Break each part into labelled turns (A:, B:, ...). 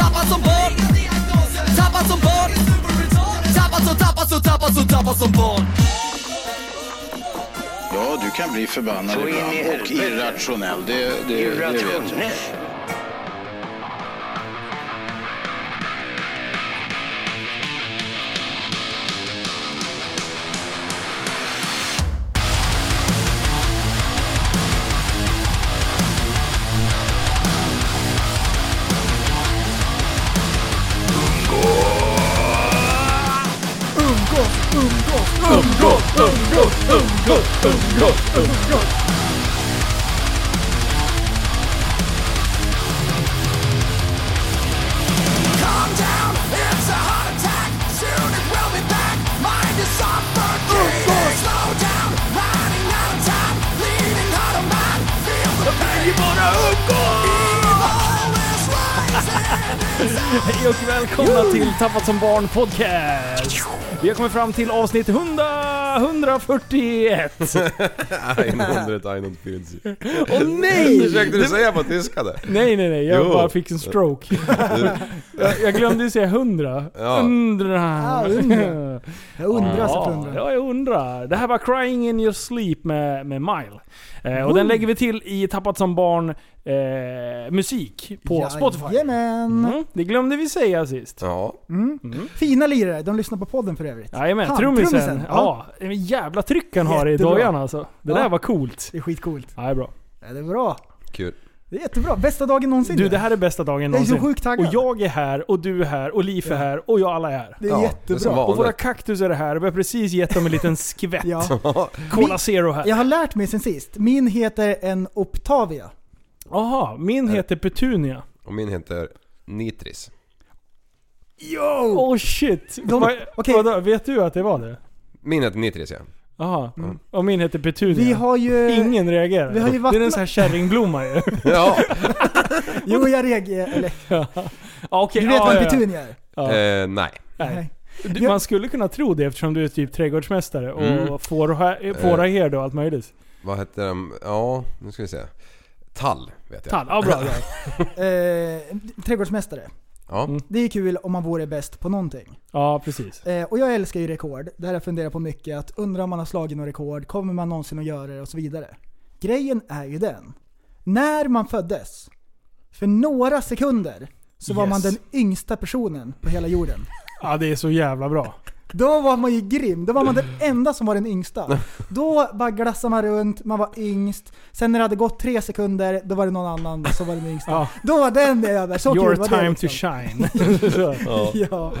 A: Tappad som barn Tappad som barn Tappad som, tappad som, tappad som, tappad som barn
B: Ja, du kan bli förbannad
C: Så in i
B: ibland och
C: helvete.
B: irrationell. Det, det, det vet jag.
C: Irrationell.
D: Calm down, it's a heart attack. Soon it will be back. Mind is
E: Oh,
D: suffocating. Slow down, running out of time. Bleeding out of mind. Feel the pain. You wanna Evil is rising.
F: Hej och välkomna till Tappat som barn podcast! Vi har kommit fram till avsnitt 100, 141!
G: Ein 141.
F: Åh nej!
G: Försökte du säga på tyska det?
F: Nej nej nej, jag
G: Jo.
F: bara fick en stroke. jag, jag glömde ju säga 100.
G: Ja.
F: Undra.
H: Ja, undra. Jag undrar så på undrar.
F: Ja, jag undrar. Det här var Crying In Your Sleep med, med Mile. Eh, och den lägger vi till i Tappat som barn eh, musik på Spotify.
H: Jajamän.
F: Mm, det glömde vi säga sist.
G: Ja.
H: Fina lirare, de lyssnar på podden för övrigt.
F: Jajamän,
H: Han,
F: trummisen.
H: trummisen.
F: Ja, en jävla tryck han har i
H: Jättebra.
F: dojan alltså. Det
H: Ja.
F: där var coolt.
H: Det är skitcoolt.
F: Ja, det är bra.
H: Ja, det är bra.
G: Kul.
H: Det är jättebra. Bästa dagen någonsin.
F: Du, det här är bästa dagen
H: Jag är så
F: någonsin.
H: sjukt taggad.
F: Och jag är här, och du är här, och Liv är här, och jag alla är här.
H: Det är
G: Ja, det är
H: jättebra.
G: som vanligt.
F: Och våra kaktusar är här, och vi har precis gett dem en liten skvätt
H: Ja.
F: Cola Zero här.
H: Jag har lärt mig sen sist. Min heter en Optavia.
F: Aha, min heter Petunia.
G: Och min heter Nitris.
H: Yo!
F: Oh shit!
H: De-
F: Vad-
H: okej.
F: Vadå, vet du att det var det?
G: Min heter Nitris ja.
F: Aha.
G: Mm.
F: Och min heter Petunia.
H: Vi har ju...
F: Ingen reagerar.
H: vi har ju
F: Det är en
H: vattnat-
F: sån här kärringblomma ju.
G: Ja.
H: Jo, jag reagerar. Eller,
F: Ja, okej,
H: du vet
F: ja,
H: vad en
F: ja, ja.
H: petunia är?
F: Ja.
G: Eh, nej.
F: Nej. Du,
H: Jag-
F: man skulle kunna tro det eftersom du är typ trädgårdsmästare och
G: Mm.
F: fåra- fåraherde och allt möjligt.
G: Vad heter de? Ja, nu ska vi se. Tall vet jag.
F: Tall, ja bra. bra.
H: Eh, trädgårdsmästare.
G: Ja.
F: Mm.
H: Det är kul om man vore bäst på någonting.
F: Ja, precis.
H: Eh, och jag älskar ju rekord. Det här har jag funderat på mycket. Att undra om man har slagit något rekord. Kommer man någonsin att göra det? Och så vidare. Grejen är ju den. När man föddes, för några sekunder, så var
F: Yes.
H: man den yngsta personen på hela jorden.
F: Ja, det är så jävla bra.
H: Då var man ju grym. Då var man den enda som var den yngsta. Då bara glassade man runt, man var yngst. Sen när det hade gått tre sekunder, då var det någon annan som var den yngsta.
F: Ja.
H: Då var den över. Så
F: Your
H: kul var det
F: time to
H: liksom.
F: shine.
H: Ja.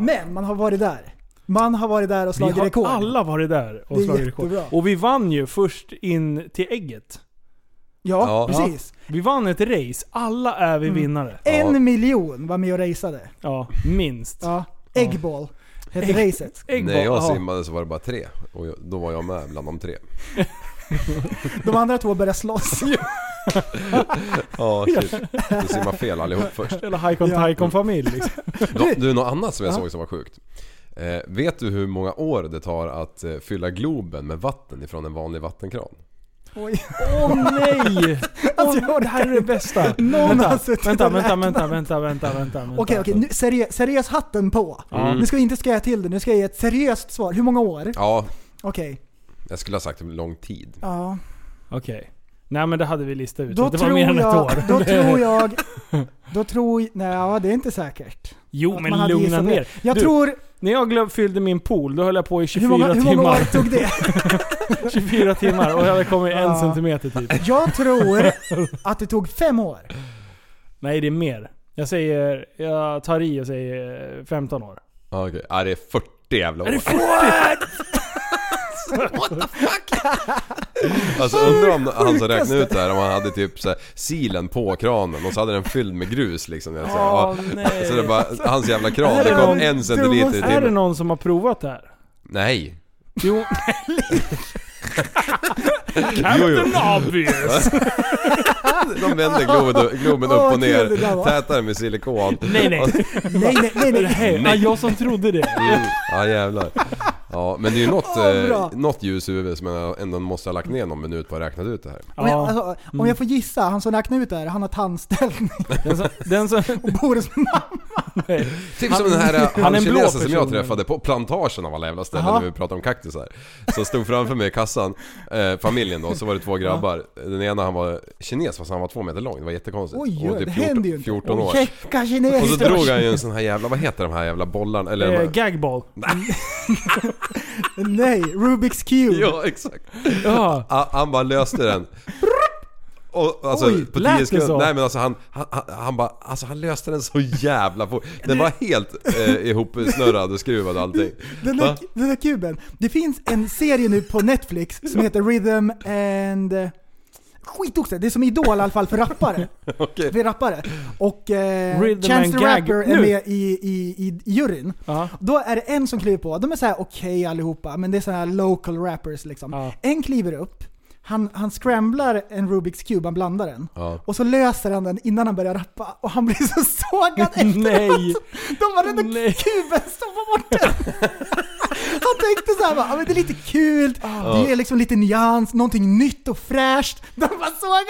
H: Men man har varit där. Man har varit där och
F: Vi
H: slagit
F: har
H: rekord.
F: alla varit där och
H: Det är
F: slagit rekord.
H: jättebra.
F: Och vi vann ju först in till ägget.
H: Ja,
G: Ja.
H: precis.
F: Vi vann ett race. Alla är vi vinnare.
H: En
G: Ja.
H: miljon var med och raceade.
F: Ja, minst.
H: Mm. Ja. Eggball hette racet.
F: Äggboll,
G: När jag
F: ja.
G: simmade så var det bara tre. Och jag, då var jag med bland de tre.
H: De andra två började slåss.
G: Ja, shit. Du simmar fel allihop först.
F: Eller Haikon
H: Ja.
F: Taikon familj liksom.
G: Du, du, något annat som jag såg som var sjukt. Eh, vet du hur många år det tar att eh, fylla Globen med vatten ifrån en vanlig vattenkran?
H: Oj.
F: Åh nej!
H: Alltså, jag
F: Åh, det här är det bästa.
H: Någon har
F: vänta,
H: suttit
F: vänta,
H: och
F: vänta,
H: räknat.
F: vänta, vänta, vänta, vänta.
H: Okej, okej. nu- Seriös, seriös hatten på.
F: Mm.
G: Mm.
H: Nu ska vi inte skoja till det. Nu ska jag ge ett seriöst svar. Hur många år?
G: Ja,
H: Okej.
G: jag skulle ha sagt typ lång tid.
H: Ja.
F: Okej. Nej men det hade vi listat ut.
H: Då
F: det var
H: tror,
F: mer än ett
H: jag,
F: år.
H: då tror jag... Då tror... Nej, ja, det är inte säkert.
F: Jo
H: Att man
F: men
H: hade
F: lugna
H: gissat det.
F: ner.
H: Jag
F: du,
H: tror...
F: När jag glöm, fyllde min pool, då höll jag på i 24
H: Hur många, hur
F: timmar.
H: många år tog det?
F: 24 timmar och jag hade kommit en
H: Ja.
F: centimeter typ.
H: Jag tror att det tog fem år.
F: Nej det är mer. Jag säger, jag tar i och säger 15 år.
G: Ja, okej. Ja, det är 40 jävla år.
A: What the fuck?
G: Alltså undrar om han som räknade ut det här om han hade typ så här, silen på kranen och så hade den fylld med grus liksom. Jag säger,
F: Åh,
G: ja.
F: nej.
G: Så det bara, hans jävla
F: Är
G: kran,
F: det
G: det kom
F: någon
G: en centiliter i
F: Är det
G: timmen.
F: någon som har provat det här?
G: Nej.
F: Jo,
G: Jo, jo.
F: Captain Obvious!
G: De vänder Globen, globen
H: Åh,
G: upp och
H: vad kul
G: ner,
H: det där var.
G: tätare med silikon.
F: Nej nej.
H: Nej, nej, nej,
F: Det
H: nej.
F: här, Ja, jag som trodde det.
G: Mm. Ja jävlar. Ja men det är ju något,
H: Åh, bra.
G: eh, något ljus i huvudet som jag ändå måste ha lagt ner någon minut på att räkna ut det här.
H: Om jag,
F: Ja,
H: alltså, om
G: Mm.
H: jag får gissa, han som räknade ut det här, han har tandställning
F: den som, den som,
H: och bor hos mamma.
G: Typ som den här eh,
F: han är en blå
G: halvkinesen som jag
F: person.
G: träffade på plantagen av alla jävla ställen
H: Jaha.
G: när vi pratade om kaktusar. Som stod framför mig i kassan, eh, familjen då, så var det två grabbar. Den ena han var kines fast han var två meter lång, det var jättekonstigt.
H: Oj,
G: Och
H: oj, det händer ju inte.
G: 14 år.
H: Käcka
G: Och så
H: kineser.
G: drog han ju en sån här jävla, vad heter de här jävla bollarna? Eller de
F: eh,
G: här-
F: gagball.
H: Nej, Rubiks Cube.
G: Ja exakt.
F: Ja.
G: Ah, Han bara löste den. Och, alltså,
F: Oj,
G: på
F: lät
G: 10
F: det
G: sekunder.
F: så?
G: Nej men alltså han, han, han, han bara, alltså han löste den så jävla fort. Den var helt eh, ihopsnurrad och skruvad och allting.
H: Den
G: Va?
H: där, den där kuben. Det finns en serie nu på Netflix som heter Rhythm and... Skitoxe, det är som Idol i alla fall för rappare.
G: Okej.
H: För rappare. Och eh,
F: Rhythm
H: Chance
F: and
H: the
F: Gag.
H: Rapper är
F: Nu.
H: med i, i, i, i juryn.
F: Ja.
H: Då är det en som kliver på, de är så här okej allihopa, men det är så här local rappers liksom.
F: Ja.
H: En kliver upp, han, han scramblar en Rubiks Cube, han blandar den.
G: Ja.
H: Och så löser han den innan han börjar rappa och han blir så sågad efteråt.
F: Nej.
H: De bara den där
F: Nej.
H: kuben stoppar bort den. Han tänkte så här, bara, "Ja, men det är lite kul, det är liksom lite nyans, någonting nytt och fräscht. De bara såg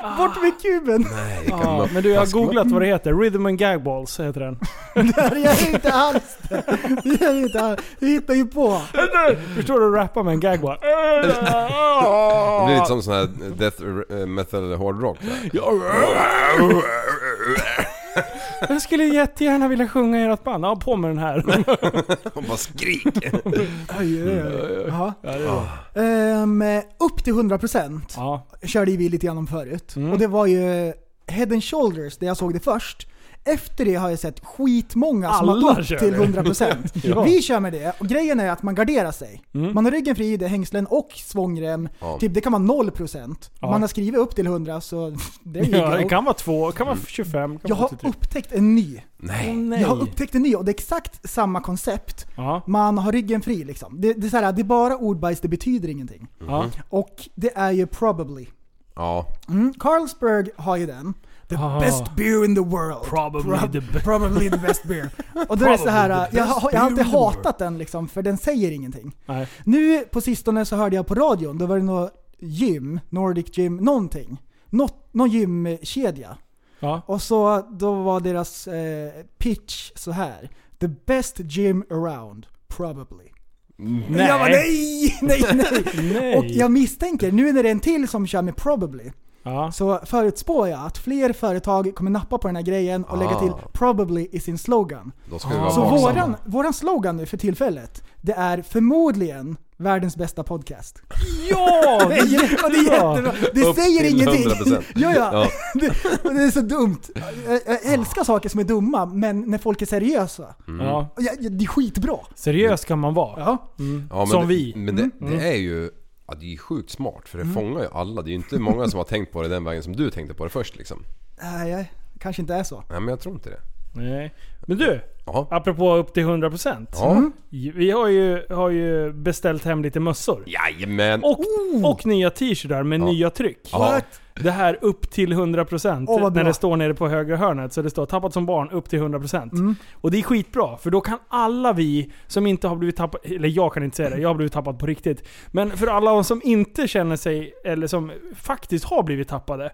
H: han! Bort med kuben!
G: Nej, kan
F: Ja,
G: man-
F: men du jag har
G: fast man-
F: googlat vad det heter. Rhythm and Gagballs heter den.
H: Det gör inte alls det. Det gör inte alls. Du hittar ju på.
F: Förstår du att rappa med en gagball?
G: Det blir lite som sån här death eh, metal hårdrock. där.
F: Jag skulle jättegärna vilja sjunga i ert band. Ja, på med den här.
G: Och bara skrik.
H: Oj, oj, oj.
F: Mm, Ja,
H: Jaha.
F: det är bra.
H: Ehm, upp till 100%
F: Ja.
H: körde ju vi lite grann om förut.
F: Mm.
H: Och det var ju Head and Shoulders där jag såg det först. Efter det har jag sett skitmånga som
F: Alla
H: har gått
F: kör
H: till
F: det.
H: 100%.
F: Ja. Mm.
H: Vi kör med det och grejen är att man garderar sig. Man har ryggen fri, det är hängslen och svångrem.
G: Ja.
H: Typ, det kan vara 0%.
F: Ja.
H: Man har skrivit upp till 100 så there you
F: Ja,
H: go.
F: det kan vara två, det kan vara 25, det
H: Jag
F: kan vara
H: har
F: 83.
H: upptäckt en ny.
F: Åh,
G: Nej.
F: nej.
H: Jag har upptäckt en ny och det är exakt samma koncept.
F: Ja.
H: Man har ryggen fri liksom. Det, det, är så här, det är bara ordbajs, det betyder ingenting.
F: Ja.
H: Och det är ju probably.
G: Ja.
H: Mm, Carlsberg har ju den. The
F: Aha.
H: best beer in the world.
F: Ah. Probably the be-
H: probably the best beer. Och då är det så
F: Probably
H: här,
F: the
H: jag,
F: best
H: har- jag har alltid
F: beer in the world.
H: hatat den liksom, för den säger ingenting.
F: Nej.
H: Nu på sistone så hörde jag på radion, då var det något gym, Nordic gym, någonting. Något, någon gymkedja.
F: Ja.
H: Och så då var deras eh, pitch så här. The best gym around, probably.
F: Nej.
H: Jag bara, nej, nej, nej.
F: Nej.
H: Och jag misstänker, nu när det är en till som kör med probably,
F: Ja.
H: så förutspår jag att fler företag kommer nappa på den här grejen och lägga
G: Ah.
H: till probably i sin slogan.
G: Då ska vi vara
H: Så
G: vaksamma.
H: våran, våran slogan nu för tillfället, det är förmodligen världens bästa podcast.
F: Ja!
H: Det är, jä- och det är jättebra. Det
G: Upp
H: säger
G: till
H: ingenting.
G: 100%.
H: Ja, ja.
G: Ja.
H: Det, och det är så dumt. Jag, jag älskar saker som är dumma, men när folk är seriösa.
G: Mm.
F: Ja.
H: Och jag- jag- Det är skitbra.
F: Seriös kan man vara. Mm.
H: Ja.
G: Ja, men
F: Som
G: det,
F: vi. Mm.
G: Men det, det är ju... Ja, det är ju sjukt smart för det fångar ju alla. Det är ju inte många som har tänkt på det den vägen som du tänkte på det först liksom.
H: Nej, jag kanske inte är så.
G: Nej men jag tror inte det.
F: Nej. Men du,
G: Ja.
F: apropå upp till 100%.
G: Ja.
F: Vi har ju, har ju beställt hem lite mössor.
G: Jajamän.
F: Och, och nya t-shirtar med nya tryck.
G: Ja.
H: What?
F: Det här upp till 100%
H: Åh, vad bra.
F: när det står nere på högra hörnet. Så det står tappat som barn upp till 100%.
H: Mm.
F: Och det är skitbra, för då kan alla vi som inte har blivit tappade, eller jag kan inte säga det, jag har blivit tappad på riktigt. Men för alla som inte känner sig, eller som faktiskt har blivit tappade.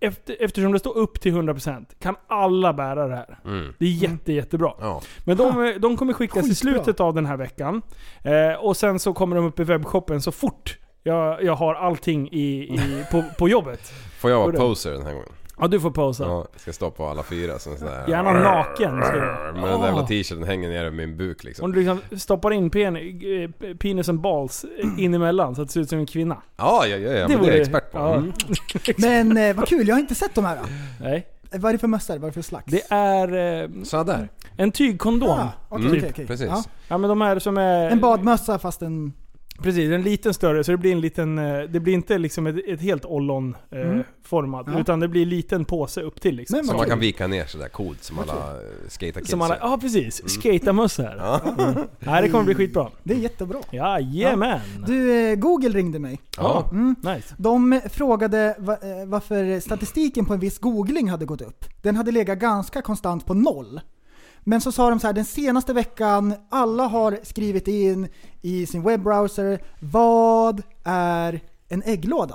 F: Efter, eftersom det står upp till 100% kan alla bära det här. Det är jätte, jättebra.
G: Mm. Ja.
F: Men de, de kommer skickas i
H: Skitbra.
F: slutet av den här veckan. Eh, och sen så kommer de upp i webbshoppen så fort jag, jag har allting i, i, på, på jobbet.
G: Får jag vara
F: Hörru.
G: poser den här gången?
F: Ja, du får pausa.
G: Ja, jag ska stå på alla fyra som sådär...
F: Gärna naken. ska du.
G: Men den där jävla
F: Ah.
G: t-shirten hänger ner över min buk liksom.
F: Om du liksom stoppar in pen, eh, penis and balls in emellan så att det ser ut som en kvinna.
G: Ja, ja, ja, Mm. ja men det är
F: vore-
G: jag expert på.
F: ja.
G: Mm.
H: Men eh, vad kul, jag har inte sett de här.
F: Nej.
H: Eh, Vad är det för mössor? Vad är det för slags?
F: Det är eh,
G: Sådär,
F: en tygkondom.
H: Ah, okej,
F: typ.
H: okej, okej.
G: Mm. precis.
H: Ja.
F: Ja men de här som är...
H: En badmössa fast en...
F: Precis, en liten större, så det blir en liten... eh, Det blir inte liksom ett, ett helt
H: Mm.
F: ollon-formad.
H: Ja.
F: Utan det blir en liten påse upp till liksom.
H: Men
G: Som
H: vad
G: man
H: kul.
G: kan vika ner sådär coolt som alla skaterkids
F: Som alla,
G: gör.
F: ja precis, skatamössor. Mm. Nej det kommer bli skitbra.
H: Det är jättebra.
F: Jajamän!
H: Du, eh, Google ringde mig.
G: Ja.
H: Mm.
F: Nice.
H: De frågade va, eh, varför statistiken på en viss googling hade gått upp. Den hade legat ganska konstant på noll. Men så sa de så här, den senaste veckan, alla har skrivit in i sin webbrowser, vad är en ägglåda?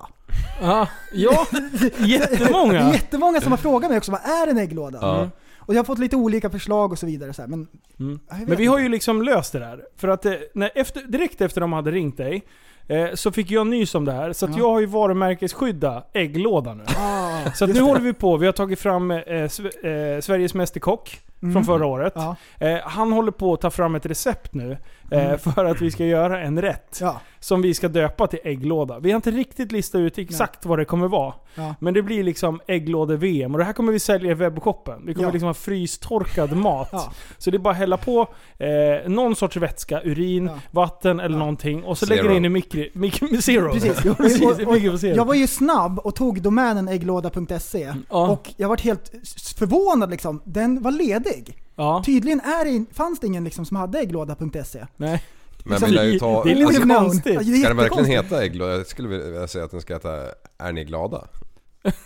F: Ja, ja
H: Det är
F: jättemånga!
H: jättemånga som har frågat mig också, vad är en ägglåda?
G: Ja.
H: Och jag har fått lite olika förslag och så vidare. Så här, men
F: Mm.
H: jag vet
F: Men vi
H: inte.
F: har ju liksom löst det där. För att eh, när efter, direkt efter de hade ringt dig, eh, så fick jag nys om det här. Så att
H: Ja.
F: jag har ju varumärkesskydda ägglåda nu.
H: Ah,
F: Så att
H: just
F: nu
H: det.
F: håller vi på, vi har tagit fram eh, Sve- eh, Sveriges Mästerkock
H: Mm.
F: från förra året.
H: Ja.
F: Eh, han håller på att ta fram ett recept nu eh, för att vi ska göra en rätt
H: Mm. Ja.
F: som vi ska döpa till ägglåda. Vi har inte riktigt listat ut exakt vad det kommer vara.
H: Ja.
F: Men det blir liksom ägglåde-VM och det här kommer vi sälja i webbshoppen. Vi kommer
H: Ja.
F: liksom ha frystorkad mat.
H: Ja.
F: Så det är bara att hälla på eh, någon sorts vätska, urin,
H: Ja.
F: vatten eller någonting och så
G: Zero.
F: lägger du in i mikri... mikri zero.
H: Precis. Och-
F: Precis,
H: och- och-
F: mikro zero.
H: Jag var ju snabb och tog domänen ägglåda.se
F: ja.
H: och jag vart helt s- förvånad liksom. Den var ledig.
F: ja.
H: Tydligen är det, fanns det ingen liksom som hade ägglåda.se.
F: Nej.
G: Men vill jag ju ta...
F: Det är lite
G: alltså,
H: Unknown.
F: konstigt.
H: Ja, det är
G: ska den verkligen
H: jättekonstigt.
G: heta ägglåda? Jag skulle vilja säga att den ska heta Är ni glada?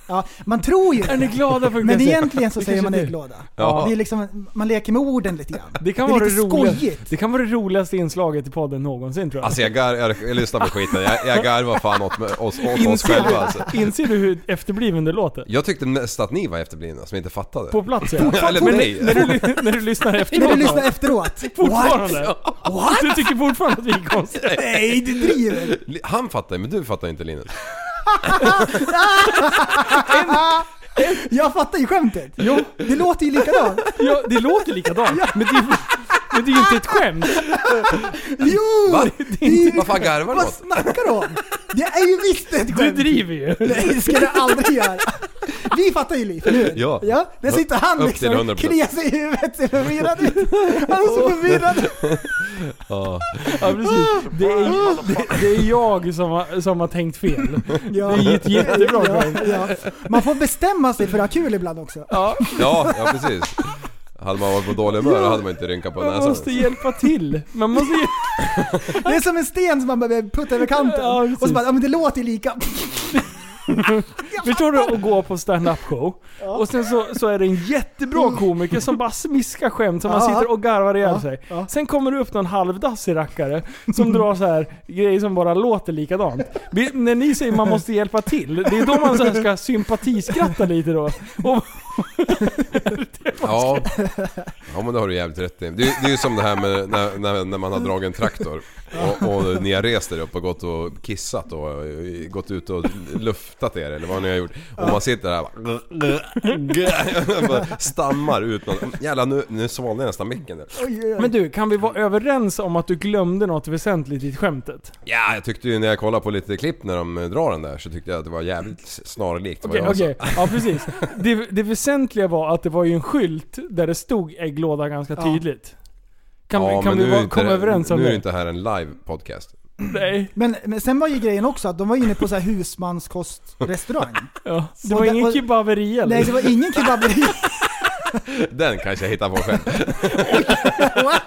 H: Ja, man tror ju
F: Är ni
H: det.
F: glada för
H: Men egentligen så
F: Det
H: säger
F: kanske
H: man
F: det är.
H: ägglåda.
G: Ja.
H: Det är liksom, man leker med orden lite grann.
F: Det kan
H: det är
F: vara det
H: lite
F: roliga-
H: skojigt.
F: Det kan vara det roligaste inslaget i podden någonsin tror jag.
G: Alltså jag, gar, jag, jag lyssnar på skiten, jag, jag garvar fan åt, mig- oss, åt oss
F: inser,
G: själva alltså.
F: du, inser du hur efterbliven det låter?
G: Jag tyckte mest att ni var efterblivna som inte fattade.
F: På plats ja.
G: Eller
F: Men
G: nej.
F: när, du, ly- när du lyssnar
H: När
F: efteråt
H: du lyssnar
F: då?
H: efteråt.
F: Fortfarande? What? Du tycker fortfarande att vi är konstiga?
H: Nej, du driver!
G: Han fattar ju, men du fattar ju inte Linus.
H: Jag fattar ju skämtet. Jo. Det låter ju likadant.
F: Ja, det låter likadant. Men det, är- men det är ju inte ett skämt.
H: Jo!
G: Va?
H: Det är ju-
G: Vad fan garvar du
H: Vad
G: åt?
H: snackar du om? Det är ju visst ett
F: Du
H: skämt!
F: driver ju.
H: Nej, det ska du aldrig göra. Vi fattar ju liv, eller hur?
G: Ja.
H: ja. Där sitter han
G: Upp till
H: liksom
G: 100%.
H: och kliar sig i huvudet, ser förvirrad ut. Han är så förvirrad.
F: Ja, precis. Det,
H: Mm,
F: är, det, det är jag som har, som har tänkt fel.
H: Ja.
F: Det är ju ett jättebra skämt.
H: ja, ja. Man får bestämma sig för att ha kul ibland också.
F: Ja,
G: Ja, ja precis. Hade man varit på dålig humör hade man inte rynkat på
F: man måste
G: näsan.
F: hjälpa till. Man måste ju...
H: Det är som en sten som man behöver putta över kanten.
F: Ja, precis.
H: och så bara, ja men det låter ju lika.
F: Förstår du att gå på stand-up show och sen så, så är det en jättebra komiker som bara smiskar skämt som man
H: Mm. Ja.
F: sitter och garvar ihjäl
H: Ja,
F: sig.
H: ja.
F: Sen kommer det upp någon halvdassig rackare som drar så här grejer som bara låter likadant. Vi- När ni säger man måste hjälpa till, det är då man så här ska sympatiskratta lite då. Och,
G: Ja. ja, men det har du jävligt rätt i. Det, är- det är ju som det här med när, när, när man har dragit en traktor och, och ni har rest er upp och gått och kissat och eh, gått ut och luftat er eller vad ni har gjort. Och man sitter där och bara stammar ut något. Jävlar nu, nu svalde jag nästan micken. där.
H: Oj, oj, oj.
F: men du, kan vi vara överens om att du glömde något väsentligt i skämtet?
G: Ja, jag tyckte ju när jag kollade på lite klipp när de eh, drar den där så tyckte jag att det var jävligt snarlikt vad
F: Mm. Okej,
G: jag sa.
F: okej. Ja, precis. Det, det väsentliga var att det var ju en skylt där det stod ägglåda ganska
H: Ja.
F: tydligt. Kan,
G: Ja,
F: vi, kan
G: men
F: vi
G: nu är
F: vara,
G: inte
F: komma
G: det-
F: överens om
G: Nu är
F: det?
G: det inte här en live podcast.
F: Nej.
H: Men, men sen var ju grejen också att de var inne på så här husmanskostrestaurang.
F: Ja. Det
H: Och
F: var
H: där-
F: ingen
H: och-
F: kebaberi eller?
H: Nej, det var ingen kebaberi.
G: Den kanske jag hittar på själv.
H: What?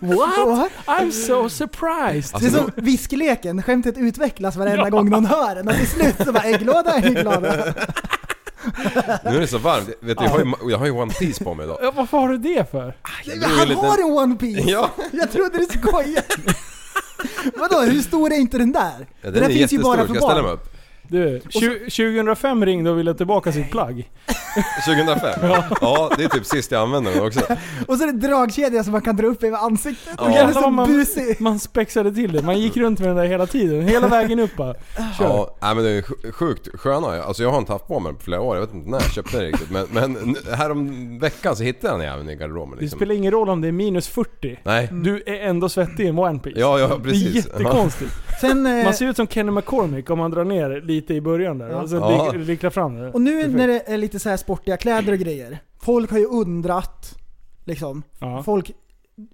H: What?
F: I'm so surprised!
G: Alltså-
H: Det är som viskeleken, skämtet utvecklas varenda gång någon hör den och till slut så bara ägglåda, ägglåda.
G: Nu är det så varmt. Vet du, jag har ju, jag har ju One Piece på mig idag.
F: Ja, varför har du det för?
G: Jag drog en
H: Han
G: liten-
H: har en One Piece!
G: Ja.
H: Jag trodde du skojade! Vadå, hur stor är inte den där?
G: Ja,
H: den
G: den
H: där
G: är
H: finns ju
G: jättestor,
H: bara
G: ska
H: för
G: jag ställa mig
H: barn.
G: upp?
F: Du, tju- 2005 ringde och ville ha tillbaka sitt plagg.
G: 2005? Ja, det är typ sist jag använde den också.
H: Och så är det dragkedja som man kan dra upp över ansiktet. Och
G: Ja.
H: den är
F: Jävlar
H: så
F: vad man,
H: busig.
F: man spexade till det. Man gick runt med den där hela tiden. Hela vägen upp bara. Kör.
G: Ja, nej, men det är sj- sjukt sköna. Alltså jag har inte haft på mig den på flera år. Jag vet inte när jag köpte den riktigt. Men, men nu- härom veckan så hittade jag den även i garderoben
F: Det
G: liksom.
F: spelar ingen roll om det är minus 40.
G: Nej.
F: Du är ändå svettig i en one piece.
G: Mm. Ja, ja precis.
F: Det är jättekonstigt.
H: Sen, eh,
F: Man ser ut som Kenny McCormick om man drar ner lite i början där.
H: Ja.
F: Och sen
G: Ja.
F: lik- liklar fram det.
H: och nu när det är lite så här sportiga kläder och grejer. Folk har ju undrat, liksom.
F: Ja.
H: Folk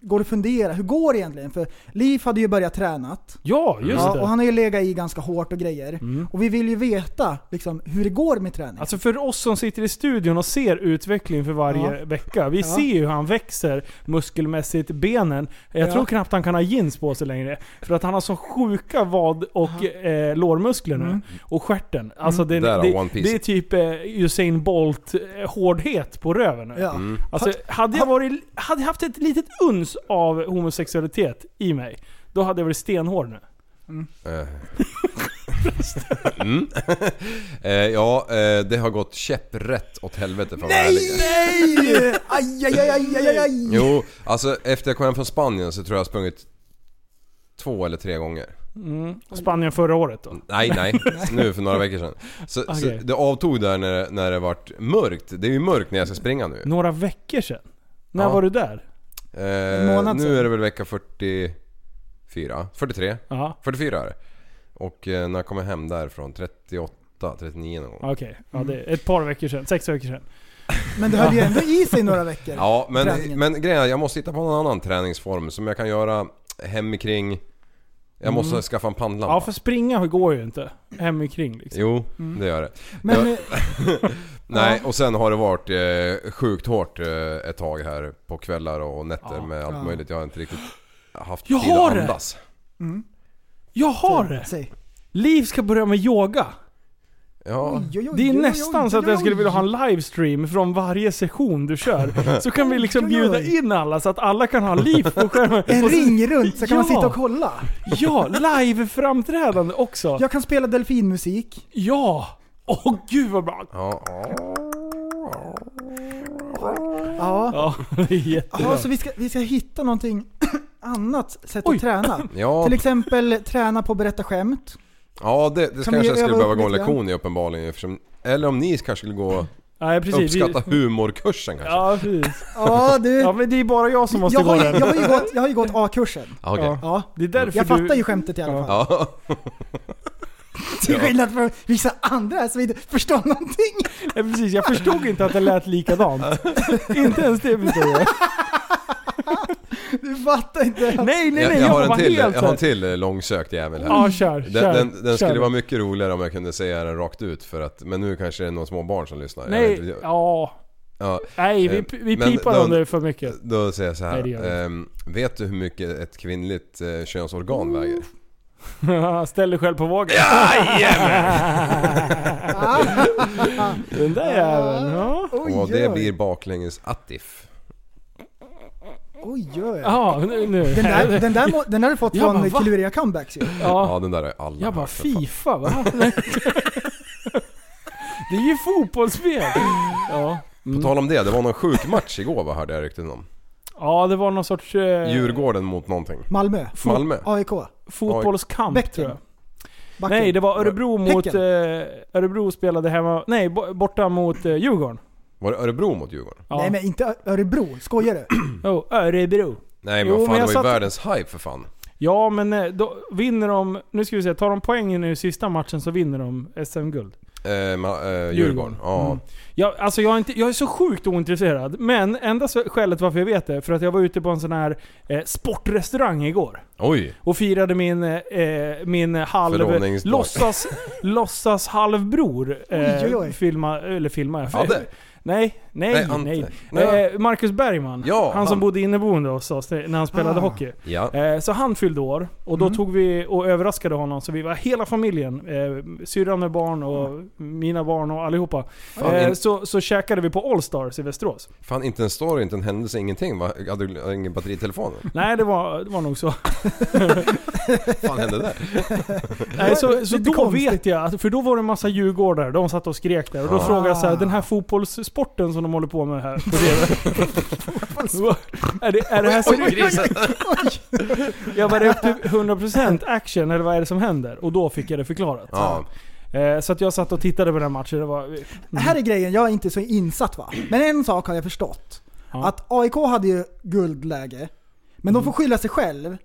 H: går att fundera, hur går det egentligen? För Liv hade ju börjat tränat.
F: Ja, just
H: Ja,
F: det. Mm.
H: och han har ju legat i ganska hårt och grejer. Och vi vill ju veta liksom, hur det går med träningen.
F: Alltså för oss som sitter i studion och ser utveckling för varje
H: Ja.
F: vecka. Vi
H: Ja.
F: ser ju hur han växer muskelmässigt, benen. Jag
H: Ja.
F: tror knappt han kan ha jeans på sig längre. För att han har så sjuka vad och eh, lårmuskler nu.
H: Mm.
F: Och stjärten. Alltså det,
G: Mm. Där har
F: det,
G: One Piece.
F: det är typ eh, Usain Bolt eh, hårdhet på röven nu.
H: ja.
F: Alltså, hade jag varit, hade jag haft ett litet uns av homosexualitet i mig, då hade jag varit stenhård nu.
G: Eh. mm. eh, ja, eh, det har gått käpprätt åt helvete för Nej!
H: Nej! Aj, aj, aj, aj, aj, aj.
G: Jo, alltså efter jag kom hem från Spanien så tror jag jag har sprungit två eller tre gånger.
F: Spanien förra året då.
G: Nej, nej. Nu för några veckor sedan. Så, så
F: Okej.
G: det avtog där när, när det vart mörkt. Det är ju mörkt när jag ska springa nu.
F: Några veckor sedan. När
G: Ja.
F: var du där?
G: Eh,
H: månad sedan.
G: nu är det väl vecka 44? 43?
F: Ja,
G: 44 är det. Och eh, när jag kommer hem därifrån, 38, 39 någon gång.
F: okej. Ja, det är ett par veckor sedan. Sex veckor sedan.
H: Men det höll ju ändå i sig några veckor.
G: Ja, men,
H: Träningen.
G: men grejen är jag måste hitta på någon annan träningsform som jag kan göra hemikring. Jag måste skaffa en pannlampa.
F: Ja, för springa går ju inte. Hemikring liksom.
G: Jo, det gör det.
H: Men,
G: jag,
H: eh,
G: nej, och sen har det varit eh, sjukt hårt eh, ett tag här på kvällar och nätter med allt möjligt. Jag har inte riktigt haft
F: Jag
G: tid
F: har
G: att
F: det!
G: andas.
F: Jag har det!
H: säg.
F: Liv ska börja med yoga.
G: Ja,
H: Oj, oj, oj,
F: Det är
H: oj, oj,
F: nästan så att
H: oj,
F: jag skulle
H: oj.
F: vilja ha en livestream från varje session du kör. Så kan vi liksom
H: Oj, oj, oj.
F: bjuda in alla så att alla kan ha liv på skärmen.
H: En
F: Och så-
H: ring runt så kan man
F: Ja.
H: sitta och kolla.
F: Ja, live-framträdande också.
H: Jag kan spela delfinmusik.
F: Ja! Åh gud vad bra!
G: ja.
H: Ja.
F: Ja, det är jättebra.
H: ja så vi ska, vi ska hitta någonting annat sätt
F: Oj.
H: att träna.
G: Ja,
H: Till exempel träna på att berätta skämt.
G: ja det, det
H: vi
G: kanske jag skulle
H: öva
G: behöva
H: upp
G: gå en
H: lite grann?
G: lektion i uppenbarligen eftersom, Eller om ni kanske skulle gå
F: Nej precis. Vi-
G: uppskatta humorkursen kanske?
F: Ja precis.
H: Ja du.
F: Ja men det är bara jag som måste
H: jag,
F: gå
H: har, ju-
F: den.
H: jag, har ju gått, jag har ju gått A-kursen.
G: Ja, okej.
F: Ja.
H: Ja.
F: Det är därför
H: Jag fattar
F: du...
H: ju skämtet i alla fall.
G: Ja.
H: Till skillnad från vissa andra här som inte förstår någonting.
F: Nej, precis, jag förstod inte att det lät likadant. inte ens det förstod jag.
H: Du fattar inte.
F: Nej nej nej,
G: Jag, jag, har
F: var
G: en till,
F: helt
G: jag har en
F: så här-
G: till eh, långsökt jävel här.
F: Ja kör, kör.
G: Den, den, den
F: kör.
G: skulle vara mycket roligare om jag kunde säga den rakt ut för att, men nu kanske det är några små barn som lyssnar. Jag vet
F: Nej,
G: inte.
F: ja.
G: ja.
F: Nej
G: Eh,
F: vi, vi
G: men
F: pipar
G: då-
F: om det för mycket.
G: Då säger jag så
F: Nej,
G: här.
F: det gör det
G: ehm, vet du hur mycket ett kvinnligt eh, könsorgan
F: Mm,
G: väger?
F: Ställ dig själv på vågen. Jajamän! den där jäveln. Ja.
G: Och det blir baklänges attif.
H: Oj, oj.
F: Ja, nu. nu.
H: Den där, den, där må, den där har du fått
F: Jag bara,
H: från
F: va?
H: Killuria Comebacks ju.
F: Ja.
G: Ja, den där är alla
F: Jag bara
G: hört, för fan.
F: Fifa va? det är ju fotbollsspel! Ja.
G: På tal om det, det var någon sjuk match igår vad hörde jag rykten om.
F: ja, det var någon sorts eh,
G: Djurgården mot någonting.
H: Malmö.
G: Malmö.
H: AIK.
F: fotbollskamp
H: Bäcken.
F: tror jag.
H: Backen.
F: Nej, det var Örebro mot... Eh,
H: Häcken.
F: Örebro spelade hemma... Nej, bo- borta mot eh, Djurgården.
G: Var det Örebro mot Djurgården?
F: Ja.
H: Nej men inte Ö- Örebro, skojar du?
F: Jo, Örebro.
G: Nej
F: Jo,
G: men vad
F: men
G: fan, det
F: jag
G: var ju
F: satt-
G: världens hype för fan.
F: Ja, men eh, då vinner de... Nu ska vi se, tar de poängen i sista matchen så vinner de SM-guld.
G: Eh, ma- eh, Djurgården. Ja.
F: Jag, alltså jag, är inte, jag är så sjukt ointresserad, men enda s- skälet varför jag vet det, för att jag var ute på en sån här eh, sportrestaurang igår.
G: Oj!
F: Och firade min, eh, min halv...
G: Förlovningsdag.
F: Låtsas, låtsas halvbror. Eh,
H: Oj, oj, oj.
F: Filma, eller filma jag.
G: Adde?
F: Nej, nej,
G: Nej, Ante.
F: nej.
G: Nej.
F: Eh, Marcus Bergman.
G: Ja,
F: han, som
G: han.
F: bodde inneboende hos oss eh, när han spelade
H: Ah.
F: hockey.
G: Ja.
F: Eh, så han fyllde år och
H: Mm.
F: då tog vi och överraskade honom. Så vi var hela familjen. Eh, syrran med barn
H: Ah.
F: och mina barn och allihopa.
G: Fan,
F: eh,
G: in-
F: så, så käkade vi på Allstars i Västerås.
G: Fan inte en story, inte en händelse, ingenting va? Jag hade du ingen batteri i telefonen?
F: Nej, det var, det var nog så.
G: Vad fan hände där?
F: Nej, så, så
H: lite
F: då
H: konstigt.
F: vet jag, att- för då var det en massa djurgårdare, de satt och skrek där. Och då
G: Ah.
F: frågade jag så här, den här fotbollssporten som de håller på med här på TV. är, det, är det här seriöst? Jag bara, det är upp till 100% action eller vad är det som händer? Och då fick jag det förklarat.
G: Ja.
F: Eh, Så att jag satt och tittade på den här matchen. Det var,
H: Här
F: Mm.
H: är grejen, jag är inte så insatt va. Men en sak har jag förstått.
F: Ja. Mm.
H: Att AIK hade ju guldläge, men de får skylla sig själv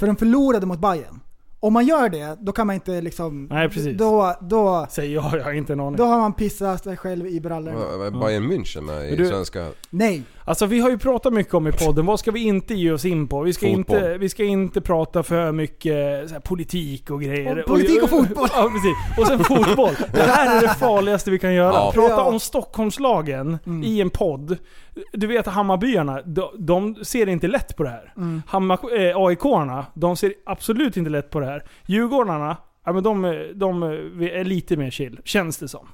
H: för de förlorade mot Bayern. Om man gör det, då kan man inte liksom...
F: Nej, precis.
H: Då, då,
F: säger jag, jag har inte en aning.
H: då har man pissat sig själv i brallorna.
G: Var var Bayern München med i
F: Men du-
G: svenska...
H: Nej,
F: Alltså vi har ju pratat mycket om i podden, vad ska vi inte ge oss in på? Vi ska,
G: Fotboll.
F: inte, vi ska inte prata för mycket så här, politik och grejer.
H: Och politik och fotboll.
F: ja, precis. Och sen fotboll. Det här är det farligaste vi kan göra.
G: Ja.
F: Prata
H: Ja. Mm.
F: om Stockholmslagen i en podd. Du vet Hammarbyarna, de, de ser inte lätt på det här.
H: Mm.
F: Hammar, eh, AIK-arna, de ser absolut inte lätt på det här. Djurgårdarna, ja, men de, de är lite mer chill, känns det som.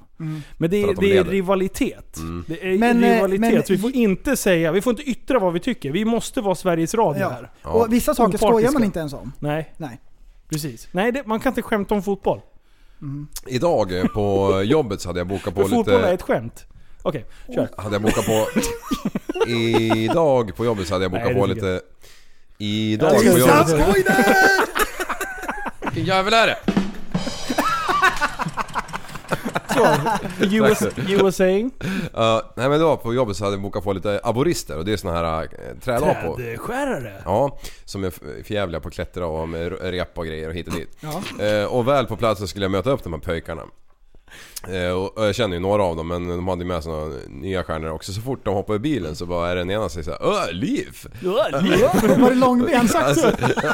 F: Men det
G: För
F: är,
G: att de
F: det är
G: leder. Mm.
F: rivalitet. Det är
H: Mm. Men, eh,
F: rivalitet.
H: men-
F: så vi får inte säga, vi får inte yttra vad vi tycker. Vi måste vara Sveriges Radio
H: Ja.
F: här.
G: Ja.
H: Och vissa saker skojar man
F: Opartiska.
H: inte ens om.
F: Nej,
H: Nej.
F: precis. Nej, det, man kan inte skämta om fotboll.
G: Idag eh, på jobbet så hade jag bokat på
F: För fotboll är
G: lite...
F: ett skämt. Okej, kör.
G: Hade jag bokat på... Idag på jobbet så hade jag bokat
F: Nej, det
G: på
F: tycker
G: lite...
F: Ja,
G: Idag
F: det
G: på
F: tycker jag.
G: jobbet...
H: Skoj där!
G: Vilken jävel är det?
F: You was, you were saying?
G: Eh, nej men idag på jobbet så hade jag bokat på lite aborister och det är såna här uh, trälapor.
F: Trädskärare.
G: Ja, som är f- förjävliga på att klättra och med r- rep och grejer och hit och dit. Eh, och väl på plats så skulle jag möta upp de här pojkarna. Eh, och och jag känner ju några av dem men de hade ju med sig några nya stjärnor också. Så fort de hoppar i bilen så bara är den ena sig såhär Öh, Liv!
H: Var det långben? Sagt
G: Alltså.
H: så.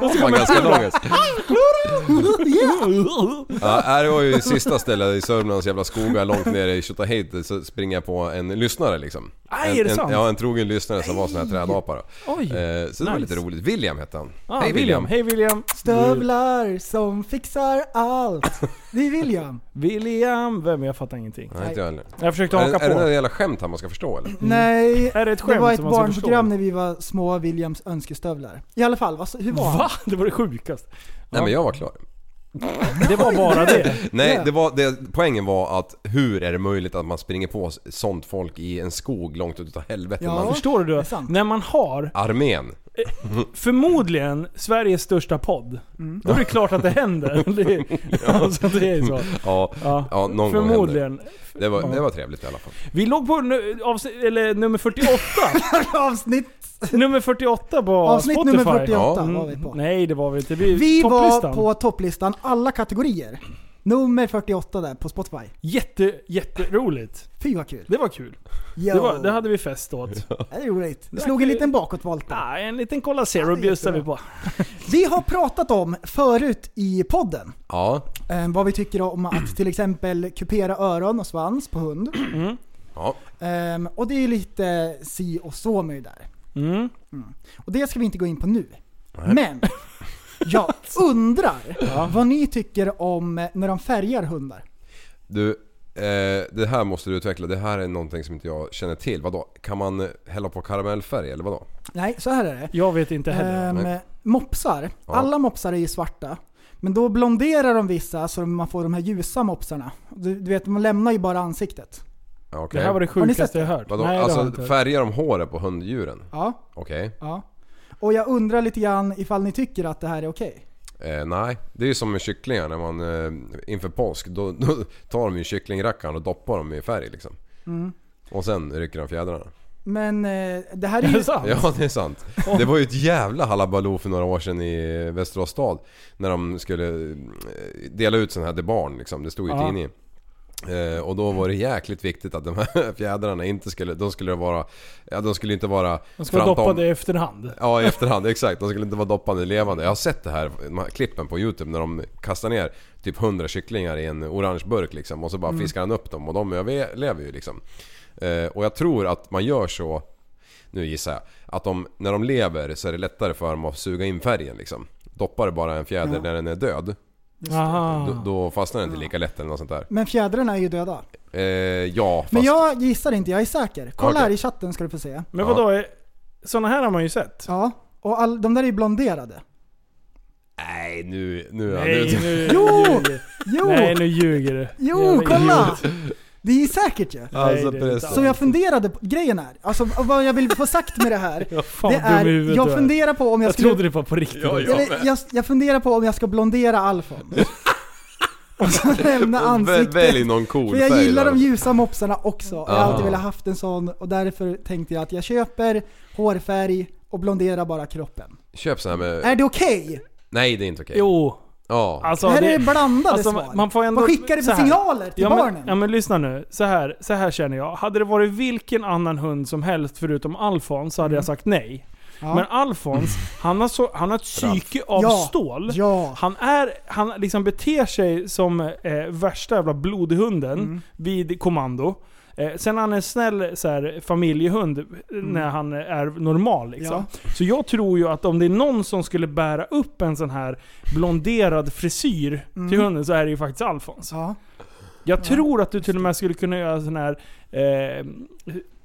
G: Han var ganska lång alltså. Ja, här var ju sista stället i Sörmlands jävla skogar långt nere i Tjotahejti så springer jag på en lyssnare liksom.
F: Aj,
G: en,
F: är det
G: en,
F: sant?
G: Ja, en trogen lyssnare som var sån här trädapa då.
F: Oj,
G: Eh, så det
F: nice.
G: var lite roligt. William hette han.
F: Ah, Hej William. Hej William.
H: Stövlar som fixar allt. Det är William.
F: William. Vem? Jag fattar ingenting.
G: Nej, inte jag heller.
F: Jag försökte
G: Är,
F: haka
G: är det några
F: på.
G: jävla skämt han man ska förstå eller?
H: Nej,
F: Är Mm. det ett
H: det
F: skämt
H: var ett
F: som man ska
H: barnprogram
F: förstå?
H: när vi var små, Williams önskestövlar. I alla fall, vad, hur var han?
F: Va? Det var det sjukaste.
G: Nej men jag var klar.
F: Det var bara det.
G: Nej,
H: Ja.
G: det var, det, poängen var att hur är det möjligt att man springer på sånt folk i en skog långt utav helvete?
H: Ja.
G: Man,
F: Förstår
H: Det
F: du?
H: är sant.
F: När man har
G: armén.
F: förmodligen Sveriges största podd.
H: Mm.
F: Då är det klart att det händer. Det, är- alltså, det är så.
G: Ja,
F: Ja,
G: ja, någon gång hände det.
F: förmodligen.
G: det. Var, det var trevligt i alla fall.
F: Vi låg på nu, avsnitt, eller, nummer 48.
H: Avsnitt,
F: nummer 48 på
H: avsnitt
F: Spotify. Mm.
H: nummer 48
G: Ja.
H: var vi på.
F: Nej det var vi inte. Vi,
H: Vi
F: topplistan.
H: var på topplistan alla kategorier. Nummer 48 där på Spotify.
F: Jätte, jätteroligt.
H: Fy vad kul.
F: Det var kul.
H: Yo.
F: Det, var, det hade vi fest åt.
H: Det är roligt. Vi slog en liten bakåtvolt där.
F: Ah, en liten Cola Zero
H: det är
F: bjussade vi
H: jättebra.
F: på.
H: Vi har pratat om förut i podden
G: Ja,
H: eh, vad vi tycker om att till exempel kupera öron och svans på hund.
G: ja.
H: Ehm, och det är lite si och så med det där.
F: Mm.
H: Och det ska vi inte gå in på nu. Men jag undrar vad ni tycker om eh, när de färgar hundar.
G: Du, eh, det här måste du utveckla. Det här är någonting som inte jag känner till. Vadå? Kan man eh, hälla på karamellfärg eller vadå?
H: Nej, så här är det.
F: Jag vet inte heller.
H: Ehm,
G: Nej.
H: mopsar.
G: Ja.
H: Alla mopsar är ju svarta. Men då blonderar de vissa så man får de här ljusa mopsarna. Du, du vet, man lämnar ju bara ansiktet.
G: Ja,
F: Det
G: Okej.
F: här var det
H: ni sett
F: sjukaste
H: det?
F: jag hört.
G: Vadå?
F: Nej, det har jag inte
G: alltså
F: hört.
G: färgar de håret på hunddjuren?
H: Ja,
G: Okej.
H: ja. Och jag undrar lite grann ifall ni tycker att det här är okej.
G: Eh, nej, det är ju som med kycklingar när man eh, inför påsk. Då, då tar de ju kycklingrackarn och doppar dem i färg liksom. Och sen rycker de fjädrarna.
H: Men eh, det här är
F: Är
H: ju...
F: det sant?
G: Ja, det är sant. Det var ju ett jävla halabaloo för några år sedan i Västerås stad. När de skulle eh, dela ut sån här till barn liksom. Det stod ju i
F: Ja.
G: tidningen. Eh, och då var det jäkligt viktigt att de här fjädrarna inte skulle... De skulle vara... Ja, de skulle inte vara...
F: De ska vara
G: framtom-
F: doppade i efterhand.
G: Ja, i efterhand. Exakt. De skulle inte vara doppande levande. Jag har sett det här, de här klippen på Youtube när de kastar ner typ 100 kycklingar i en orange burk liksom. Och så
H: Mm.
G: bara fiskar han upp dem och de överlever ju liksom. Eh, och jag tror att man gör så, nu gissar jag, att de, när de lever så är det lättare för dem att suga in färgen liksom. Doppar bara en fjäder när den är död,
F: Aha.
H: Ah.
G: då, då fastnar den inte lika lätt eller något sånt där.
H: Men fjädrarna är ju döda.
G: Eh, ja, fast...
H: Men jag gissar inte, jag är säker. Kolla
G: Okej.
H: här i chatten ska du få se.
F: Men
G: Ja.
F: vadå? är- Såna här har man ju sett.
H: Ja, och all, de där är ju blonderade.
G: Nej, nu... nu,
F: Nej,
G: nu
F: nu,
H: Jo!
F: ljuger.
H: Jo!
F: Nej, nu ljuger du.
H: jo,
F: Jävla
H: kolla!
F: idiot.
H: Det är säkert ju.
G: Alltså,
F: Nej, det är inte
G: precis.
F: alls.
H: Så jag funderade på, grejen är, alltså vad jag vill få sagt med det här.
F: Ja, fan,
H: Det är, jag
F: funderar.
H: funderar på om jag
F: Jag
H: skulle...
F: trodde det var på riktigt.
G: Ja,
H: Eller, jag, jag funderar på om jag ska blondera Alfons. Och så lämna
G: Vä- Välj
H: ansiktet.
G: någon cool
H: För jag
G: färg
H: gillar
G: där.
H: de ljusa mopsarna också. Jag har
G: Ah.
H: alltid velat haft en sån och därför tänkte jag att jag köper hårfärg och blonderar bara kroppen.
G: Köp sån här med...
H: Är det okej?
G: Nej, det är inte okej.
F: Jo,
G: Ja.
F: Alltså,
H: här är
F: det-
H: blandade
F: alltså,
H: svar.
F: man får ändå-
H: Vad skickar det
F: så
H: för
F: här.
H: signaler till
F: ja,
H: barnen?
F: Men, ja men lyssna nu. Så här, så här känner jag. Hade det varit vilken annan hund som helst förutom Alfons så hade jag sagt nej.
H: Mm. Ja.
F: Men Alfons, han har, så, han har ett psyke av
H: Ja.
F: stål.
H: ja.
F: Han, är, han liksom beter sig som eh, värsta jävla blodhunden
H: Mm.
F: vid kommando. Eh, sen är han en snäll så här, familjehund eh,
H: Mm.
F: när han är normal. Liksom. Så jag tror ju att om det är någon som skulle bära upp en sån här blonderad frisyr till hunden så är det ju faktiskt Alfons.
H: Mm. Ja.
F: Jag tror att du till och med skulle kunna göra sån här eh,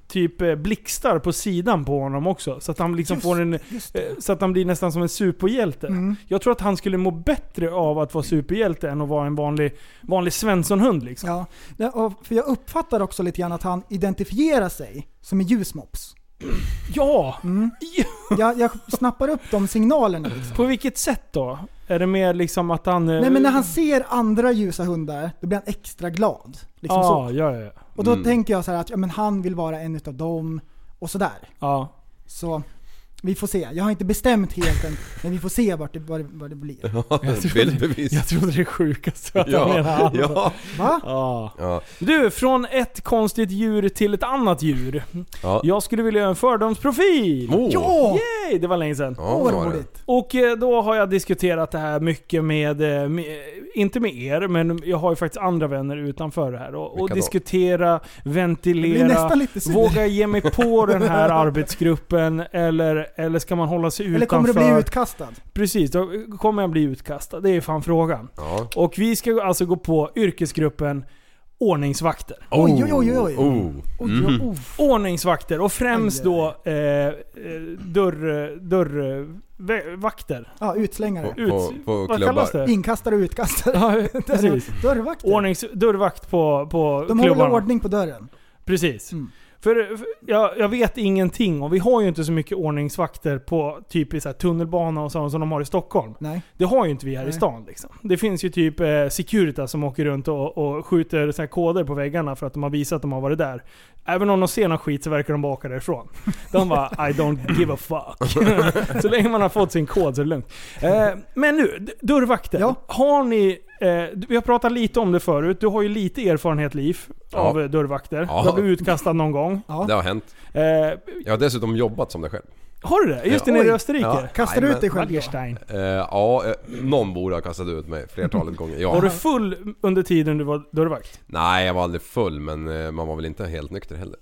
F: typ eh, blixtar på sidan på honom också. Så att han liksom
H: Just-
F: får en...
H: just
F: eh, Så att han blir nästan som en superhjälte.
H: Mm.
F: Jag tror att han skulle må bättre av att vara superhjälte än att vara en vanlig, vanlig svenssonhund liksom.
H: Ja, det- och- för jag uppfattar också lite grann att han identifierar sig som en ljusmops.
F: Ja!
H: Jag, jag snappar upp de signalerna. Liksom.
F: På vilket sätt då? Är det mer liksom att han... eh,
H: Nej men när han ser andra ljusa hundar, då blir han extra glad. Liksom
F: ja,
H: så.
F: ja, ja,
H: Och då
G: Mm.
H: tänker jag så här att ja, men han vill vara en utav dem och sådär.
F: ja.
H: Så vi får se. Jag har inte bestämt helt än, men vi får se vart det, vad det, vad det blir.
G: Bildbevis.
F: Jag trodde det sjukaste att han menade
G: Ja,
F: Alfons.
G: ja,
H: Va?
F: Ja.
G: ja,
F: Du, från ett konstigt djur till ett annat djur.
G: ja.
F: Jag skulle vilja göra en fördomsprofil!
G: Oh.
H: Ja!
F: Yay! Det var länge sedan.
G: Ja,
H: Åh
G: var
H: vad
G: det.
H: roligt.
F: Och eh, då har jag diskuterat det här mycket med, eh, med inte med er, men jag har ju faktiskt andra vänner utanför det här. Och, och
G: Vilka då?
F: diskutera,
H: Jag blir
F: ventilera,
H: nästan lite sur.
F: våga jag ge mig på den här arbetsgruppen eller, eller ska man hålla sig
H: Eller kommer
F: utanför?
H: du bli utkastad?
F: Precis, då kommer jag bli utkastad. Det är fan frågan.
G: Ja.
F: Och vi ska alltså gå på yrkesgruppen ordningsvakter.
H: Oj, oj, oj, oj.
G: Oh.
H: Oj,
G: Mm.
H: oj, oj.
F: Ordningsvakter och främst
H: Aj,
F: då eh, eh, dörr... dörr vä- vakter.
H: Ja, utslängare.
F: Ut,
G: På- på
F: vad
G: klubbar.
F: kallas det?
H: Inkastare och utkastare.
F: Ja, precis.
H: Dörrvakter.
F: Ordnings, dörrvakt på, på
H: De håller
F: klubbarna.
H: ordning på dörren.
F: Precis.
H: Mm.
F: För, för jag, jag vet ingenting och vi har ju inte så mycket ordningsvakter på typ i så här tunnelbana och sånt som de har i Stockholm.
H: Nej.
F: Det har ju inte vi här i
H: Nej.
F: stan liksom. Det finns ju typ eh, Securitas som åker runt och, och skjuter så här koder på väggarna för att de har visat att de har varit där. Även om de ser någon skit så verkar de bara åka därifrån. De bara I don't give a fuck. så länge man har fått sin kod så är det lugnt. Eh, men nu, d- dörrvakter.
H: Ja.
F: Har ni... Eh, vi har pratat lite om det förut. Du har ju lite erfarenhet Liv av
G: Ja.
F: eh, dörrvakter.
G: Ja.
F: Du har blivit utkastad någon gång.
G: Det har hänt.
F: Eh,
G: Jag har dessutom jobbat som det själv.
F: har du det? Just det, nere i
H: Oj.
F: Österrike?
G: Ja.
H: Kastar du
G: Nej,
H: ut dig själv då?
F: Wallerstein.
G: Eh, ja, eh, någon borde ha kastat ut mig flertalet gånger. Ja.
F: Var du full under tiden du var dörrvakt?
G: Nej, jag var aldrig full men eh, man var väl inte helt nykter heller.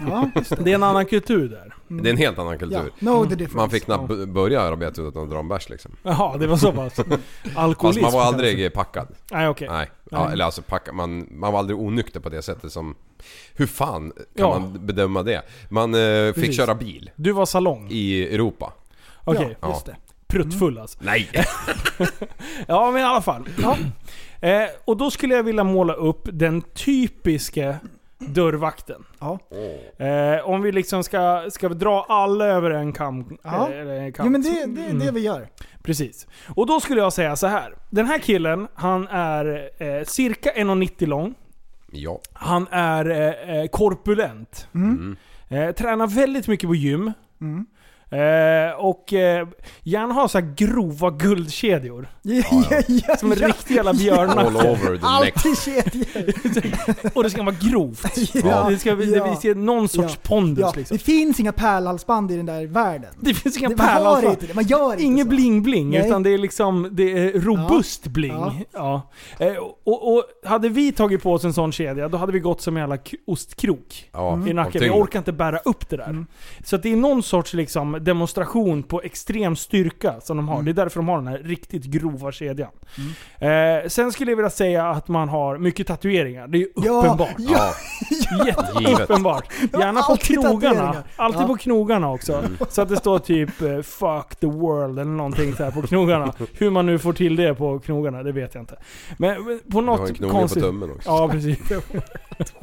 H: Ja, just det.
F: Det är en annan kultur där.
G: Det är en helt annan
H: Ja.
G: kultur.
H: No the difference.
G: Man fick knappt b- börja arbeta utan att dra en bärs liksom.
F: Jaha, det var så pass.
G: Fast
F: Alkoholism.
G: man var aldrig packad.
F: Nej okej.
G: Nej. Ja,
F: Nej.
G: eller alltså packad. Man, man var aldrig onykter på det sättet som... Hur fan kan
F: Ja.
G: man bedöma det? Man eh, fick
F: Precis.
G: köra bil
F: Du var salong.
G: i Europa.
F: Okej.
H: Ja, just det.
F: Pruttfull alltså.
G: Nej!
F: Ja men i alla fall. Ja. Eh, och då skulle jag vilja måla upp den typiske dörrvakten.
H: Ja.
F: Eh, om vi liksom ska, ska vi dra alla över en kam. eh,
H: Ja.
F: Eller en kam
H: Jo men det det är
F: Mm.
H: det vi gör.
F: Precis. Och då skulle jag säga så här. Den här killen, han är eh, cirka 1,90 lång.
G: Ja.
F: Han är eh, eh, korpulent.
G: Mm.
F: Eh, tränar väldigt mycket på gym.
H: Mm.
F: Eh, och eh, gärna har så här grova guldkedjor.
H: Ja, ja.
F: Som en riktig jävla
G: All
F: björnacke.
G: over the neck.
H: Alltid kedjor.
F: Och det ska vara grovt.
H: Ja,
F: Det ska det
H: ja,
F: vi se någon sorts
H: ja,
F: pondus
H: ja.
F: liksom.
H: Det finns inga pärlhalsband i den där världen.
F: Det finns inga
H: Det- Man har
F: pärlhalsband.
H: inte det. Man gör inte
F: Inget
H: så.
F: bling-bling,
H: Nej.
F: utan det är liksom det är robust bling. Ja. Eh, Och, och hade vi tagit på oss en sån kedja, då hade vi gått som en jävla k- ostkrok.
G: Ja,
F: i nacken.
G: av tyngd.
F: Jag orkar inte bära upp det där.
H: Mm.
F: Så att det är någon sorts liksom, demonstration på extrem styrka som de har.
H: Mm.
F: Det är därför de har den här riktigt grova kedjan.
H: Mm.
F: Eh, sen skulle jag vilja säga att man har mycket tatueringar. Det är ju uppenbart.
H: Ja,
G: Ja, givet.
F: Uppenbart. Gärna på
H: Alltid
F: knogarna.
H: tatueringar.
F: Alltid
H: Ja.
F: på knogarna också.
G: Mm.
F: Så att det står typ eh, 'fuck the world' eller någonting så här på knogarna. Hur man nu får till det på knogarna, det vet jag inte. Men men på
G: Du har en
F: något
G: knoge på
F: konstigt...
G: tummen också.
F: Ja, precis.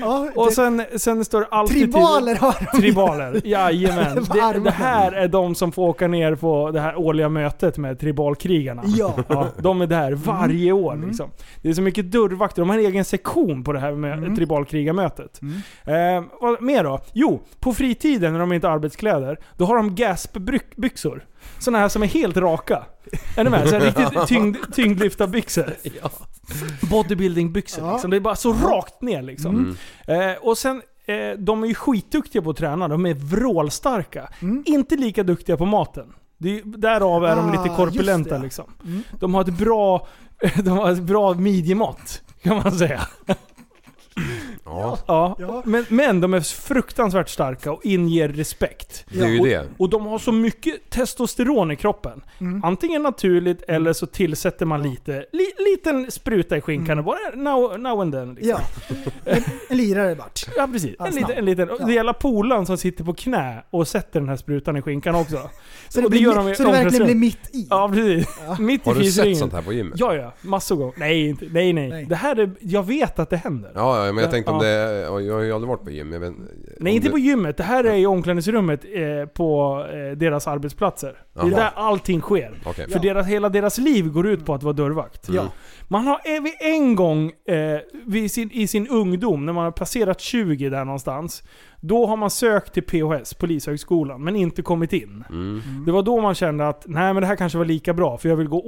H: ja.
F: Och
H: det-
F: sen, sen står det alltid... typ-
H: Tribaler har de.
F: Tribaler, jajamän.
H: Vad
F: Det,
H: armarna.
F: det här är de som får åka ner på det här årliga mötet med tribalkrigarna.
H: Ja.
F: Ja, de är där varje år. Liksom. Det är så mycket dörrvakter. De har en egen sektion på det här med tribalkrigarmötet. Ehm, Eh, vad mer då? Jo, på fritiden när de inte har arbetskläder, då har de gaspbyxor. Såna här som är helt raka. Är ni med? Så här riktigt tyngd, tyngdlyftarbyxor. Bodybuildingbyxor
H: Ja.
F: liksom. Det är bara så rakt ner liksom. Eh, och sen, eh, de är ju skitduktiga på att träna. De är vrålstarka.
H: Mm.
F: Inte lika duktiga på maten. Det är, ju- därav är de
H: Ah,
F: lite
H: just
F: korpulenta
H: det, Mm. ja.
F: liksom. De har ett bra, de har ett bra midjemått. Kan man säga.
G: Ja,
F: Ja.
H: Ja.
F: Men, men de är fruktansvärt starka och inger respekt.
G: det är ju det.
F: Och de har så mycket testosteron i kroppen.
H: Mm.
F: Antingen naturligt eller så tillsätter man lite, li, liten spruta i skinkan
H: Mm.
F: och bara now, now and then. Liksom.
H: Ja. En, en lirare vart.
F: Ja precis.
H: Ja,
F: En
H: snabb.
F: liten, en liten. Och Det är hela polaren som sitter på knä och sätter den här sprutan i skinkan också.
H: Så det,
F: Och det
H: blir,
F: gör de i
H: mi- så det verkligen blir
F: omklädningsrum.
H: mitt i.
F: Ja precis. Mitt i
G: Har du sett
F: fisringen.
G: sånt här på gymmet?
F: Ja ja, massor gånger. Nej, inte, nej, nej
H: Nej.
F: nej. Det här är, jag vet att det händer.
G: Ja, ja, men jag tänkte om
F: Ja.
G: det... ja, Jag har ju aldrig varit på gym. Jag vet,
F: Nej,
G: om
F: inte
G: det-
F: på gymmet. Det här är i omklädningsrummet eh, på eh, deras arbetsplatser. Det
G: Jaha.
F: är där allting sker.
G: Okej.
F: För deras, hela deras liv går ut på att vara dörrvakt.
H: Ja.
F: Man har eh, vid en gång eh, vid sin, i sin ungdom, när man har passerat 20 där någonstans, då har man sökt till PHS, Polishögskolan, men inte kommit in.
G: Mm,
H: Mm.
F: Det var då man kände att nej men det här kanske var lika bra, för jag vill gå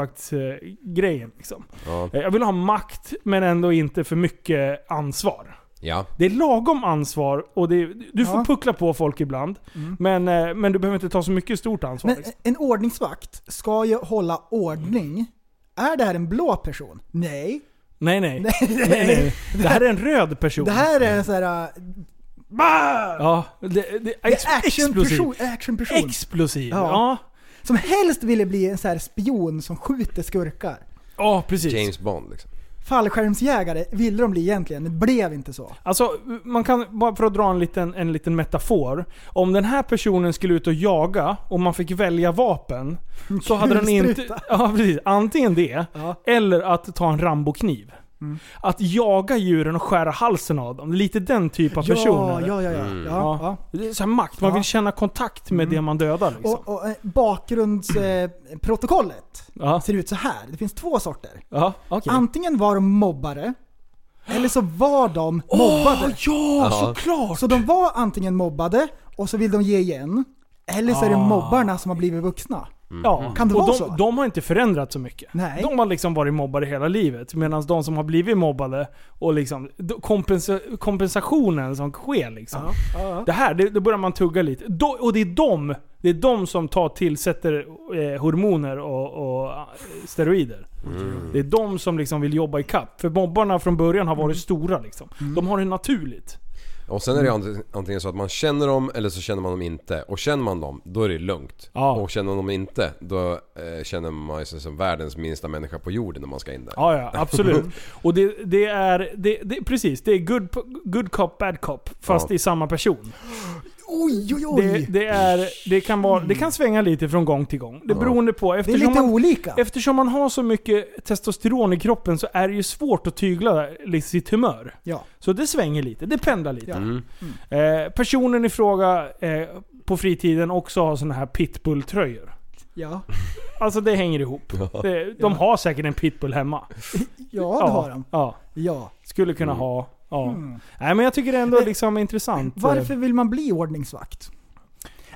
F: ordningsvaktsgrejen. Eh, grejen, liksom.
G: Ja.
F: eh, jag vill ha makt, men ändå inte för mycket ansvar.
G: Ja.
F: Det är lagom ansvar och det, du får
H: Ja. Mm.
F: puckla på folk ibland. Men, eh, men du behöver inte ta så mycket stort ansvar.
H: Men
F: liksom.
H: en ordningsvakt ska ju hålla ordning. Är det här en blå person? Nej.
F: Nej nej. nej, nej. Det här är en röd person.
H: Det här är en sån här... äh,
F: Ja, det, det,
H: Det
F: ex,
H: är
F: explosiv.
H: actionperson. actionperson
F: Explosiv.
H: Ja.
F: Ja. ja.
H: Som helst ville bli en sån här spion som skjuter skurkar.
F: precis.
G: James Bond liksom.
H: Fallskärmsjägare ville de bli egentligen, det blev inte så.
F: Alltså, man kan, bara för att dra en liten, en liten metafor. Om den här personen skulle ut och jaga och man fick välja vapen. Så hade den inte...
H: Kulspruta.
F: Ja, precis. Antingen det,
H: Ja.
F: eller att ta en rambokniv.
H: Mm.
F: Att jaga djuren och skära halsen av dem. Lite den typ av
H: Ja,
F: personer.
H: ja, ja. ja, ja, ja.
F: Ja. Det är så här makt. Man
H: Ja. Mm.
F: vill känna kontakt med det man dödar. Liksom.
H: Och, och bakgrundsprotokollet
F: ja.
H: ser ut så här. Det finns två sorter.
F: Ja, okej.
H: Antingen var de mobbare, eller så var de mobbade.
F: ja,
H: såklart! Så de var antingen mobbade, och så vill de ge igen. Eller så är det
F: Ah.
H: mobbarna som har blivit vuxna.
F: Ja.
H: Kan det
F: och
H: vara
F: de,
H: så?
F: de har inte förändrats så mycket.
H: Nej.
F: De har liksom varit mobbade hela livet. Medan de som har blivit mobbade och liksom d- kompensa- kompensationen som sker liksom. Det här, det, då börjar man tugga lite. Då- och det är de, det är de som tar tillsätter eh, hormoner och, och eh, steroider. Det är de som liksom vill jobba i kapp. För mobbarna från början har varit
H: Mm.
F: stora liksom. De har det naturligt.
G: Och sen är
F: Mm.
G: det ant- antingen så att man känner dem eller så känner man dem inte. Och känner man dem, då är det lugnt.
F: Ja.
G: Och känner man dem inte, då eh, känner man sig som världens minsta människa på jorden när man ska in där.
F: Ja, ja absolut. Och det, det är... Det, det, precis, det är good, good cop, bad cop. Fast
G: Ja.
F: i samma person.
H: Oj, oj, oj!
F: Det,
H: Det,
F: det, är, det, kan vara, det kan svänga lite från gång till gång. Det beroende på.
H: är
F: Eftersom,
H: lite
F: man,
H: olika.
F: eftersom man har så mycket testosteron i kroppen så är det ju svårt att tygla sitt humör.
H: Ja.
F: Så det svänger lite, det pendlar lite.
H: Ja. Mm.
F: Eh, personen i fråga eh, på fritiden också har såna här pitbull-tröjor.
H: Ja.
F: Alltså det hänger ihop. Det, de har säkert en pitbull hemma.
H: ja, det har de. Mm.
F: Ja.
H: Ja.
F: Skulle kunna ha. Ja. Nej men jag tycker det ändå liksom är intressant.
H: Varför vill man bli ordningsvakt?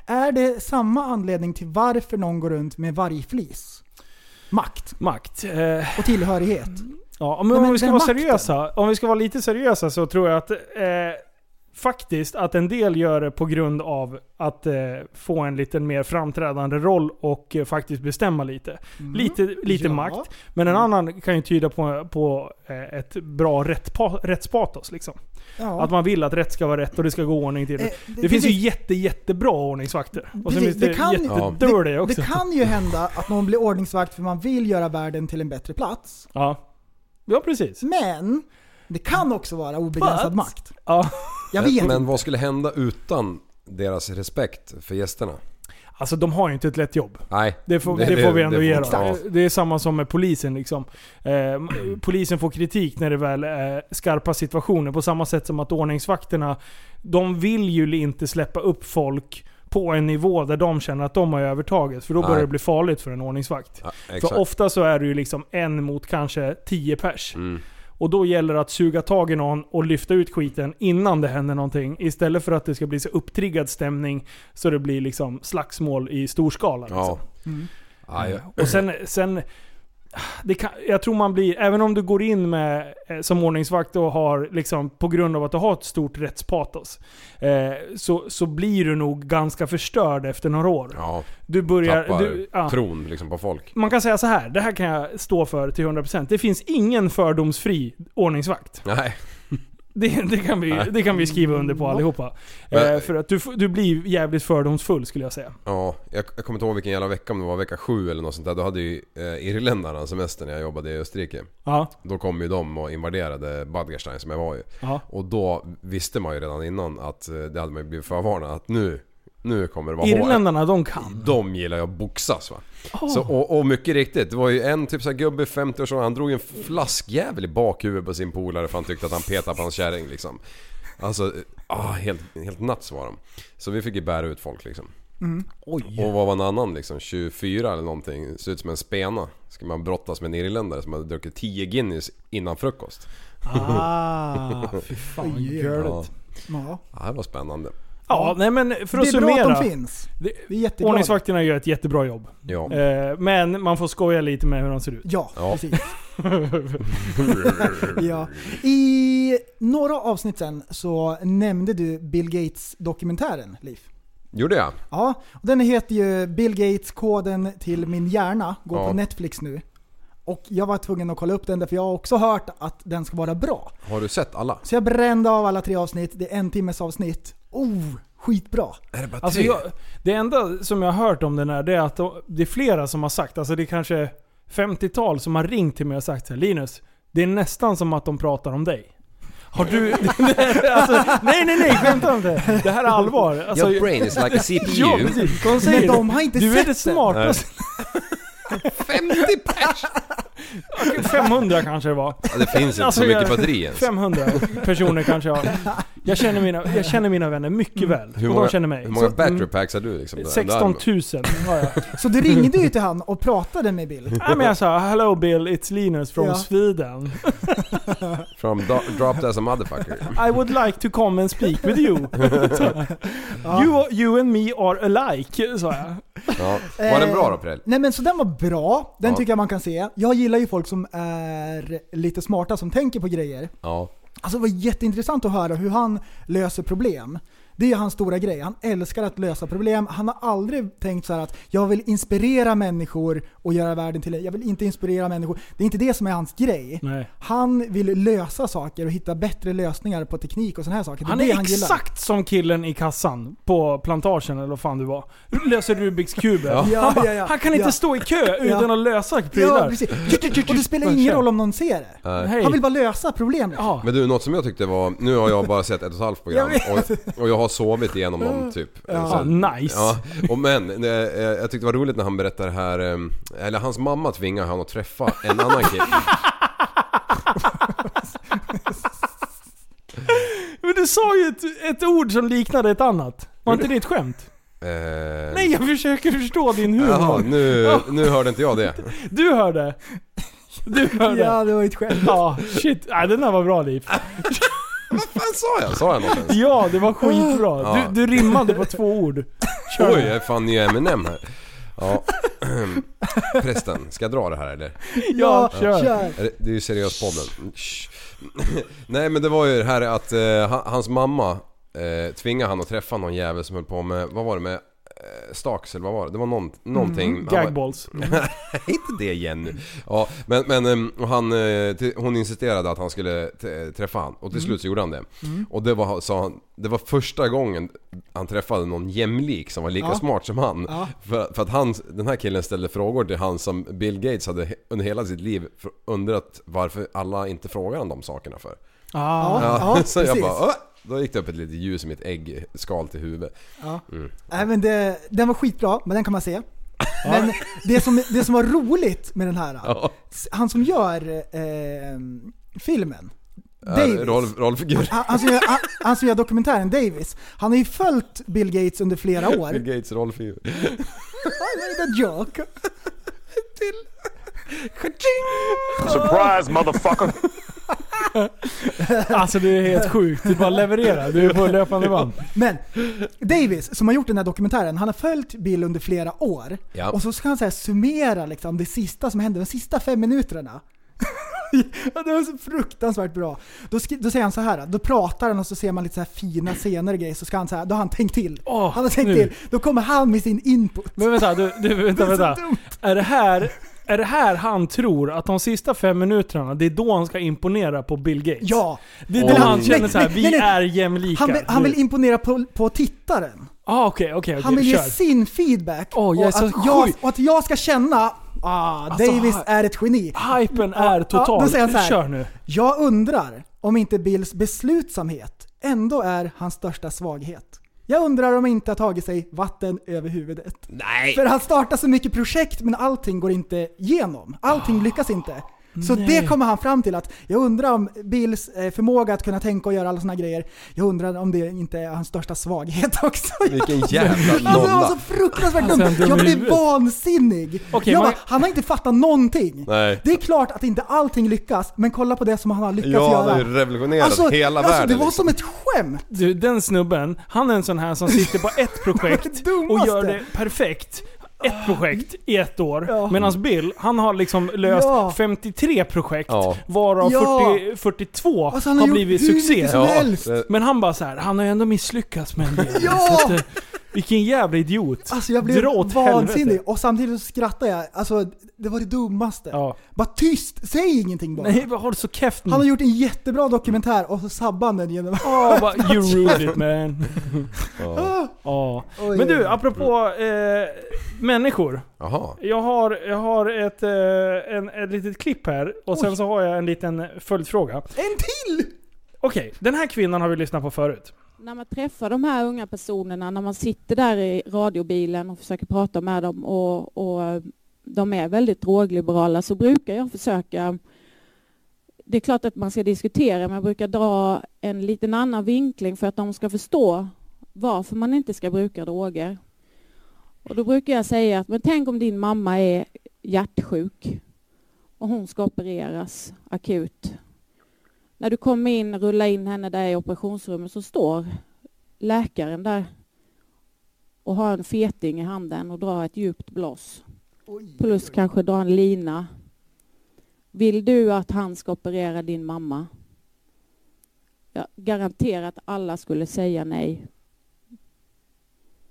H: Är det samma anledning till varför någon går runt med vargflis? Makt
F: Makt. Eh,
H: och tillhörighet.
F: ja, men
H: Nej, men
F: om vi ska
H: den
F: vara
H: makten.
F: seriösa. Om vi ska vara lite seriösa så tror jag att eh, faktiskt att en del gör det på grund av att eh, få en lite mer framträdande roll och eh, faktiskt bestämma lite. Lite, lite
H: Mm. Ja.
F: makt. Men en annan kan ju tyda på, på eh, ett bra rättpa- rättspatos liksom.
H: Ja.
F: Att man vill att rätt ska vara rätt och det ska gå ordning till det.
H: Eh,
F: det,
H: det-
F: finns
H: det-
F: ju jätte, jättebra ordningsvakter. Och sen
H: Precis,
F: finns det,
H: det kan-
F: jättedåliga också.
H: Det kan ju hända att någon blir ordningsvakt för man vill göra världen till en bättre plats.
F: Ja. Ja, precis.
H: Men det kan också vara obegränsad
F: But-
H: makt.
F: Ja.
H: Jag vet
G: Men,
H: inte.
G: men vad skulle hända utan deras respekt för gästerna?
F: Alltså de har ju inte ett lätt jobb.
G: Nej.
F: Det får, det, får vi ändå
G: det
F: ge
G: får- ja.
F: dem. Det är samma som med polisen liksom. Eh,
G: Mm.
F: polisen får kritik när det väl är skarpa situationer. På samma sätt som att ordningsvakterna, de vill ju inte släppa upp folk på en nivå där de känner att de har övertaget. För då börjar
G: Nej.
F: det bli farligt för en ordningsvakt.
G: Ja,
F: För
G: exakt. Mm.
F: ofta så är det ju liksom en mot kanske tio pers. Och då gäller det att suga tag i någon och lyfta ut skiten innan det händer någonting. Istället för att det ska bli så upptriggad stämning så det blir liksom slagsmål i stor skala. Liksom. Eh,
G: Ja. Ja, jag,
F: Och sen, sen det kan, jag tror man blir, även om du går in med, eh, som ordningsvakt och har, liksom, på grund av att du har ett stort rättspatos, eh, så, så blir du nog ganska förstörd efter några år.
G: ja,
F: Du börjar...
G: tappar
F: Du, ja.
G: tron liksom på folk.
F: Man kan säga så här, det här kan jag stå för till 100%. Det finns ingen fördomsfri ordningsvakt.
G: Nej.
F: Det, det, kan, vi,
G: Nej.
F: det kan vi skriva under på
H: Mm.
F: allihopa. Eh,
G: Men-
F: för att du, f- du blir jävligt fördomsfull skulle jag säga.
G: Ja, jag, jag kommer inte ihåg vilken jävla vecka, om det var vecka sju eller något sånt där. Då hade ju eh, irländarna semester när jag jobbade i Österrike.
F: Ja,
G: Då kom ju de och invaderade Badgerstein som jag var i.
F: ja.
G: Och då visste man ju redan innan att, eh, det hade man ju blivit förvarnad, att nu, nu kommer det vara hårt.
F: Irländarna, de kan.
G: De gillar ju att boxas va. Så, och, och mycket riktigt, det var ju en typ så här gubbe 50 år sedan, han drog en flaskjävel i bakhuvudet på sin polare för han tyckte att han petade på hans kärring liksom. Alltså, ah, helt, helt nuts var de. Så vi fick ju bära ut folk liksom.
F: Mm.
G: Och vad var en annan liksom? 24 eller någonting, ser ut som en spena. Ska man brottas med en irländare som hade druckit 10 Guinness innan frukost.
F: Ah, fy fan vad
G: Ja,
F: görligt.
H: Ja.
G: det här var spännande.
F: Ja, nej men för att
H: det är bra att
F: summera.
H: de finns.
F: Det-
H: Vi är jätteglada.
F: Ordningsvakterna gör ett jättebra jobb.
G: Ja.
F: Eh, Men man får skoja lite med hur de ser ut.
H: Ja,
G: Ja.
H: precis. ja. I några avsnitt sen så nämnde du Bill Gates-dokumentären, Liv.
G: Gjorde jag?
H: Ja, och den heter ju Bill Gates koden till min hjärna, går
G: Ja.
H: på Netflix nu. Och jag var tvungen att kolla upp den därför jag har också hört att den ska vara bra.
G: Har du sett alla?
H: Så jag brände av alla tre avsnitt, det är en timmes avsnitt. Oh, skitbra!
G: Är det bara
F: Alltså jag, det enda som jag har hört om den här, det är att det är flera som har sagt, alltså det är kanske 50-tal som har ringt till mig och sagt så här, Linus, det är nästan som att de pratar om dig. Har du... alltså, nej nej nej, skämta inte. Det här är allvar. Alltså,
G: Your brain is like a
F: ja,
G: CPU.
F: precis. De säger
H: Men
F: det.
H: de har inte
F: Du är
H: sett
F: det smartaste.
G: 50 pers!
F: 500 kanske det var.
G: Ja, det finns inte
F: Alltså,
G: så mycket
F: jag-
G: batteri ens.
F: 500 personer kanske jag jag känner mina, jag känner mina vänner
H: Mm.
F: mycket väl.
G: Hur
F: och
G: många,
F: de känner mig.
G: hur många
F: Så,
G: battery packs har du liksom?
F: mm, 16
G: där?
F: 000 har jag.
H: Så du ringde ju till han och pratade med Bill.
F: Nej men jag sa 'Hello Bill, it's Linus from
H: Ja.
F: Sweden.
G: From do- dropped as a motherfucker.
F: I would like to come and speak with you. Så, you, you and me are alike, sa jag.
G: Ja. Var
F: Eh.
G: den bra då Prell?
H: Eh, Nej men så den var bra, den
G: Ja.
H: tycker jag man kan se. Jag gillar ju folk som är lite smarta, som tänker på grejer.
G: Ja.
H: Alltså det var jätteintressant att höra hur han löser problem. Det är ju hans stora grej. Han älskar att lösa problem. Han har aldrig tänkt så här att jag vill inspirera människor och göra världen till Jag vill inte inspirera människor. Det är inte det som är hans grej.
F: Nej.
H: Han vill lösa saker och hitta bättre lösningar på teknik och sådana här saker. Det
F: Han
H: det
F: är
H: gillar.
F: exakt som killen i kassan på plantagen eller vad fan du var. Löser Rubiks kuber.
H: Ja,
F: Han, bara,
H: ja, ja.
F: han kan inte
H: Ja.
F: stå i kö utan
H: Ja.
F: att lösa
H: Ja,
F: prylar.
H: precis. Och det spelar ingen roll om någon ser det.
G: Nej.
F: Hej.
H: Han vill bara lösa problemet.
F: ja.
G: Men du, något som jag tyckte var... Nu har jag bara sett ett och ett halvt program
H: Jag
G: och, och jag har sovit igenom dem typ.
F: Ja, nice.
G: Ja, och men eh, eh, jag tyckte det var roligt när han berättade det här, eh, eller hans mamma tvingade han att träffa en annan kille.
F: Men du sa ju ett, ett ord som liknade ett annat. Var inte det ett skämt?
G: Eh,
F: Nej, jag försöker förstå din
G: Jaha,
F: humor.
G: nu, nu hörde inte jag det.
F: Du hörde. Du hörde. Ja,
H: Ja, det var ju ett skämt.
F: shit. Nej, den där var bra Liv.
G: Fan sa jag? Sa jag något ens?
F: Ja, det var skitbra.
G: Ja.
F: Du, du rimmade på två ord. Kör.
G: Oj, jag är fan nya Eminem här. Ja. Prästen, ska jag dra det här eller?
F: Ja, kör.
G: Är det- Det är ju seriös podden. Shh. Nej men det var ju det här att eh, ha- hans mamma eh, tvingade han att träffa någon jävel som höll på med, vad var det med, eh, staks eller vad var det? Det var någon, någonting. Han var-
F: Gagballs.
G: inte det igen nu. Ja, men, men ehm, och han, eh, till- hon insisterade att han skulle t- eh, träffa han och till
H: Mm.
G: slut så gjorde han det. Och det var, sa han, det var första gången han träffade någon jämlik som var lika smart som han. För, för att han, den här killen ställde frågor till han som Bill Gates hade he- under hela sitt liv fr- undrat varför alla inte frågar han de sakerna för.
F: Ah.
H: Ja,
G: så jag
H: precis.
G: bara, "Åh!" då gick det upp ett litet ljus i mitt äggskal till huvudet. Mm.
H: Nej, men det, den var skitbra, men den kan man se. Men det som, det som var roligt med den här,
G: Ja.
H: han som gör eh, filmen,
G: Äh,
H: Davis.
G: roll, rollfigur.
H: Han, han, som gör, han, han som gör dokumentären Davis, han har ju följt Bill Gates under flera år.
G: Bill Gates rollfigur.
H: Why made a joke?
I: Surprise, motherfucker.
F: Alltså det är helt sjukt. Du bara levererar. Du är på löpande band.
H: Men Davis, som har gjort den här dokumentären, han har följt Bill under flera år.
G: Ja.
H: Och så ska han så här summera liksom det sista som hände, de sista fem minuterna. Ja, det var så fruktansvärt bra. Då, skri- då säger han så här, då pratar han och så ser man lite så här fina scener och grejer, så ska han så här, då har han tänkt till.
F: Åh,
H: han har tänkt
F: nu.
H: till. Då kommer han med sin input.
F: Men vänta, du, du, vänta,
H: Det är så
F: vänta.
H: dumt.
F: Är det, här, är det här han tror att de sista fem minuterna, det är då han ska imponera på Bill Gates?
H: Ja.
F: Det är då han
H: Nej,
F: känner så här,
H: nej,
F: vi
H: nej, nej.
F: är jämlika.
H: Han vill, han vill imponera på, på tittaren.
F: ah, okej, okej,
H: Han vill
F: okej.
H: ge
F: Kör.
H: sin feedback.
F: Åh, jag är
H: och,
F: så
H: att jag,
F: sjuk.
H: och att jag ska känna ah,
F: Alltså,
H: Davis
F: han-
H: är ett geni.
F: Hypen är
H: Ja,
F: total.
H: då säger han så här.
F: Kör nu.
H: Jag undrar om inte Bills beslutsamhet ändå är hans största svaghet. Jag undrar om han inte har tagit sig vatten över huvudet.
G: Nej!
H: För han startar så mycket projekt men allting går inte igenom. Allting lyckas inte. Så
F: nej.
H: det kommer han fram till att jag undrar om Bills eh, förmåga att kunna tänka och göra alla såna grejer, jag undrar om det inte är hans största svaghet också.
G: Vilken jävla
H: Alltså det var så
G: nolla.
H: fruktansvärt
F: Alltså, han
H: dumt.
F: dum i
H: Jag blev
F: huvudet.
H: vansinnig.
F: Okej,
H: jag
F: man-
H: bara, han har inte fattat någonting.
G: Nej.
H: Det är klart att inte allting lyckas, men kolla på det som han har lyckats
G: Ja, det har
H: göra.
G: ju revolutionerat
H: alltså,
G: hela
H: alltså,
G: världen.
H: Det var
G: liksom.
H: som ett skämt.
F: Du, den snubben, han är en sån här som sitter på ett projekt
H: Det var det
F: och gör
H: dummaste.
F: det perfekt. Ett projekt i ett år.
H: Ja.
F: Medan Bill, han har liksom löst
H: Ja.
F: 53 projekt.
G: Ja.
F: Varav
H: Ja.
F: 40, 42
H: Alltså, han
F: har,
H: har gjort
F: blivit
H: hur
F: succé.
H: mycket som helst.
G: det-
F: Men han bara så här, han har ju ändå misslyckats med en del.
H: Ja.
F: Så att, eh, vilken jävla idiot.
H: Alltså jag blev
F: Dra åt
H: vansinnig
F: helvete.
H: och samtidigt så skrattade jag. Alltså det var det dummaste.
F: Ja.
H: Bara tyst, säg ingenting bara.
F: Nej, vad har du så keft nu?
H: Han har gjort en jättebra dokumentär och så sabbar han den genom...
F: Ja, bara, Ah, you ruined it man.
G: Ja.
F: Ja.
H: Oj.
F: Men du, apropå eh, människor.
G: Jaha.
F: Jag har, jag har ett, eh, en, ett litet klipp här och sen så har jag en liten följdfråga.
H: En till!
F: Okej, den här kvinnan har vi lyssnat på förut.
I: När man träffar de här unga personerna, när man sitter där i radiobilen och försöker prata med dem och, och eh, de är väldigt drogliberala så brukar jag försöka... Det är klart att man ska diskutera men jag brukar dra en liten annan vinkling för att de ska förstå varför man inte ska bruka droger. Och då brukar jag säga att men tänk om din mamma är hjärtsjuk och hon ska opereras akut. När du kommer in, rullar in henne där i operationsrummet så står läkaren där och har en feting i handen och drar ett djupt blås. Plus kanske drar en lina. Vill du att han ska operera din mamma? Jag garanterar att alla skulle säga nej.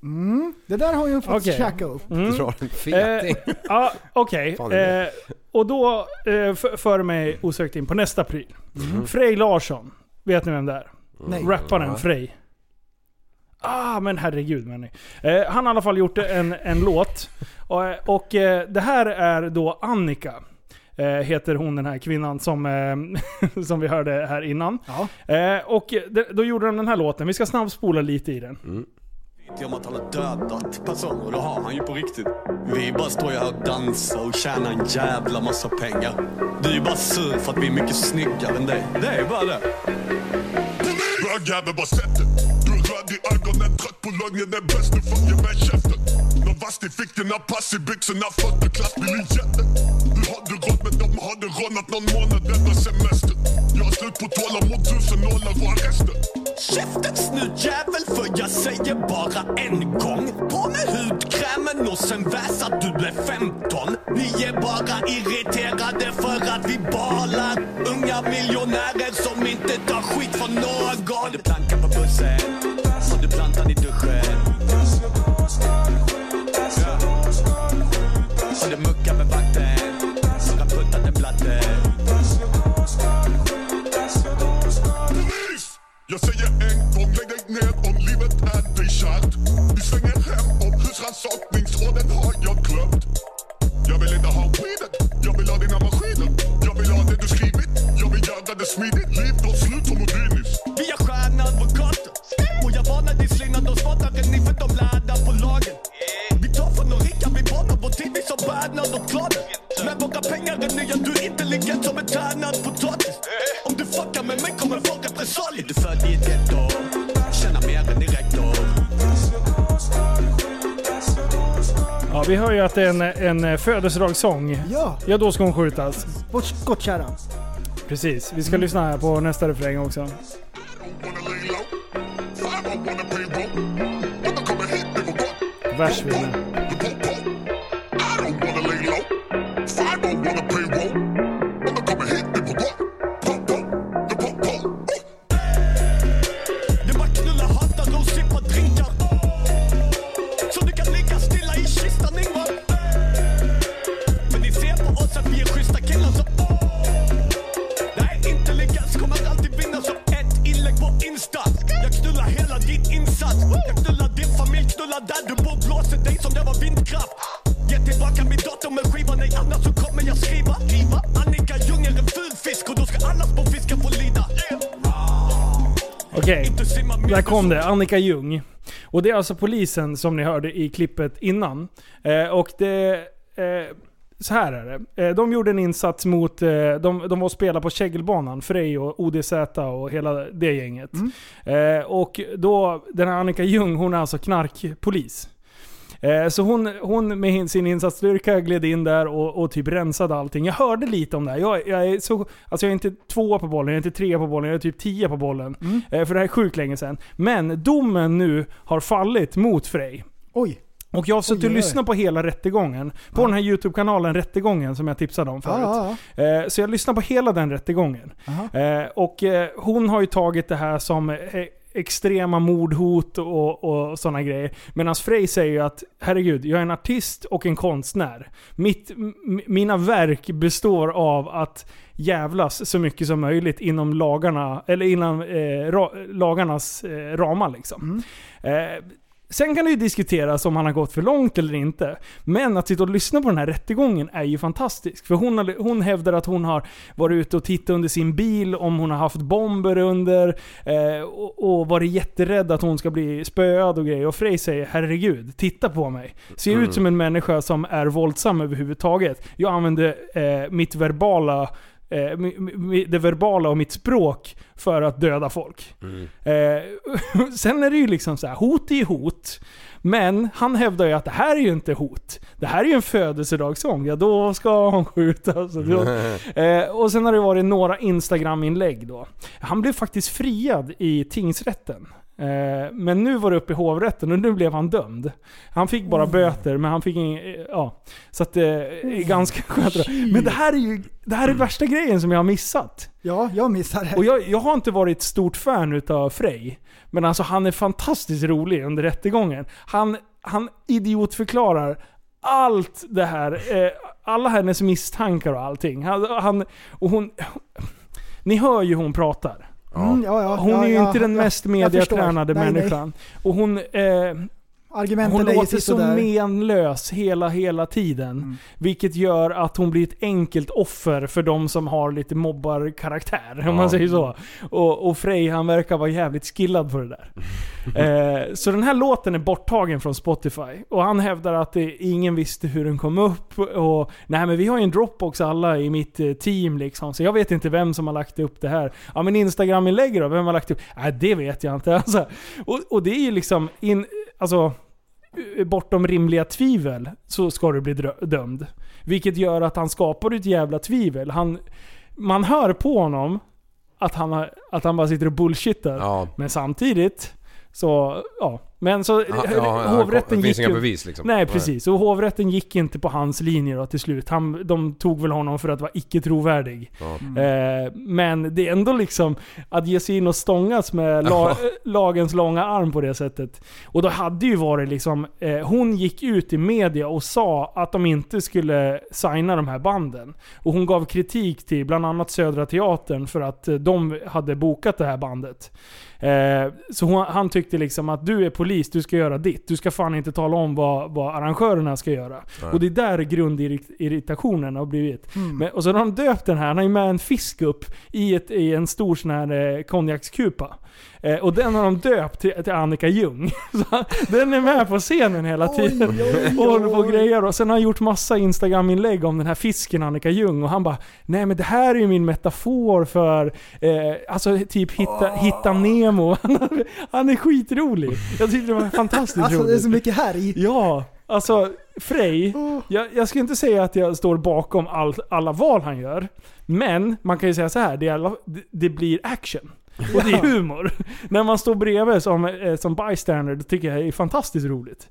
H: Mm, det där har ju fått
F: Okej.
H: käka upp.
F: Mm.
G: Du drar en feting.
F: Eh, ja, okej.
G: Fan, det är
F: Eh, och då eh, för, för mig osökt in på nästa pryl.
G: Mm.
F: Frej Larsson. Vet ni vem det är?
H: Nej.
F: Rapparen Frej. Ah men herregud männi. Eh, han har i alla fall gjort en, en låt. Och, eh, och eh, det här är då Annika. Eh, heter hon den här kvinnan som, eh, som vi hörde här innan.
H: Ja.
F: Eh, och de, då gjorde de den här låten. Vi ska snabbspola lite i den.
H: Mm.
E: Om att han har dödat personer, det har han ju på riktigt. Vi bara står ju här och dansar och tjänar en jävla massa pengar. Du är ju bara sur för att vi är mycket snyggare än dig. Det är bara det.
J: Bögjävel, vad sätter? Du är röd i ögonen, trött på lögnen, är bäst, nu får ge mig käften. Nån vass i fickorna, pass i byxorna, fötter, klass, blir en jätte. Du hade råd men de hade rånat nån månad denna semester. Jag har slut på tålamod, tusen nålar, var resten?
E: Käften snutjävel, för jag säger bara en gång. På med hudkrämen och sen väs att du blev 15. Ni är bara irriterade för att vi balar. Unga miljonärer som inte tar skit från någon. Har du plankan på bussen? Har du plantan i duschen? Ja. Har du muckat med vakten? Har du puttat en blatte?
J: Please! Jag säger en gång, lägg dig ned om livet är dig kärt. Vi svänger hem om husrannsakningsråden har jag glömt. Jag vill inte ha weedet, jag vill ha dina maskiner. Jag vill ha det du skrivit, jag vill göra det smidigt. Liv tar slut som Odinus.
E: Vi har stjärna advokater Och jag varnar din slinga, de svartar än ni för de lärda på lagen Vi tar från de rika, vi banar vår tid, vi som Bernhard och Kladen Med våra pengar är nya, du är intelligent som en tärnad potatis Om du fuckar med mig kommer få repressalier Du född i ett ghetto, tjänar mer än din rektor
F: Ja, vi hör ju att det är en, en eh, födelsedagssång.
H: Ja,
F: Ja, då ska hon skjutas.
H: bort skottkärran.
F: Precis. Vi
H: Mm.
F: ska lyssna här på nästa refräng också.
J: Wanna lay low? Five, I wanna pay rent. But don't come and hit me for what?
F: Vers vill jag.
J: You won't vote. I don't wanna lay low. Five, I wanna pay rent. But don't come and hit me for what? Vote, vote. You won't vote. Ooh.
E: Det bara knulla hattar och sippa drinkar Så du kan ligga stilla i kistan Ingvar Men ni ser på oss att vi är schyssta killar så Nej, inte lyckas kommer alltid vinna så ett inlägg på Insta Jag knullar hela din insats Jag knullar din familj, knullar där du bor Blåser dig som det var vindkraft Ge tillbaka min dator med skiva Nej, annars så kommer jag skriva Riva Annika Ljung är en ful fisk och då ska alla små fiskar få lida
F: Okej.
E: Inte simma
F: Där
E: mindre
F: kom det, Annika Ljung. Och det är alltså polisen som ni hörde i klippet innan. Eh, och det... Eh, så här är det. Eh, de gjorde en insats mot... Eh, de, de var och spelade på Kägelbanan, Frej och ODZ och hela det gänget. Eh, och då, den här Annika Ljung, hon är alltså knarkpolis. Eh, Så hon, hon med hin- sin insatsstyrka gled in där och, och typ rensade allting. Jag hörde lite om det här. Jag, jag, är så, alltså jag är inte två på bollen, jag är inte tre på bollen, jag är typ tio på bollen. Eh, För det här är sjukt länge sedan. Men domen nu har fallit mot Frej.
H: Oj.
F: Och jag har suttit
H: Oj,
F: och
H: oj, oj.
F: lyssnat på hela rättegången. På den här YouTube-kanalen Rättegången som jag tipsade om
H: Ja,
F: förut.
H: ja,
F: Eh, Så jag lyssnar på hela den rättegången.
H: Aha.
F: Eh, Och eh, hon har ju tagit det här som eh, extrema mordhot och, och sådana grejer. Medan Frey säger ju att herregud, jag är en artist och en konstnär. Mitt, m- mina verk består av att jävlas så mycket som möjligt inom lagarna, eller inom eh, ra- lagarnas eh, ramar liksom. Eh, Sen kan det ju diskuteras om han har gått för långt eller inte. Men att sitta och lyssna på den här rättegången är ju fantastisk. För hon, har- hon hävdar att hon har varit ute och tittat under sin bil, om hon har haft bomber under. Eh, och, och varit jätterädd att hon ska bli spöad och grejer. Och Frej säger herregud, titta på mig. Ser ut som en människa som är våldsam överhuvudtaget. Jag använde eh, mitt verbala eh, mi- mi- det verbala och mitt språk för att döda folk. Eh, sen är det ju liksom så här, hot är ju hot. Men han hävdar ju att det här är ju inte hot. Det här är ju en födelsedagssång. Ja, då ska han skjutas. Så då- Eh, och sen har det varit några Instagram-inlägg då. Han blev faktiskt friad i tingsrätten. Eh, men nu var det uppe i hovrätten och nu blev han dömd. Han fick bara böter, men han fick ingen... eh, Ja. Så att det är ganska skönt. Men det här är ju det här är värsta grejen som jag har missat.
H: ja, jag missar det.
F: Och jag, jag har inte varit stort fan utav Frey. Men alltså han är fantastiskt rolig under rättegången. Han, han idiotförklarar allt det här. Eh, alla hennes misstankar och allting. Han, han, och hon, ni hör ju hur hon pratar.
H: Mm, ja, ja,
F: Hon
H: ja,
F: är ju
H: ja,
F: inte den
H: ja.
F: mest
H: jag förstår.
F: mediatränade
H: Nej, nej.
F: människan. Och hon... Eh,
H: Argumenten
F: hon
H: är
F: låter
H: ju
F: så
H: sådär.
F: menlös hela, hela tiden. Vilket gör att hon blir ett enkelt offer för de som har lite mobbarkaraktär, om man säger så. Och, och Frej, han verkar vara jävligt skillad på det där. eh, så den här låten är borttagen från Spotify. Och han hävdar att det, ingen visste hur den kom upp. Och, nej men vi har ju en Dropbox alla i mitt eh, team liksom. Så jag vet inte vem som har lagt upp det här. Ja men Instagram-inlägg då? Vem har lagt upp? Nej det vet jag inte. Alltså, och, och det är ju liksom... In, alltså, bortom rimliga tvivel så ska du bli drö- dömd. Vilket gör att han skapar ett jävla tvivel. Han, man hör på honom att han, har, att han bara sitter och bullshittar.
G: Ja.
F: Men samtidigt så, ja. Men så,
H: Mm.
G: Ja, ja, ja,
F: hovrätten
G: det
F: gick
G: finns inga
F: ju-
G: bevis liksom.
F: Nej precis, och hovrätten gick inte på hans linje då till slut. Han, de tog väl honom för att vara icke trovärdig.
G: Ja.
F: Eh, men det är ändå liksom att ge sig in och stångas med la,
G: Ja.
F: eh, lagens långa arm på det sättet. Och då hade ju varit liksom, eh, hon gick ut i media och sa att de inte skulle signa de här banden. Och hon gav kritik till bland annat Södra Teatern för att eh, de hade bokat det här bandet. Eh, så hon, han tyckte liksom att du är polis, du ska göra ditt. Du ska fan inte tala om vad, vad arrangörerna ska göra.
G: Nej.
F: Och det är där grundirritationen har blivit. Men, och så har de döpt den här, han har ju med en fisk upp i, ett, i en stor sån här eh, konjakskupa. Eh, och den har de döpt till, till Annika Ljung. Så han, den är med på scenen hela tiden. Och typ. håller på och grejer. Och sen har han gjort massa instagram-inlägg om den här fisken Annika Ljung. Och han bara Nej men det här är ju min metafor för, eh, alltså typ hitta,
H: Ah.
F: hitta Nemo. Han, han är skitrolig. Jag tyckte det var fantastiskt
H: Alltså det är
F: roligt.
H: så mycket Oh. härj.
F: Ja, Alltså, Frej. Jag, jag skulle inte säga att jag står bakom all, alla val han gör. Men man kan ju säga så här, det, är alla, det, det blir action. Och det är humor. När man står bredvid som, eh, som bystander, det tycker jag är fantastiskt roligt.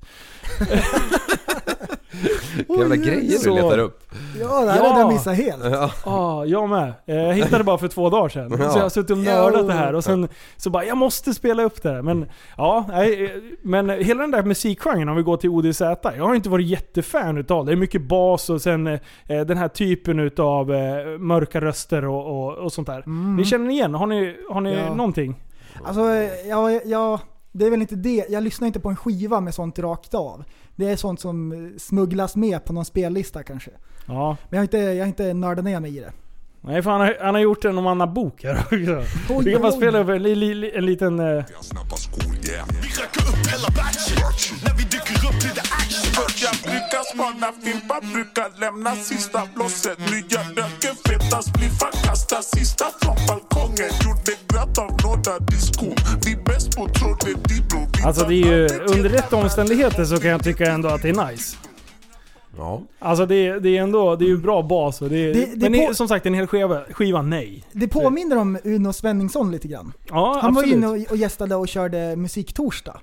G: Vilka jävla grejer du
F: Så-
G: letar upp.
H: Ja, det här
F: Ja.
H: hade jag missat helt.
F: Ah, jag med. Eh, Jag hittade det bara för två dagar sedan. Så jag har suttit och nördat det här och sen så bara jag måste spela upp det här. Men ja, nej, eh, men hela den där musikgenren om vi går till ODZ. Jag har inte varit jättefan utav det. Det är mycket bas och sen eh, den här typen utav eh, mörka röster och, och, och sånt där. Ni känner igen? Har ni, har ni
H: Mm. Ja.
F: någonting?
H: Alltså, eh, ja, ja, det är väl inte det. Jag lyssnar inte på en skiva med sånt rakt av. Det är sånt som eh, smugglas med på någon spellista kanske.
F: Ja.
H: Men jag har inte, jag har inte nördat ner mig i det.
F: Nej för han har, han har gjort en om Anna Bok här också.
H: Oj,
F: Vi kan bara
H: oj.
F: spela upp en, li, li, en liten... eh,
J: Jag snappar skor, yeah. Vi räcker upp hela batchen. När vi dyker upp blir det action. Börjar blicka, spana fimpar, brukar lämna sista blåset. Nya röker, feta spliffar, kastar sista från balkongen. Gjorde glatt av några diskon. Vi bäst på tråden, din bror. Vi
F: Alltså det är ju,
J: tar
F: under rätt omständigheter så kan jag tycka ändå att det är nice.
G: Ja.
F: Alltså det, är- det är ändå, det är ju bra bas och det, är-
H: Det- det
F: Men det, är
H: på-
F: som sagt en hel skiva, skiva nej.
H: Det påminner om Uno Svenningsson lite grann.
F: Ja,
H: Han
F: absolut.
H: var ju inne och- och gästade och körde musiktorsdag.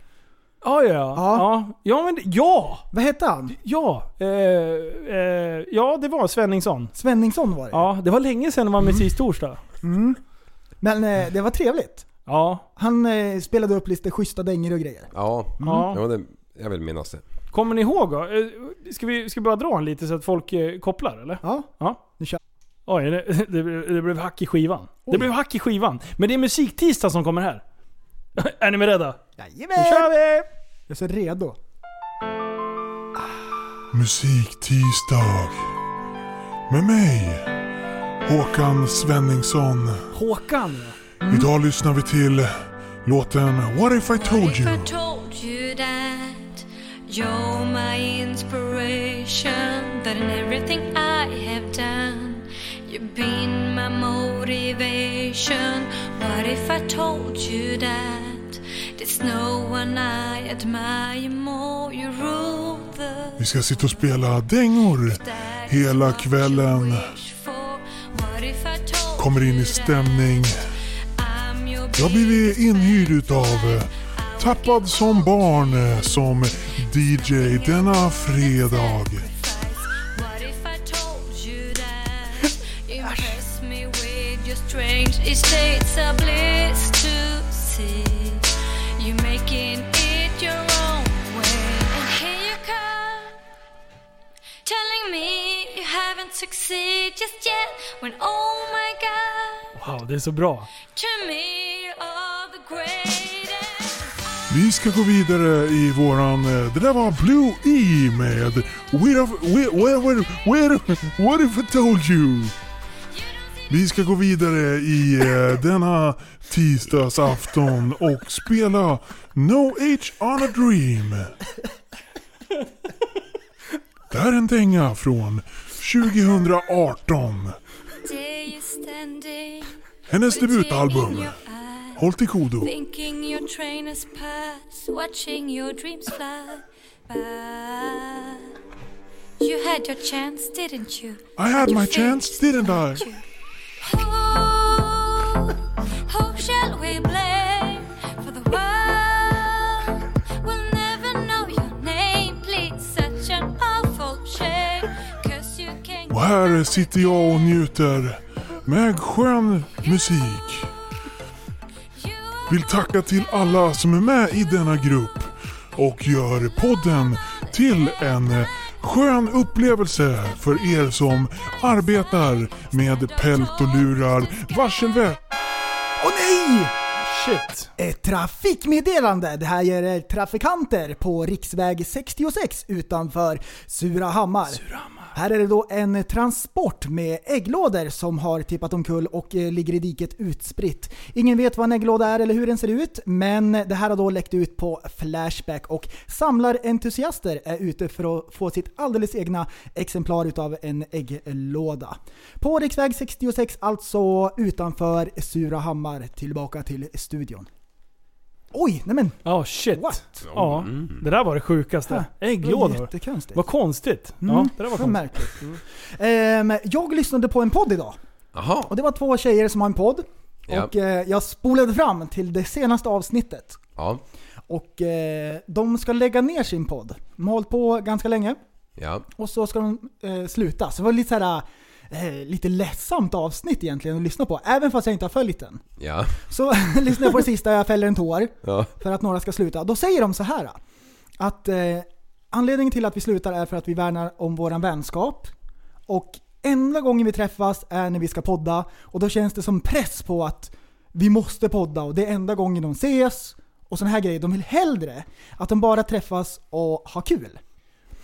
F: Ja, ja, ja. Ja, ja men det- ja!
H: Vad hette han?
F: Ja! Eh, eh, ja, det var Svenningsson.
H: Svenningsson var det.
F: Ja, det var länge sedan det
H: Mm.
F: var musiktorsdag.
H: Men eh, det var trevligt.
F: Ja,
H: Han eh, spelade upp lite schyssta dängor och grejer.
G: Ja.
H: Mm.
F: ja.
G: ja det, jag vill minnas det.
F: Kommer ni ihåg då? Eh, Ska vi, ska vi bara dra en lite så att folk eh, kopplar eller?
H: Ja,
F: Oj, det, det, blev- det blev hack i skivan. Det blev hack i skivan. Men det är musiktisdag som kommer här. är ni med rädda?
H: jajamän!
F: Då kör vi!
H: Jag är så redo.
J: Musiktisdag. Med mig, Håkan Svenningsson.
F: Håkan.
J: Idag lyssnar vi till låten What if I told you.
D: told you that you're my inspiration, that in everything I have done, you've been my motivation. What if I told you that there's no one I admire more? You rule the
J: Vi ska sitta och spela dängor hela kvällen.
D: wish for. What if I told
J: Kommer in i stämning.
D: I'm your
J: Jag har blivit inhyrd utav eh, Tappad som barn eh, som DJ denna fredag.
D: What if I told you that? Impress me with your strange estates of bliss to see. You making it your own way. And here you come, telling me you haven't succeeded just yet. When oh my god,
F: Wow, det är så bra.
D: to me you are the greatest.
J: Vi ska gå vidare i våran... eh, Det där var Blue E med Where, where, where, where, where What if I told you? Vi ska gå vidare i eh, denna tisdagsafton och spela No Age on a Dream. Det här är en dänga från 2018.
D: Day you standing,
J: Hennes
D: with a tear in
J: debutalbum.
D: your eye.
J: Håll till godo.
D: Thinking your train has passed, watching your dreams fly by. You had your chance, didn't you?
J: I had my chance, didn't I?
D: Who, who shall we blame for the world? We'll never know your name, please. Such an awful shame. Cause you can't.
J: Och här sitter jag och njuter med skön musik.
D: You
J: Vill tacka till alla som är med i denna grupp och gör podden till en eh, skön upplevelse för er som arbetar med pält och lurar, varselväst
H: Åh nej!
F: Shit.
H: Ett Eh, trafikmeddelande! Det här gör er trafikanter på riksväg 66 utanför Surahammar. Här är det då en transport med ägglådor som har tippat omkull och eh, ligger i diket utspritt. Ingen vet vad en ägglåda är eller hur den ser ut, men det här har då läckt ut på Flashback och samlarentusiaster är ute för att få sitt alldeles egna exemplar utav en ägglåda. På riksväg 66, alltså utanför Surahammar, tillbaka till studion. Oj, nej men
F: Ja, shit.
H: what?
F: Ja, det där var det sjukaste.
H: Ha, Det var
F: Ägglådor.
H: jättekonstigt.
F: Vad konstigt.
H: Mm,
F: Ja, det där var
H: så
F: konstigt.
H: märkligt. Mm. Ehm, jag lyssnade på en podd idag.
G: Jaha.
H: Och det var två tjejer som har en podd.
G: Ja.
H: Och eh, jag spolade fram till det senaste avsnittet.
G: Ja.
H: Och eh, de ska lägga ner sin podd. De har hållit på ganska länge.
G: Ja.
H: Och så ska de eh, sluta. Så det var lite så här, eh, lite ledsamt avsnitt egentligen att lyssna på. Även fast jag inte har följt den.
G: Ja.
H: Så lyssnar jag på det sista, jag fäller en tår
G: Ja.
H: för att några ska sluta. Då säger de så här att eh, anledningen till att vi slutar är för att vi värnar om våran vänskap. Och enda gången vi träffas är när vi ska podda och då känns det som press på att vi måste podda och det är enda gången de ses och såna här grejer. De vill hellre att de bara träffas och har kul.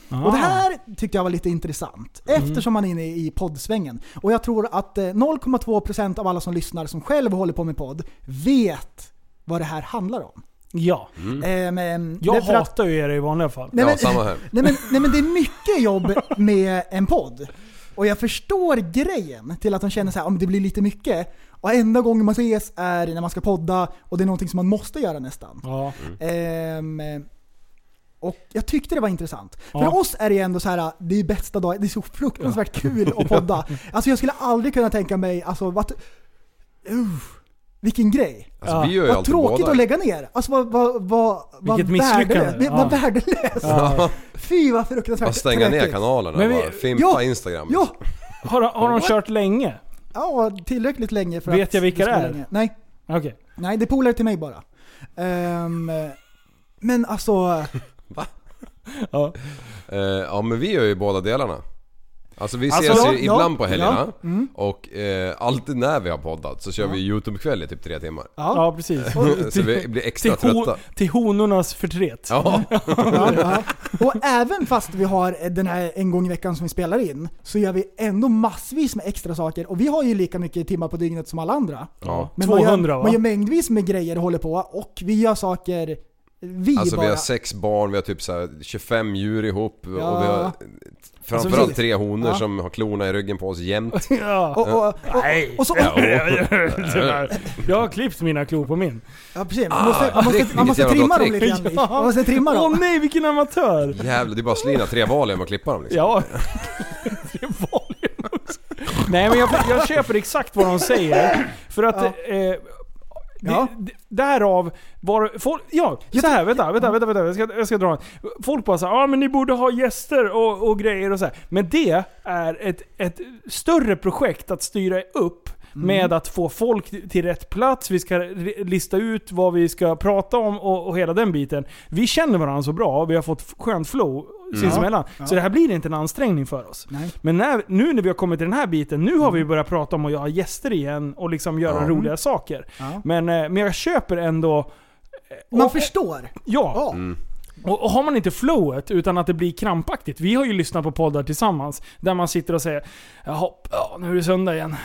H: Och
F: Ah.
H: det här tyckte jag var lite intressant eftersom man är inne i poddsvängen. Och jag tror att eh, 0,2% av alla som lyssnar som själv håller på med podd vet vad det här handlar om.
F: Ja.
H: Ehm, ehm,
F: Mm. Jag
H: därför att-
F: hatar ju er i vanliga fall.
H: Nej,
G: Ja,
H: men-
G: samma här.
H: Nej men, nej men det är mycket jobb med en podd. Och jag förstår grejen till att de känner så här, om det blir lite mycket. Och enda gången man ses är när man ska podda och det är någonting som man måste göra nästan.
F: Ja.
G: Mm.
H: Ehm, och jag tyckte det var intressant.
F: Ja.
H: För oss är det ju ändå så här, det är bästa dagen, det är så fruktansvärt kul att podda. Alltså jag skulle aldrig kunna tänka mig, alltså vad... Uff, vilken grej.
G: Alltså, vi gör ju
H: Vad
G: alltid båda.
H: tråkigt att lägga ner. Alltså vad, vad, vad, vad
F: Vilket misslyckande.
H: värdelöst.
F: Ja.
H: Vad värdelöst. Fy vad fruktansvärt
G: Bara stänga ner
H: tråkigt.
G: kanalerna
F: Men vi-
G: bara. Fimpa
H: Ja.
G: Instagram.
H: Ja,
F: Har, de- har de kört länge?
H: ja, tillräckligt länge för
F: Vet
H: att...
F: jag vilka
H: ska bli
F: det är?
H: länge. Nej,
F: Okej.
H: nej det är polare till mig bara. Ehm, men alltså,
F: Ja.
G: Eh, ja men vi gör ju båda delarna. Alltså vi
F: Alltså,
G: ses
F: ja,
G: ju
H: ja,
G: ibland på helgerna
H: ja, mm.
G: och eh, alltid när vi har poddat så kör vi Youtube-kväll i typ tre timmar. Eh,
H: ja.
F: Ja, precis.
H: Mm.
G: Så vi blir extra
F: till, ho-
G: trötta.
F: till honornas förtret.
G: Ja,
H: Ja, ja. Och även fast vi har den här en gång i veckan som vi spelar in, så gör vi ändå massvis med extra saker. Och vi har ju lika mycket timmar på dygnet som alla andra.
G: Ja.
H: man,
F: 200,
H: gör,
F: va?
H: man gör mängdvis med grejer och håller på, och vi gör saker, vi
G: alltså
H: bara.
G: vi har sex barn, vi har typ så här 25 djur ihop och vi har
H: Ja.
G: framförallt
H: Alltså, vi-
G: tre honor
H: Ja.
G: som har klorna i ryggen på oss jämt.
F: Ja.
H: och, och, och,
F: Nej.
H: och, och så,
F: Jag har klippt mina klor på min.
H: ja, precis.
F: Ah,
H: Man måste, man måste, man
G: vilket
H: måste
G: jävla
H: trimma
G: bra
H: dem lite
G: trick.
H: grann. Liv. Man måste trimma
F: Åh
H: dem.
F: nej, vilken amatör!
G: Jävlar, det är bara att slina tre val genom att klippa dem liksom.
F: Ja, det är volym också. Nej men jag, jag köper exakt vad de säger. För att... Eh,
H: Ja.
F: Det, det, därav var folk, Ja, så här, vänta, vänta, vänta, vänta. Jag ska, jag ska dra en. Folk bara såhär, ja ah, men ni borde ha gäster och, och grejer och så här. Men det är ett, ett större projekt att styra upp med att få folk till rätt plats, vi ska re- lista ut vad vi ska prata om och, och hela den biten. Vi känner varandra så bra, vi har fått f- skönt flow sinsemellan. Så det här blir inte en ansträngning för oss.
H: Nej.
F: Men när, nu när vi har kommit till den här biten, nu har vi
H: Mm.
F: börjat prata om att ha gäster igen och liksom göra
G: Ja.
F: roliga saker.
H: Ja.
F: Men, eh, men jag köper ändå...
H: Man
F: och-
H: förstår.
F: Ja.
H: Ja.
F: Och, och har man inte flowet, utan att det blir krampaktigt. Vi har ju lyssnat på poddar tillsammans, där man sitter och säger Jaha, ja, nu är det söndag igen.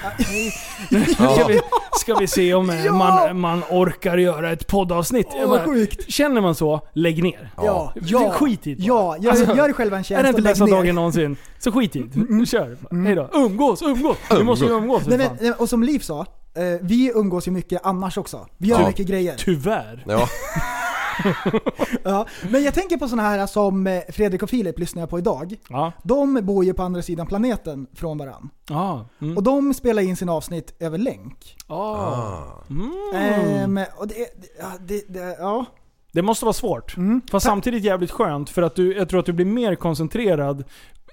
F: Nu ska, vi, ska vi se om eh,
H: Ja.
F: man, man orkar göra ett poddavsnitt.
H: Åh,
F: Jag
H: vad
F: bara,
H: sjukt.
F: Känner man så, lägg ner.
H: Ja,
F: Det är
H: ja.
F: skit i det bara.
H: Ja, gör,
F: Alltså,
H: gör dig själv en tjänst
F: Är det inte
H: och lägg
F: bästa
H: ner. Mm,
F: dagen någonsin, så skit i det. Kör. Hejdå. Umgås, umgås. Vi måste ju umgås för
H: Nej,
F: fan.
H: men, nej, och som Liv sa, eh, vi umgås ju mycket annars också. Vi gör
G: Ja.
H: mycket grejer.
F: Tyvärr.
G: Ja,
H: Ja. Men jag tänker på sådana här som eh, Fredrik och Filip lyssnar jag på idag.
F: Ja.
H: De bor ju på andra sidan planeten från varann.
F: Ah. Mm.
H: Och de spelar in sina avsnitt över länk.
F: Ah. Mm.
H: Ehm, och det, det, ja, det, det, ja.
F: Det måste vara svårt.
H: Mm.
F: Fast samtidigt jävligt skönt för att du, jag tror att du blir mer koncentrerad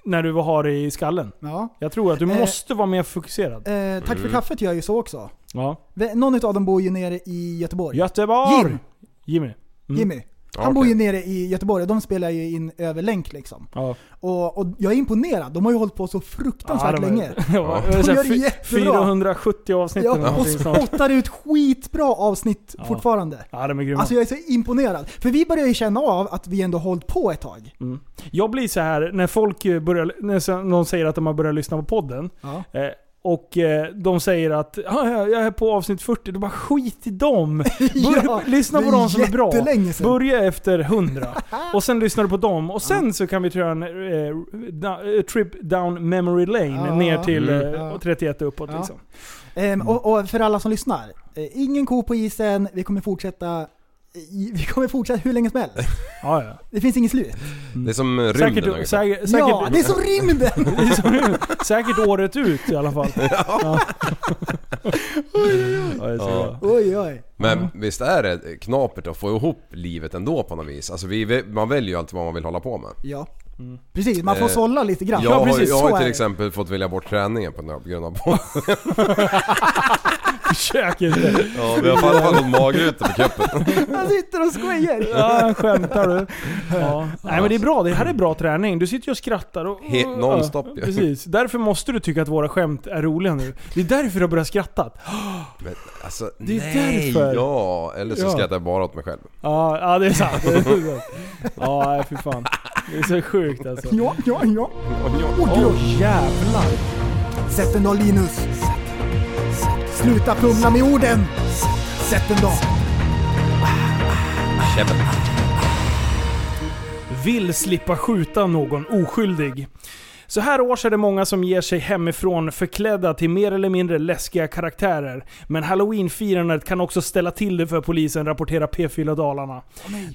F: när du har det i skallen.
H: ja.
F: Jag tror att du
H: Eh.
F: måste vara mer fokuserad.
H: Eh, tack
F: Mm.
H: för kaffet gör ju så också.
F: Ja.
H: V- Någon av dem bor ju nere i Göteborg.
F: Göteborg!
H: Jim.
F: Jimmy. Mm.
H: Jimmy. Han
G: okej.
H: bor ju nere i Göteborg och de spelar ju in över länk liksom.
F: Ja.
H: Och, och jag är imponerad, de har ju hållit på så fruktansvärt
F: det var-
H: länge.
F: det var- det var
H: De
F: så här
H: gör det
F: fy-
H: jättebra.
F: 470 avsnitt eller
H: Ja, och
F: någonting sånt.
H: spottar ut skitbra avsnitt
F: Ja.
H: fortfarande.
F: Ja, de är grymma.
H: Alltså jag är så imponerad. För vi börjar ju känna av att vi ändå hållit på ett tag.
F: Mm. Jag blir så här när folk eh, börjar, när så- någon säger att de har börjat lyssna på podden.
H: Ja.
F: Eh, och eh, de säger att ah, ja, jag är på avsnitt 40, då bara skit i dem. Bör,
H: Ja,
F: lyssna
H: det
F: på
H: är
F: de som är bra.
H: jättelänge sedan.
F: Börja efter 100. och sen lyssnar du på dem. Och sen så kan vi köra en eh, da- eh, trip down memory lane
H: Ja.
F: ner till
G: Mm.
F: eh,
H: Ja.
F: 31 uppåt
H: Ja.
F: liksom.
H: Ehm, och, och för alla som lyssnar, eh, ingen ko på isen, vi kommer fortsätta i- vi kommer fortsätta hur länge som helst.
F: Ja, ja.
H: Det finns inget slut.
G: Det är som rymden ungefär.
F: Säkert, säkert, säkert,
H: Ja, det är som rymden!
F: det är som- säkert året ut i alla fall. Ja. Ja, det är så
G: Ja.
F: bra.
H: Oj, oj.
G: Men visst är det knapert att få ihop livet ändå på något vis? Alltså vi, man väljer ju alltid vad man vill hålla på med.
H: Ja. Precis, man får
G: Eh,
H: sålla lite grann.
G: Jag har, jag
H: så
G: har
H: är
G: till
H: det.
G: exempel fått välja bort träningen på grund av podden.
F: Försök inte.
G: Ja, vi har i alla fall fått magrutor på kuppen.
H: Han sitter och skojar.
F: Ja, skämtar du? Ja. Nej men det är bra, det här är bra träning. Du sitter ju och skrattar och...
G: He- nonstop,
F: Ja,
G: ja.
F: Precis. Därför måste du tycka att våra skämt är roliga nu. Det är därför du har börjat skratta.
G: Men alltså,
F: Det är
G: nej,
F: därför.
G: ja. Eller så
F: Ja.
G: skrattar jag bara åt mig själv.
F: Ja, ja det är sant. Det är sant. Ja, nej, fy fan. Det är så sjukt alltså.
H: Ja, ja, ja. Åh jävlar. Sätt den då Linus. Sluta fumla med orden. Sätt den då.
G: Käbbel.
F: Vill slippa skjuta någon oskyldig. Så här års är det många som ger sig hemifrån förklädda till mer eller mindre läskiga karaktärer. Men halloweenfirandet kan också ställa till det för polisen, rapporterar P4 Dalarna.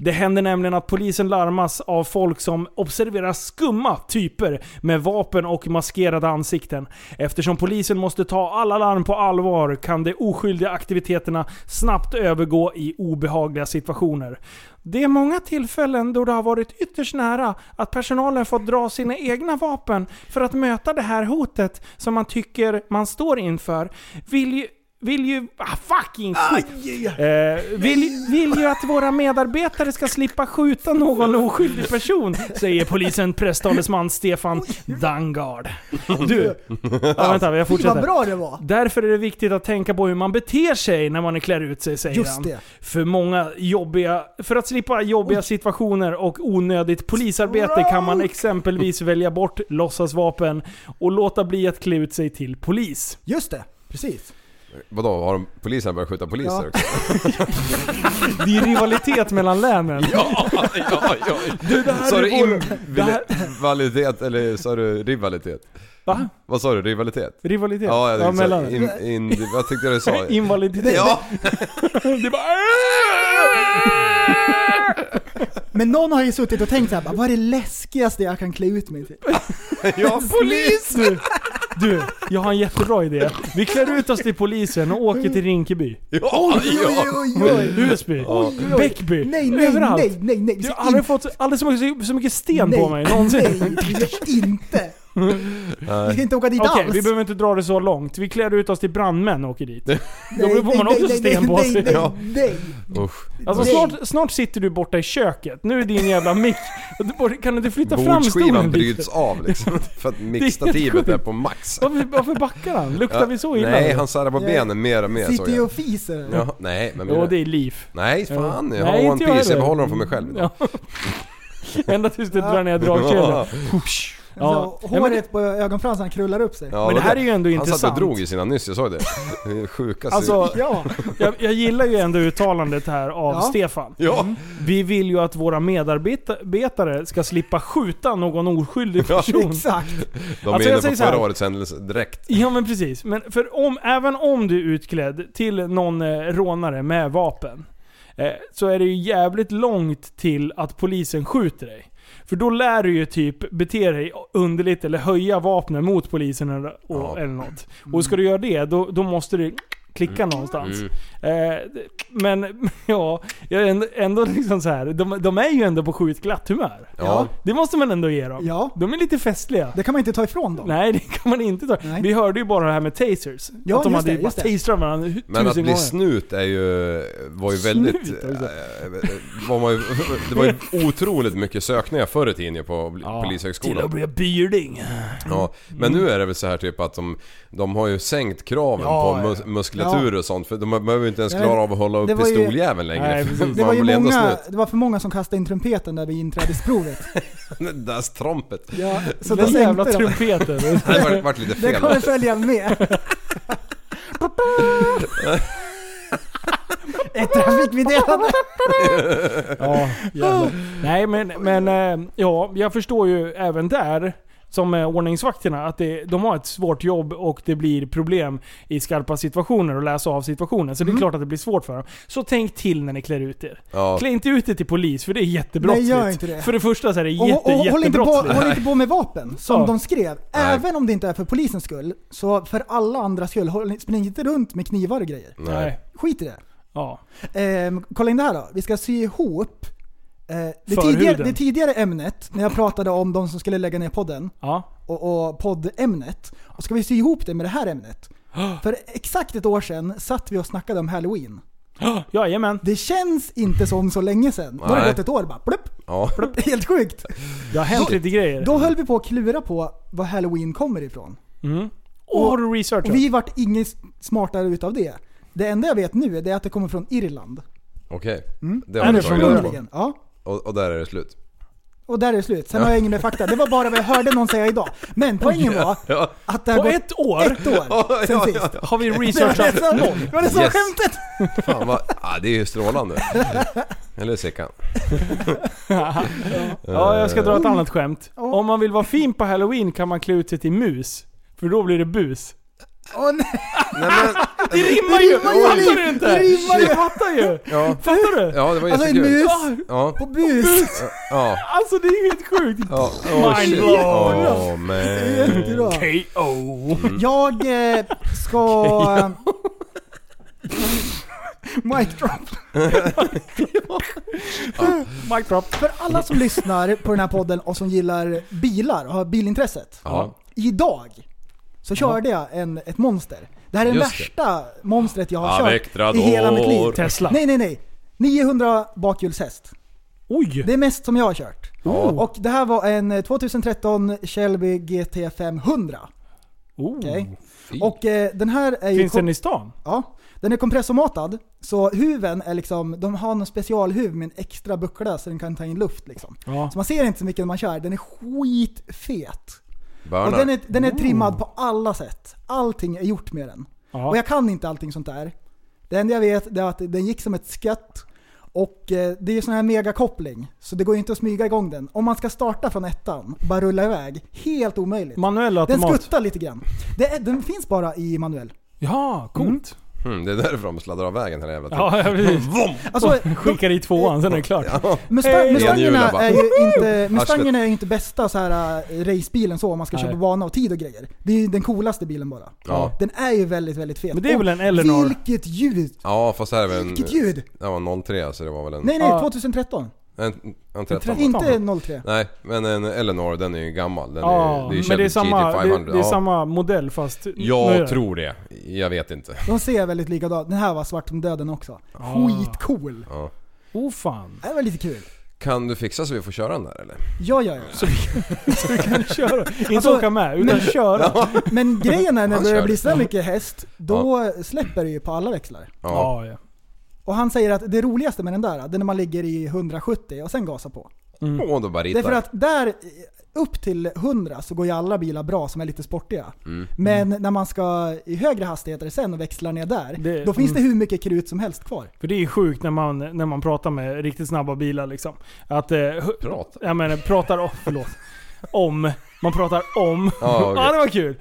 F: det händer nämligen att polisen larmas av folk som observerar skumma typer med vapen och maskerade ansikten. Eftersom polisen måste ta alla larm på allvar kan de oskyldiga aktiviteterna snabbt övergå i obehagliga situationer. Det är många tillfällen då det har varit ytterst nära att personalen fått dra sina egna vapen för att möta det här hotet som man tycker man står inför. Vill ju... Vill ju... Ah, fucking skit! Eh, vill, vill ju att våra medarbetare ska slippa skjuta någon oskyldig person, säger polisen presstalesman Stefan Dangard. Du! Ja, vänta, jag
H: Fy, Vad
F: fortsätter.
H: bra det var.
F: Därför är det viktigt att tänka på hur man beter sig när man klär ut sig, säger
H: Just
F: han.
H: det.
F: För, många jobbiga, för att slippa jobbiga situationer och onödigt polisarbete kan man exempelvis välja bort låtsasvapen och låta bli att klä ut sig till polis.
H: Just det. Precis.
G: Vadå, har de, poliserna börjat skjuta poliser
H: Ja.
G: också?
F: Det är rivalitet mellan länen.
G: Ja, ja, ja.
F: här
G: sa
F: är
G: du
F: vår- det här-
G: invaliditet eller sa du rivalitet?
F: Va?
G: Vad sa du? Rivalitet?
F: Rivalitet?
G: Ja, jag, tänkte säga
F: mellan.
G: in, in, jag tyckte du sa...
F: Invaliditet?
G: Ja!
F: Det är bara...
H: Men någon har ju suttit och tänkt så här, bara, vad är det läskigaste jag kan klä ut mig till?
G: ja
H: Polis!
F: Du, du, jag har en jättebra idé. Vi klär ut oss till polisen och åker till Rinkeby.
G: ja,
H: Oj,
G: ja.
H: oj, oj.
F: Eh, Husby.
H: Oj, oj.
F: Bäckby.
H: Nej, nej,
F: Överallt.
H: nej, nej, nej. Vi
F: Jag
H: ska
F: har aldrig
H: inte-
F: fått aldrig så mycket, så mycket sten på mig
H: Nej,
F: någonsin.
H: vi ska inte. Vi ska inte åka dit
F: Okej,
H: alls.
F: vi behöver inte dra det så långt. Vi klär ut oss till brandmän och åker dit.
H: Nej,
F: då får man
H: nej,
F: också
H: nej,
F: sten på
H: nej,
F: sig.
H: Nej,
G: Ja.
H: nej,
G: Usch.
F: Alltså
H: Nej.
F: snart, snart sitter du borta i köket. Nu är din jävla mick... Kan du inte flytta fram
G: Bordskivan
F: stolen
G: bryts
F: lite?
G: av liksom. För att
F: sjukt.
G: mickstativet är på max.
F: Varför, varför backar han? Luktar vi så illa?
G: Nej,
F: nu?
G: han särrar på
H: Ja.
G: benen mer och mer
H: nej.
G: såg
H: Sitter ju
G: jag.
H: och fiser.
G: Ja, nej, men
F: Jo,
G: mina-
F: det är liv.
G: Nej, fan. Jag har
F: Nej,
G: One
F: inte jag
G: Piece.
F: heller.
G: Jag behåller dem för mig själv idag.
F: Ända tills du drar ner dragkedjan. Ja.
H: Så
F: Ja, men, det-
H: håret på ögonfransarna krullar upp sig.
G: Ja,
F: men det här är ju ändå
G: Han satt
F: intressant.
G: och drog i sina nyss, jag såg det. Det är det sjukaste.
F: Alltså,
H: Ja,
F: jag, jag gillar ju ändå uttalandet här av
H: Ja.
F: Stefan.
G: ja,
F: Vi vill ju att våra medarbetare ska slippa skjuta någon oskyldig
G: Ja.
F: person.
H: exakt.
G: de
F: alltså,
G: är
F: jag säger
G: inne på
F: så här.
G: förra årets händelse direkt.
F: Ja men precis. Men för om, även om du är utklädd till någon eh, rånare med vapen. Eh, så är det ju jävligt långt till att polisen skjuter dig. För då lär du ju typ bete dig underligt eller höja vapnen mot polisen eller, och,
G: Ja. Mm.
F: eller något. Och ska du göra det, då, då måste du klicka någonstans. Eh, d- men ja, jag är ändå, ändå liksom så här. De, de är ju ändå på sjukt glatt humör.
G: Ja.
F: Det måste man ändå ge dem.
H: Ja.
F: De är lite festliga.
H: Det kan man inte ta ifrån dem.
F: Nej, det kan man inte ta.
H: Nej.
F: Vi hörde ju bara det här med tasers.
H: Ja,
F: att de
H: just
F: hade
H: det,
F: ju bara
H: just det.
F: tasrat varandra hu-
G: Men att
F: tusen
G: bli
F: gånger.
G: snut är ju, var ju
F: Snut,
G: väldigt...
F: alltså.
G: eh, var man ju, det var ju otroligt mycket sökningar förr i tiden på
F: Ja, Till
G: Polishögskolan.
F: att bli byrding.
H: Mm.
G: Ja, men nu är det väl så här typ att de, de har ju sänkt kraven
F: Ja,
G: på mus- muskulatur och sånt för de behöver ju inte ens
H: Ja,
G: klara av att hålla upp
H: det var ju-
G: pistoljäveln längre.
F: Nej, precis.
H: Det
G: Man
H: var, ju
G: blir ändå
H: många,
G: snut.
H: det var för många som kastade in trumpeten där vid inträdesprovet.
G: Den där strampet.
H: Ja, så då
F: Den jävla
H: sänkte de.
F: trumpeten.
G: Det har varit- varit lite
H: Det
G: fel.
H: kommer följa med. Ett trafikmeddelande. Oh.
F: ja, jävlar. Nej men, men eh, ja, jag förstår ju även där. som är ordningsvakterna. Att det, de har ett svårt jobb och det blir problem i skarpa situationer och läsa av situationen. Så
H: Mm.
F: det är klart att det blir svårt för dem. Så tänk till när ni klär ut er.
G: Ja.
F: Klä inte ut er till polis för det är jättebrottsligt.
H: Nej, gör inte det.
F: För det första så är det
H: Och,
F: jätte,
H: och, och håll, inte på,
F: jättebrottsligt.
H: håll inte på med vapen, som
F: Ja.
H: de skrev. Även om det inte är för polisens skull, så för alla andras skull. Håll, spring inte runt med knivar och grejer.
F: Nej.
H: Skit i det.
F: Ja.
H: Ehm, kolla in det här då. Vi ska sy ihop eh, det,
F: Förhuden.
H: tidigare, det tidigare ämnet, när jag pratade om de som skulle lägga ner podden,
F: Ja.
H: och, och poddämnet. Och ska vi sy ihop det med det här ämnet. För exakt ett år sedan satt vi och snackade om halloween.
F: Jajamän.
H: Det känns inte som så länge sedan. Då har det
G: Nej.
H: gått ett år bara. Plupp,
G: Ja.
H: plupp. Helt sjukt.
F: Det har hänt lite grejer.
H: Då höll vi på att klura på var halloween kommer ifrån.
F: och har du researchat?
H: Och vi vart inget smartare utav det. Det enda jag vet nu är det att det kommer från Irland.
G: Okej.
H: Mm.
G: Det
F: Är
G: har
F: det
G: vi
F: från
G: tagit reda på.
H: Grundligen. Ja.
G: Och, och där är det slut.
H: Och där är det slut. Sen har jag ingen mer fakta. Det var bara vad jag hörde någon säga idag. Men poängen var
G: Ja.
H: att det har
F: På
H: gått
F: ett år?
H: ett år alltså- sen
G: ja, ja,
H: sist.
F: Har vi Mm.
H: Det var det
F: researchat?
H: som, det var det som var
G: Yes.
H: skämtet!
G: Fan vad... Ah, det är ju strålande. Eller Sickan.
F: Ja, jag ska dra
H: Eh.
F: ett annat skämt. Om man vill vara fin på halloween kan man klä ut sig till mus. För då blir det bus.
H: Åh nej!
G: Nej men...
F: Det rimmar ju! Fattar du inte?
H: Det rimmar ju!
F: Jag fattar ju!
G: Ja.
F: Fattar du?
G: Ja, det var
H: Alltså en
G: jättekul.
H: mus
G: Ja.
H: på bus!
G: Ja.
F: Alltså det är ju helt sjukt.
G: Ja. Oh, shit.
F: blown.
G: Oh, man.
H: Jättebra.
F: K.O.
H: Jag eh, ska... Mic drop.
F: Mic drop.
H: För alla som lyssnar på den här podden och som gillar bilar och har bilintresset.
G: Ja.
H: Idag så körde jag en, ett monster. Det här är det
G: Just det.
H: värsta monstret jag har kört
G: Avectrador.
H: i hela mitt liv.
F: Tesla.
H: Nej, nej, nej. 900 bakhjulshäst.
F: Oj!
H: Det är mest som jag har kört.
G: Ja.
H: Och det här var en 2013 Shelby GT 500.
F: Oh.
G: Mm,
H: okej? Och eh, den här är ju...
F: Finns
H: kom-
F: den i stan?
H: Ja, den är kompressormatad. Så huven är liksom, de har någon specialhuv med en extra buckla så den kan ta in luft liksom.
F: Ja.
H: Så man ser inte så mycket när man kör. Den är skitfet. Och den
G: Börna.
H: är, den är trimmad på alla sätt. Allting är gjort med den.
F: Ja.
H: Och jag kan inte allting sånt där. Det enda jag vet är att den gick som ett skatt. Och eh, det är ju sån här megakoppling, så det går ju inte att smyga igång den. Om man ska starta från ettan, bara rulla iväg, helt omöjligt.
F: Manuell
H: den
F: automat?
H: skuttar lite grann. Det är, den finns bara i manuell.
F: Ja, coolt.
G: Mm, det är därför de sladdar av vägen hela jävla tiden.
F: Ja, precis.
H: Alltså,
F: Skickar i tvåan, sen är det klart.
H: Mustang, Mustangerna
G: Renhjula bara.
H: är ju inte, Mustangerna
G: Arslet.
H: är ju inte bästa så här äh, racebilen så om man ska
F: Nej.
H: köra på bana och tid och grejer. Det är ju den coolaste bilen bara.
G: Ja.
H: Den är ju väldigt, väldigt fet.
F: Men det är
H: Och
F: väl en Eleanor?
H: Vilket ljud!
G: Ja, fast det här är väl en...
H: Vilket ljud!
G: Det var 03 så det var väl en...
H: Nej nej,
F: Ja.
H: 2013.
G: En, en 13.
H: Inte 03.
G: Nej, men en Eleanor den är ju gammal. Den
F: Ja,
G: är, det är ju
F: men det är,
G: Shelby
F: samma, det,
G: 500.
F: det är
G: Ja.
F: samma modell fast...
G: Jag
F: Nu-
G: tror det. Jag vet inte.
H: De ser väldigt likadana Den här var svart som döden också.
F: Ah.
H: Skitcool!
F: Oh fan.
H: Det var lite kul.
G: Kan du fixa så vi får köra den där eller?
H: Ja, ja, ja.
F: Köra. Inte
H: Alltså,
F: åka med, utan köra.
H: Men grejen är när det
G: Han
H: börjar
G: kör.
H: bli så här mycket häst, då släpper det ju på alla växlar.
G: Ja.
F: Ja, ja.
H: Och han säger att det roligaste med den där, det är när man ligger i 170 och sen gasar på.
F: Mm.
G: Åh, då bara ritar.
H: Därför att där, upp till 100 så går ju alla bilar bra som är lite sportiga.
G: Mm.
H: Men
F: Mm.
H: när man ska i högre hastigheter sen och växlar ner där,
F: Det-
H: då finns det mm. hur mycket krut som helst kvar.
F: För det är sjukt när man, när man pratar med riktigt snabba bilar liksom. Att... Eh, hu-
G: Prata.
F: jag menar, pratar om... Förlåt. Om. Man pratar om.
G: Ja, okej.
F: Ja, det var kul.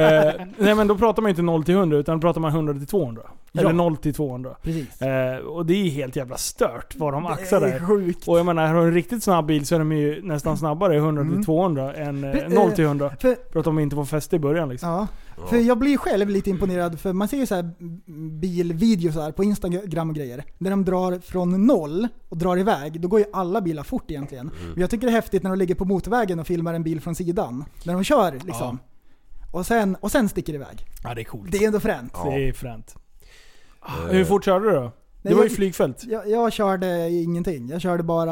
F: eh, nej men då pratar man ju inte 0 till 100 utan då pratar man 100 till 200. Eller
H: Ja.
F: 0 till 200.
H: Precis.
F: Eh, och det är ju helt jävla stört vad de
H: Det
F: axar
H: är
F: där.
H: sjukt.
F: Och jag menar, har du en riktigt snabb bil så är de ju nästan snabbare 100 till 200 än eh,
H: Mm. Eh,
F: 0 till 100.
H: För,
F: För att de inte får fäste i början liksom.
H: ja, för jag blir själv lite imponerad för man ser ju så här bilvideos här på Instagram och grejer. Där de drar från noll och drar iväg, då går ju alla bilar fort egentligen.
F: Mm.
H: Men jag tycker det är häftigt när de ligger på motorvägen och filmar en bil från sidan. När de kör liksom. Och, sen, och sen sticker iväg.
F: Ja, det är coolt.
H: Det är ändå fränt.
F: Det är fränt. Ah, Hur fort körde du då? Det var ju
H: jag-
F: flygfält.
H: Jag, jag körde ingenting. Jag körde bara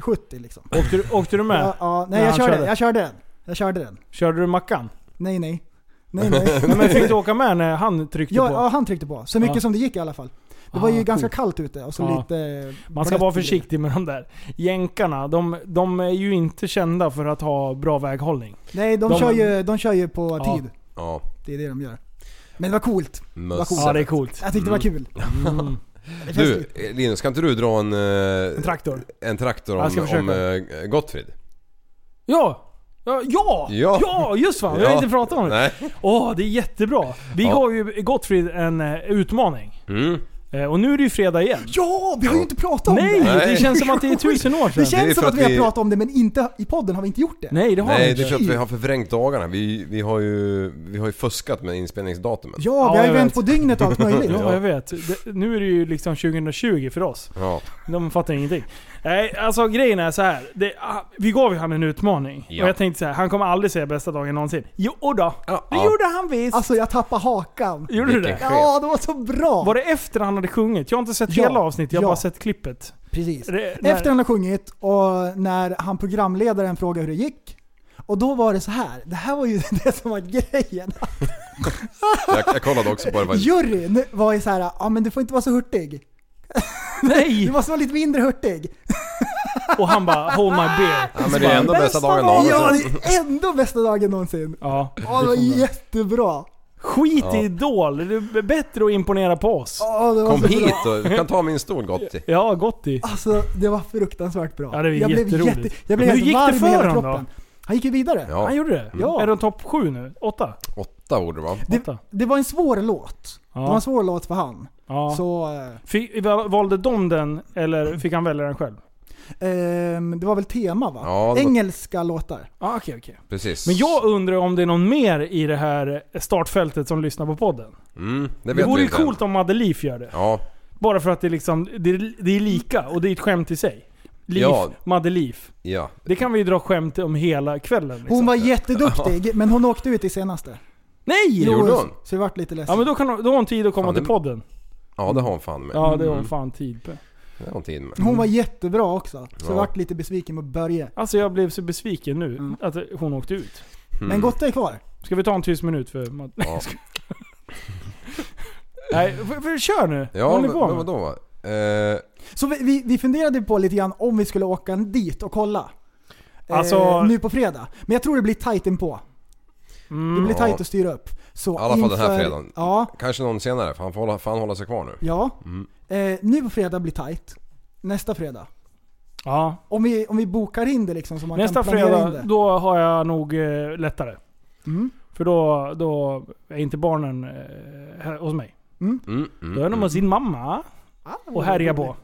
H: 70 liksom.
F: Åkte du, åkte du med?
H: Ja, ja, nej,
F: Nej,
H: jag
F: han
H: körde,
F: körde.
H: jag körde den. Jag körde den.
F: Körde du Mackan?
H: Nej, nej. Nej, nej.
F: Nej, men fick du åka med när han tryckte
H: Ja,
F: på?
H: ja, han tryckte på. Så mycket
F: Ja.
H: som det gick i alla fall. Det var ju
F: Ah,
H: ganska
F: coolt.
H: kallt ute och så
F: Ja.
H: lite...
F: Man ska
H: blött
F: vara
H: och grejer.
F: försiktig med de där. Jänkarna, de, de är ju inte kända för att ha bra väghållning.
H: Nej, de,
F: De-
H: kör ju, de kör ju på
F: Ja.
H: tid.
G: Ja.
H: Det är det de gör. Men det var coolt.
G: Möss.
H: coolt.
F: Ja, det är coolt.
H: Jag tyckte det var
F: Mm.
H: kul. Det är
G: Du,
H: festligt.
G: Linus kan inte du dra en, eh,
F: En traktor.
G: en traktor
F: Jag ska
G: om,
F: försöka.
G: om eh, Gottfrid?
F: Ja! Ja, ja!
G: Ja.
F: ja just fan. Vi har
G: Ja.
F: inte pratat om det.
G: Nej.
F: Åh, det är jättebra. Vi
G: Ja.
F: gav ju Gottfrid en eh, utmaning.
G: Mm.
F: Eh, Och nu är det ju fredag igen.
H: Ja, vi har ju inte pratat om
F: Nej,
H: det!
F: det känns som att det är tusen år sedan.
H: Det
G: Det är
H: känns som
G: för
H: att
G: att
H: vi har
G: vi-
H: pratat om det men inte, i podden har vi inte gjort det.
F: Nej, det har vi
G: Nej,
F: inte.
G: det är för att vi har förvrängt dagarna. Vi, vi, har, ju, vi har ju fuskat med inspelningsdatumen.
H: Ja, vi
F: Ja,
H: har ju
F: jag
H: vänt
F: vet.
H: på dygnet och allt möjligt.
F: Ja, jag vet. Det, nu är det ju liksom 2020 för oss.
G: Ja.
F: De fattar ingenting. Nej, alltså grejen är så här. Det, ah, vi gav ju han en utmaning.
G: Ja.
F: Och jag tänkte så här, han kommer aldrig säga bästa dagen någonsin. Jo då,
G: Ja,
F: det
G: ja.
F: gjorde han visst.
H: Alltså jag tappar hakan.
F: gjorde du
G: vilken
F: det?
G: chef.
H: Ja, det var så bra!
F: Var det efter han hade sjungit? Jag har inte sett
H: Ja,
F: hela avsnittet, jag har
H: ja.
F: bara sett klippet.
H: Precis.
F: Det- när-
H: Efter han har sjungit och när han programledaren frågar hur det gick. Och då var det så här. det här var ju det som var grejen.
G: Jag, jag kollade också på det. Var,
H: Juryn var ju så här, ja men du får inte vara så hurtig. Du
F: Nej!
H: måste vara lite mindre hurtig.
F: Och han bara 'Hold my beer'
G: ja, men det är ändå bästa dagen någonsin.
H: Ja, det är ändå bästa dagen någonsin.
F: Ja.
H: Ja, det var jättebra.
F: Skit
G: Ja.
F: i Idol, det är bättre att imponera på oss.
H: Ja, det var
G: Kom
F: alltså,
H: så bra.
G: hit och du kan ta min stol Gotti.
F: Ja, Gotti.
H: Alltså det var fruktansvärt bra.
F: Ja, det var
H: jag blev
F: jätteroligt.
H: jätte, jag blev
F: Men hur
H: helt
F: gick det
H: varm i
F: för
H: hela
F: honom
H: kroppen.
F: då?
H: Han gick ju vidare.
G: Ja.
F: Han gjorde det?
H: Ja.
F: Är de topp sju nu? Åtta?
G: Åtta borde det vara.
H: Det,
F: Åtta.
H: det var en svår låt. Det var en svår låt för han.
F: Ja.
H: Så, eh,
F: Fick, val- valde de den eller fick han välja den själv?
H: ehm, det var väl tema va?
G: Ja, det var-
H: Engelska låtar.
F: Ah, okej, okej.
G: Precis.
F: Men jag undrar om det är någon mer i det här startfältet som lyssnar på podden.
G: Mm, det vet
F: Det vore
G: vi
F: ju
G: inte
F: coolt
G: än.
F: om Madde Leaf gör det.
G: Ja,
F: Bara för att det, är liksom, det, är- det är lika och det är ett skämt i sig. Leaf,
G: Ja.
F: Madde Leaf.
G: ja.
F: Det kan vi ju dra skämt om hela kvällen. Liksom.
H: Hon var jätteduktig men hon åkte ut i senaste.
F: Nej!
G: Jo. Gjorde hon?
H: Så vi vart lite ledsna.
F: Ja men då, kan, hon- då har hon tid att komma
G: Fan,
F: till
G: det- Mm.
F: podden.
G: Ja, det har hon fan med. Mm.
F: Ja det har hon fan Mm. tid på.
G: Det har hon tid med.
H: Hon var jättebra också. Så
G: Ja.
H: vi vart lite besviken på Börje.
F: Alltså jag blev så besviken nu att hon åkte ut.
H: Men Gotte är kvar.
F: Ska vi ta en tyst minut för Madde?
G: Mm. Ja.
F: Nej, för, för, kör nu! Vad
G: Ja,
F: håller
G: men
F: ni på
G: men
F: med?
G: vadå? Eh,
H: Så vi, vi, vi funderade på lite grann om vi skulle åka dit och kolla. Eh,
F: Alltså-
H: nu på fredag. Men jag tror det blir tight inpå.
F: Mm.
H: Det blir
G: Ja.
H: tajt att styra upp. Så
G: I alla fall den här fredagen.
H: Ja,
G: kanske någon senare, för han får hålla, fan hålla sig kvar nu. Mm.
H: ja. Eh, nu på fredag blir tajt. Nästa fredag.
F: Ja.
H: Om vi, om vi bokar in det liksom så man
F: Nästa
H: kan planera in
F: fredag,
H: det.
F: då har jag nog eh, lättare.
H: Mm.
F: För då, då är inte barnen eh, här hos mig.
G: Mm, mm,
F: Då är de
G: mm.
F: hos sin mamma och härjar på.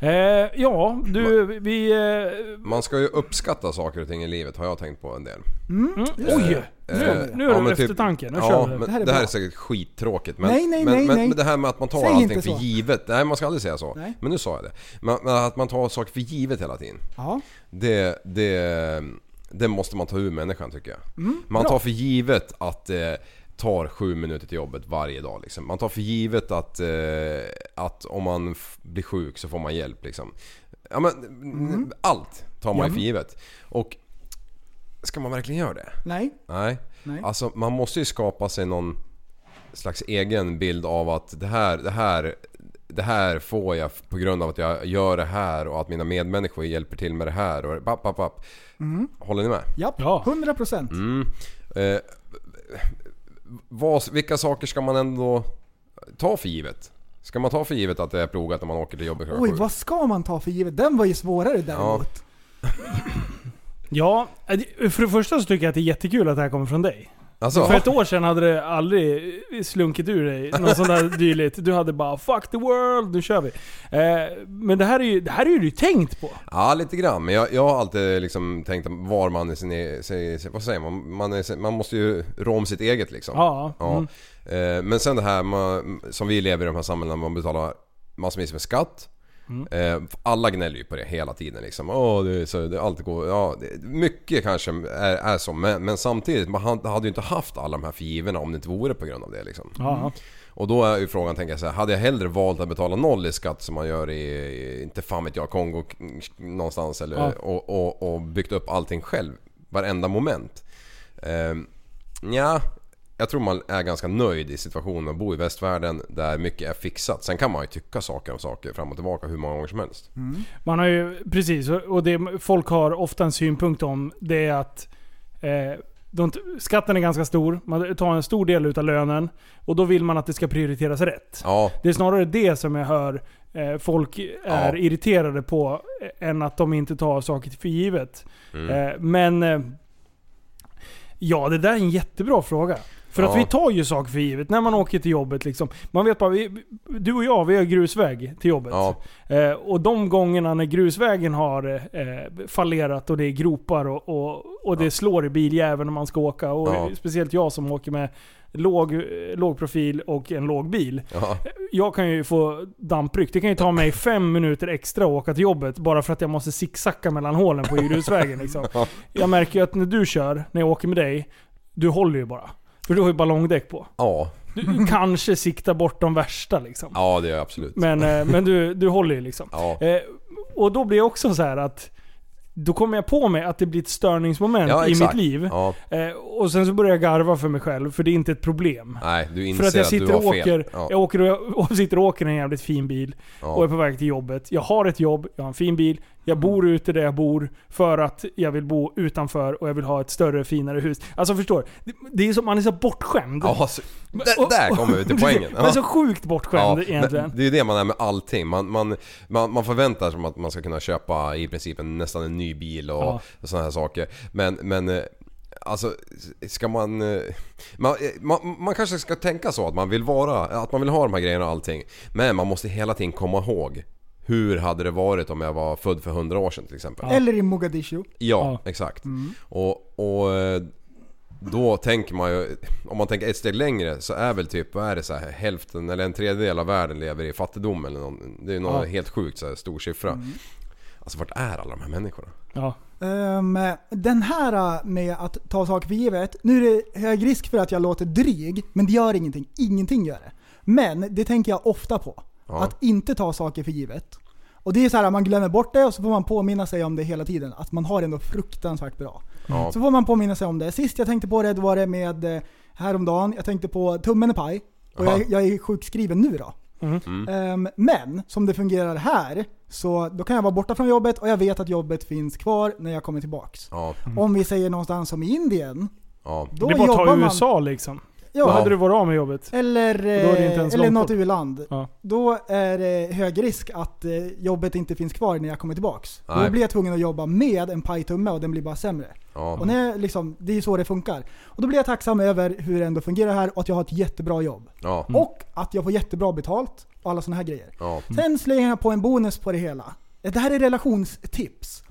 F: Eh, ja, du, vi... Eh,
G: Man ska ju uppskatta saker och ting i livet har jag tänkt på en del.
F: mm, oj!
G: Eh,
F: Nu, nu är
G: ja,
F: du
G: men typ-
F: eftertanke. Nu
G: ja,
F: kör vi.
G: men
H: Det här är
G: det här
H: bra.
G: är säkert skittråkigt. Men,
H: Nej, nej,
G: men,
H: nej,
G: men,
H: nej.
G: men det här med att man tar
H: Säg
G: allting
H: inte
G: för
H: så.
G: givet. Nej, man ska aldrig säga så.
H: Nej.
G: Men nu sa jag det. Men, men att man tar saker för givet hela tiden.
H: Ja.
G: Det, det, det måste man ta ur människan tycker jag.
H: Mm,
G: man tar för givet att det tar sju minuter till jobbet varje dag. Liksom. Man tar för givet att, eh, att om man f- blir sjuk så får man hjälp. Liksom. Ja, men,
H: Mm.
G: Allt tar man ju för givet. Och ska man verkligen göra det?
H: Nej.
G: Nej.
H: Nej.
G: Alltså man måste ju skapa sig någon slags egen bild av att det här, det här, det här får jag på grund av att jag gör det här och att mina medmänniskor hjälper till med det här och papp, papp, papp.
H: Mm.
G: Håller ni med?
H: Japp.
F: Ja.
H: 100
G: Mm,
H: procent.
G: Eh, vad, vilka saker ska man ändå ta för givet? Ska man ta för givet att det är plogat när man åker till jobbet klockan
H: Oj,
G: sju?
H: vad ska man ta för givet? Den var ju svårare däremot.
F: Ja, eh, det- för det första så tycker jag att det är jättekul att det här kommer från dig.
G: Alltså,
F: För ett år sedan hade det aldrig slunkit ur dig något sånt där dylikt. Du hade bara 'Fuck the world, nu kör vi' eh, Men det här är ju det här är ju du tänkt på.
G: Ja, lite grann. Men jag, jag har alltid liksom tänkt att var man är sin e- sig- sig- Vad säger man? Man, är, sin- man måste ju rå om sitt eget liksom.
F: Ja, mm.
G: Eh, Men sen det här man, som vi lever i de här samhällena, man betalar massvis med skatt.
F: Mm.
G: Eh, Alla gnäller ju på det hela tiden liksom. Åh, det är så, det allt går, ja, det, mycket kanske är, är så men, men samtidigt, man hade hade ju inte haft alla de här förgivorna om det inte vore på grund av det liksom.
F: Ja.
G: Och då är ju frågan, tänker jag så här, hade jag hellre valt att betala noll i skatt som man gör i, i inte fan vet jag, Kongo k- någonstans eller,
F: Ja.
G: och, och, och byggt upp allting själv? Varenda moment. Ehm, ja, jag tror man är ganska nöjd i situationen och bor i västvärlden där mycket är fixat. Sen kan man ju tycka saker om saker fram och tillbaka hur många gånger som helst.
F: Mm. Man har ju, precis, och- och det folk har ofta en synpunkt om det är att eh, de, skatten är ganska stor, man tar en stor del utav lönen och då vill man att det ska prioriteras rätt.
G: Ja,
F: Det är snarare det som jag hör eh, folk är
G: Ja.
F: irriterade på eh, än att de inte tar saker för givet.
G: Mm.
F: Eh, men... Eh, ja, det där är en jättebra fråga. För att
G: Ja.
F: vi tar ju saker för givet när man åker till jobbet. Liksom. Man vet bara, vi, du och jag vi har grusväg till jobbet.
G: Ja,
F: Eh, och de gångerna när grusvägen har eh, fallerat och det är gropar och, och, och det slår i biljäveln när man ska åka. Och
G: Ja.
F: Speciellt jag som åker med låg, eh, låg profil och en låg bil.
G: ja,
F: Jag kan ju få dampryck. Det kan ju ta mig fem minuter extra att åka till jobbet bara för att jag måste zigzacka mellan hålen på grusvägen. Liksom. Jag märker ju att när du kör, när jag åker med dig, du håller ju bara. För du har ju ballongdäck på.
G: ja,
F: Du kanske siktar bort de värsta liksom.
G: ja det gör jag absolut.
F: Men, eh, men du, du håller ju liksom.
G: Ja.
F: Eh, och då blir jag också så här att då kommer jag på mig att det blir ett störningsmoment
G: Ja,
F: i
G: exakt.
F: mitt liv.
G: Ja,
F: Eh, och sen så börjar jag garva för mig själv, för det är inte ett problem.
G: nej, du inser
F: För att jag
G: du
F: sitter
G: har
F: och åker,
G: fel. Ja,
F: jag åker och, och sitter och åker i en jävligt fin bil och är
G: ja, Mm.
F: på väg till jobbet. Jag har ett jobb, jag har en fin bil, jag bor ute där jag bor för att jag vill bo utanför och jag vill ha ett större, finare hus. Alltså förstår du? Det, det är som man är så bortskämd.
G: ja så, där, där kommer vi till poängen.
F: Men
G: Ja.
F: så sjukt bortskämd
G: men
F: egentligen.
G: Det är ju det man är med allting. Man, man, man, man förväntar sig att man ska kunna köpa i princip en, nästan en ny bil och
F: Ja.
G: ja. sådana här saker. Men, men eh, alltså ska man, eh, man, eh, man... Man kanske ska tänka så att man vill vara, att man vill ha de här grejerna och allting. Men man måste hela tiden komma ihåg. Hur hade det varit om jag var född för 100 år sedan till exempel?
H: Eller i Mogadishu.
G: Ja,
F: Ja.
G: exakt.
H: Mm.
G: Och, och eh, då tänker man ju, om man tänker ett steg längre så är väl typ, vad är det så här, hälften eller en tredjedel av världen lever i fattigdom eller någon, Det är ju någon helt sjukt så här stor siffra.
H: Mm.
G: Alltså vart är alla de här människorna?
F: Ja.
H: Ehm, den här eh, med att ta saker för givet. Nu är det hög risk för att jag låter dryg, men det gör ingenting. Ingenting gör det. Men det tänker jag ofta på.
G: Ja.
H: Att inte ta saker för givet. Och det är så här, man glömmer bort det och så får man påminna sig om det hela tiden. Att man har det ändå fruktansvärt bra.
G: Ja.
H: Så får man påminna sig om det. Sist jag tänkte på det, då var det med eh, häromdagen. Jag tänkte på tummen är paj. Och
G: Aha.
H: jag, jag är sjukskriven nu då.
G: Mm.
H: Ehm, men som det fungerar här, så då kan jag vara borta från jobbet och jag vet att jobbet finns kvar när jag kommer tillbaks.
G: Ja,
H: Om vi säger någonstans som i Indien,
G: ja.
H: då
F: Mm. det är bara att
H: jobbar
F: ta
H: man.
F: USA liksom. Då
H: Ja,
F: hade du varit av med jobbet.
H: Eller,
F: är det inte
H: eh,
F: ens
H: eller
F: långt
H: något
F: bort.
H: u-land.
F: Ja.
H: Då är det hög risk att eh, jobbet inte finns kvar när jag kommer tillbaks. Då
G: Nej.
H: blir jag tvungen att jobba med en pajtumme och den blir bara sämre.
G: ja.
H: Och när jag, liksom, det är ju så det funkar. Och då blir jag tacksam över hur det ändå fungerar här och att jag har ett jättebra jobb.
G: ja.
F: Mm.
H: Och att jag får jättebra betalt och alla sådana här grejer.
G: ja.
F: Mm.
H: Sen slänger jag på en bonus på det hela. Det här är relationstips.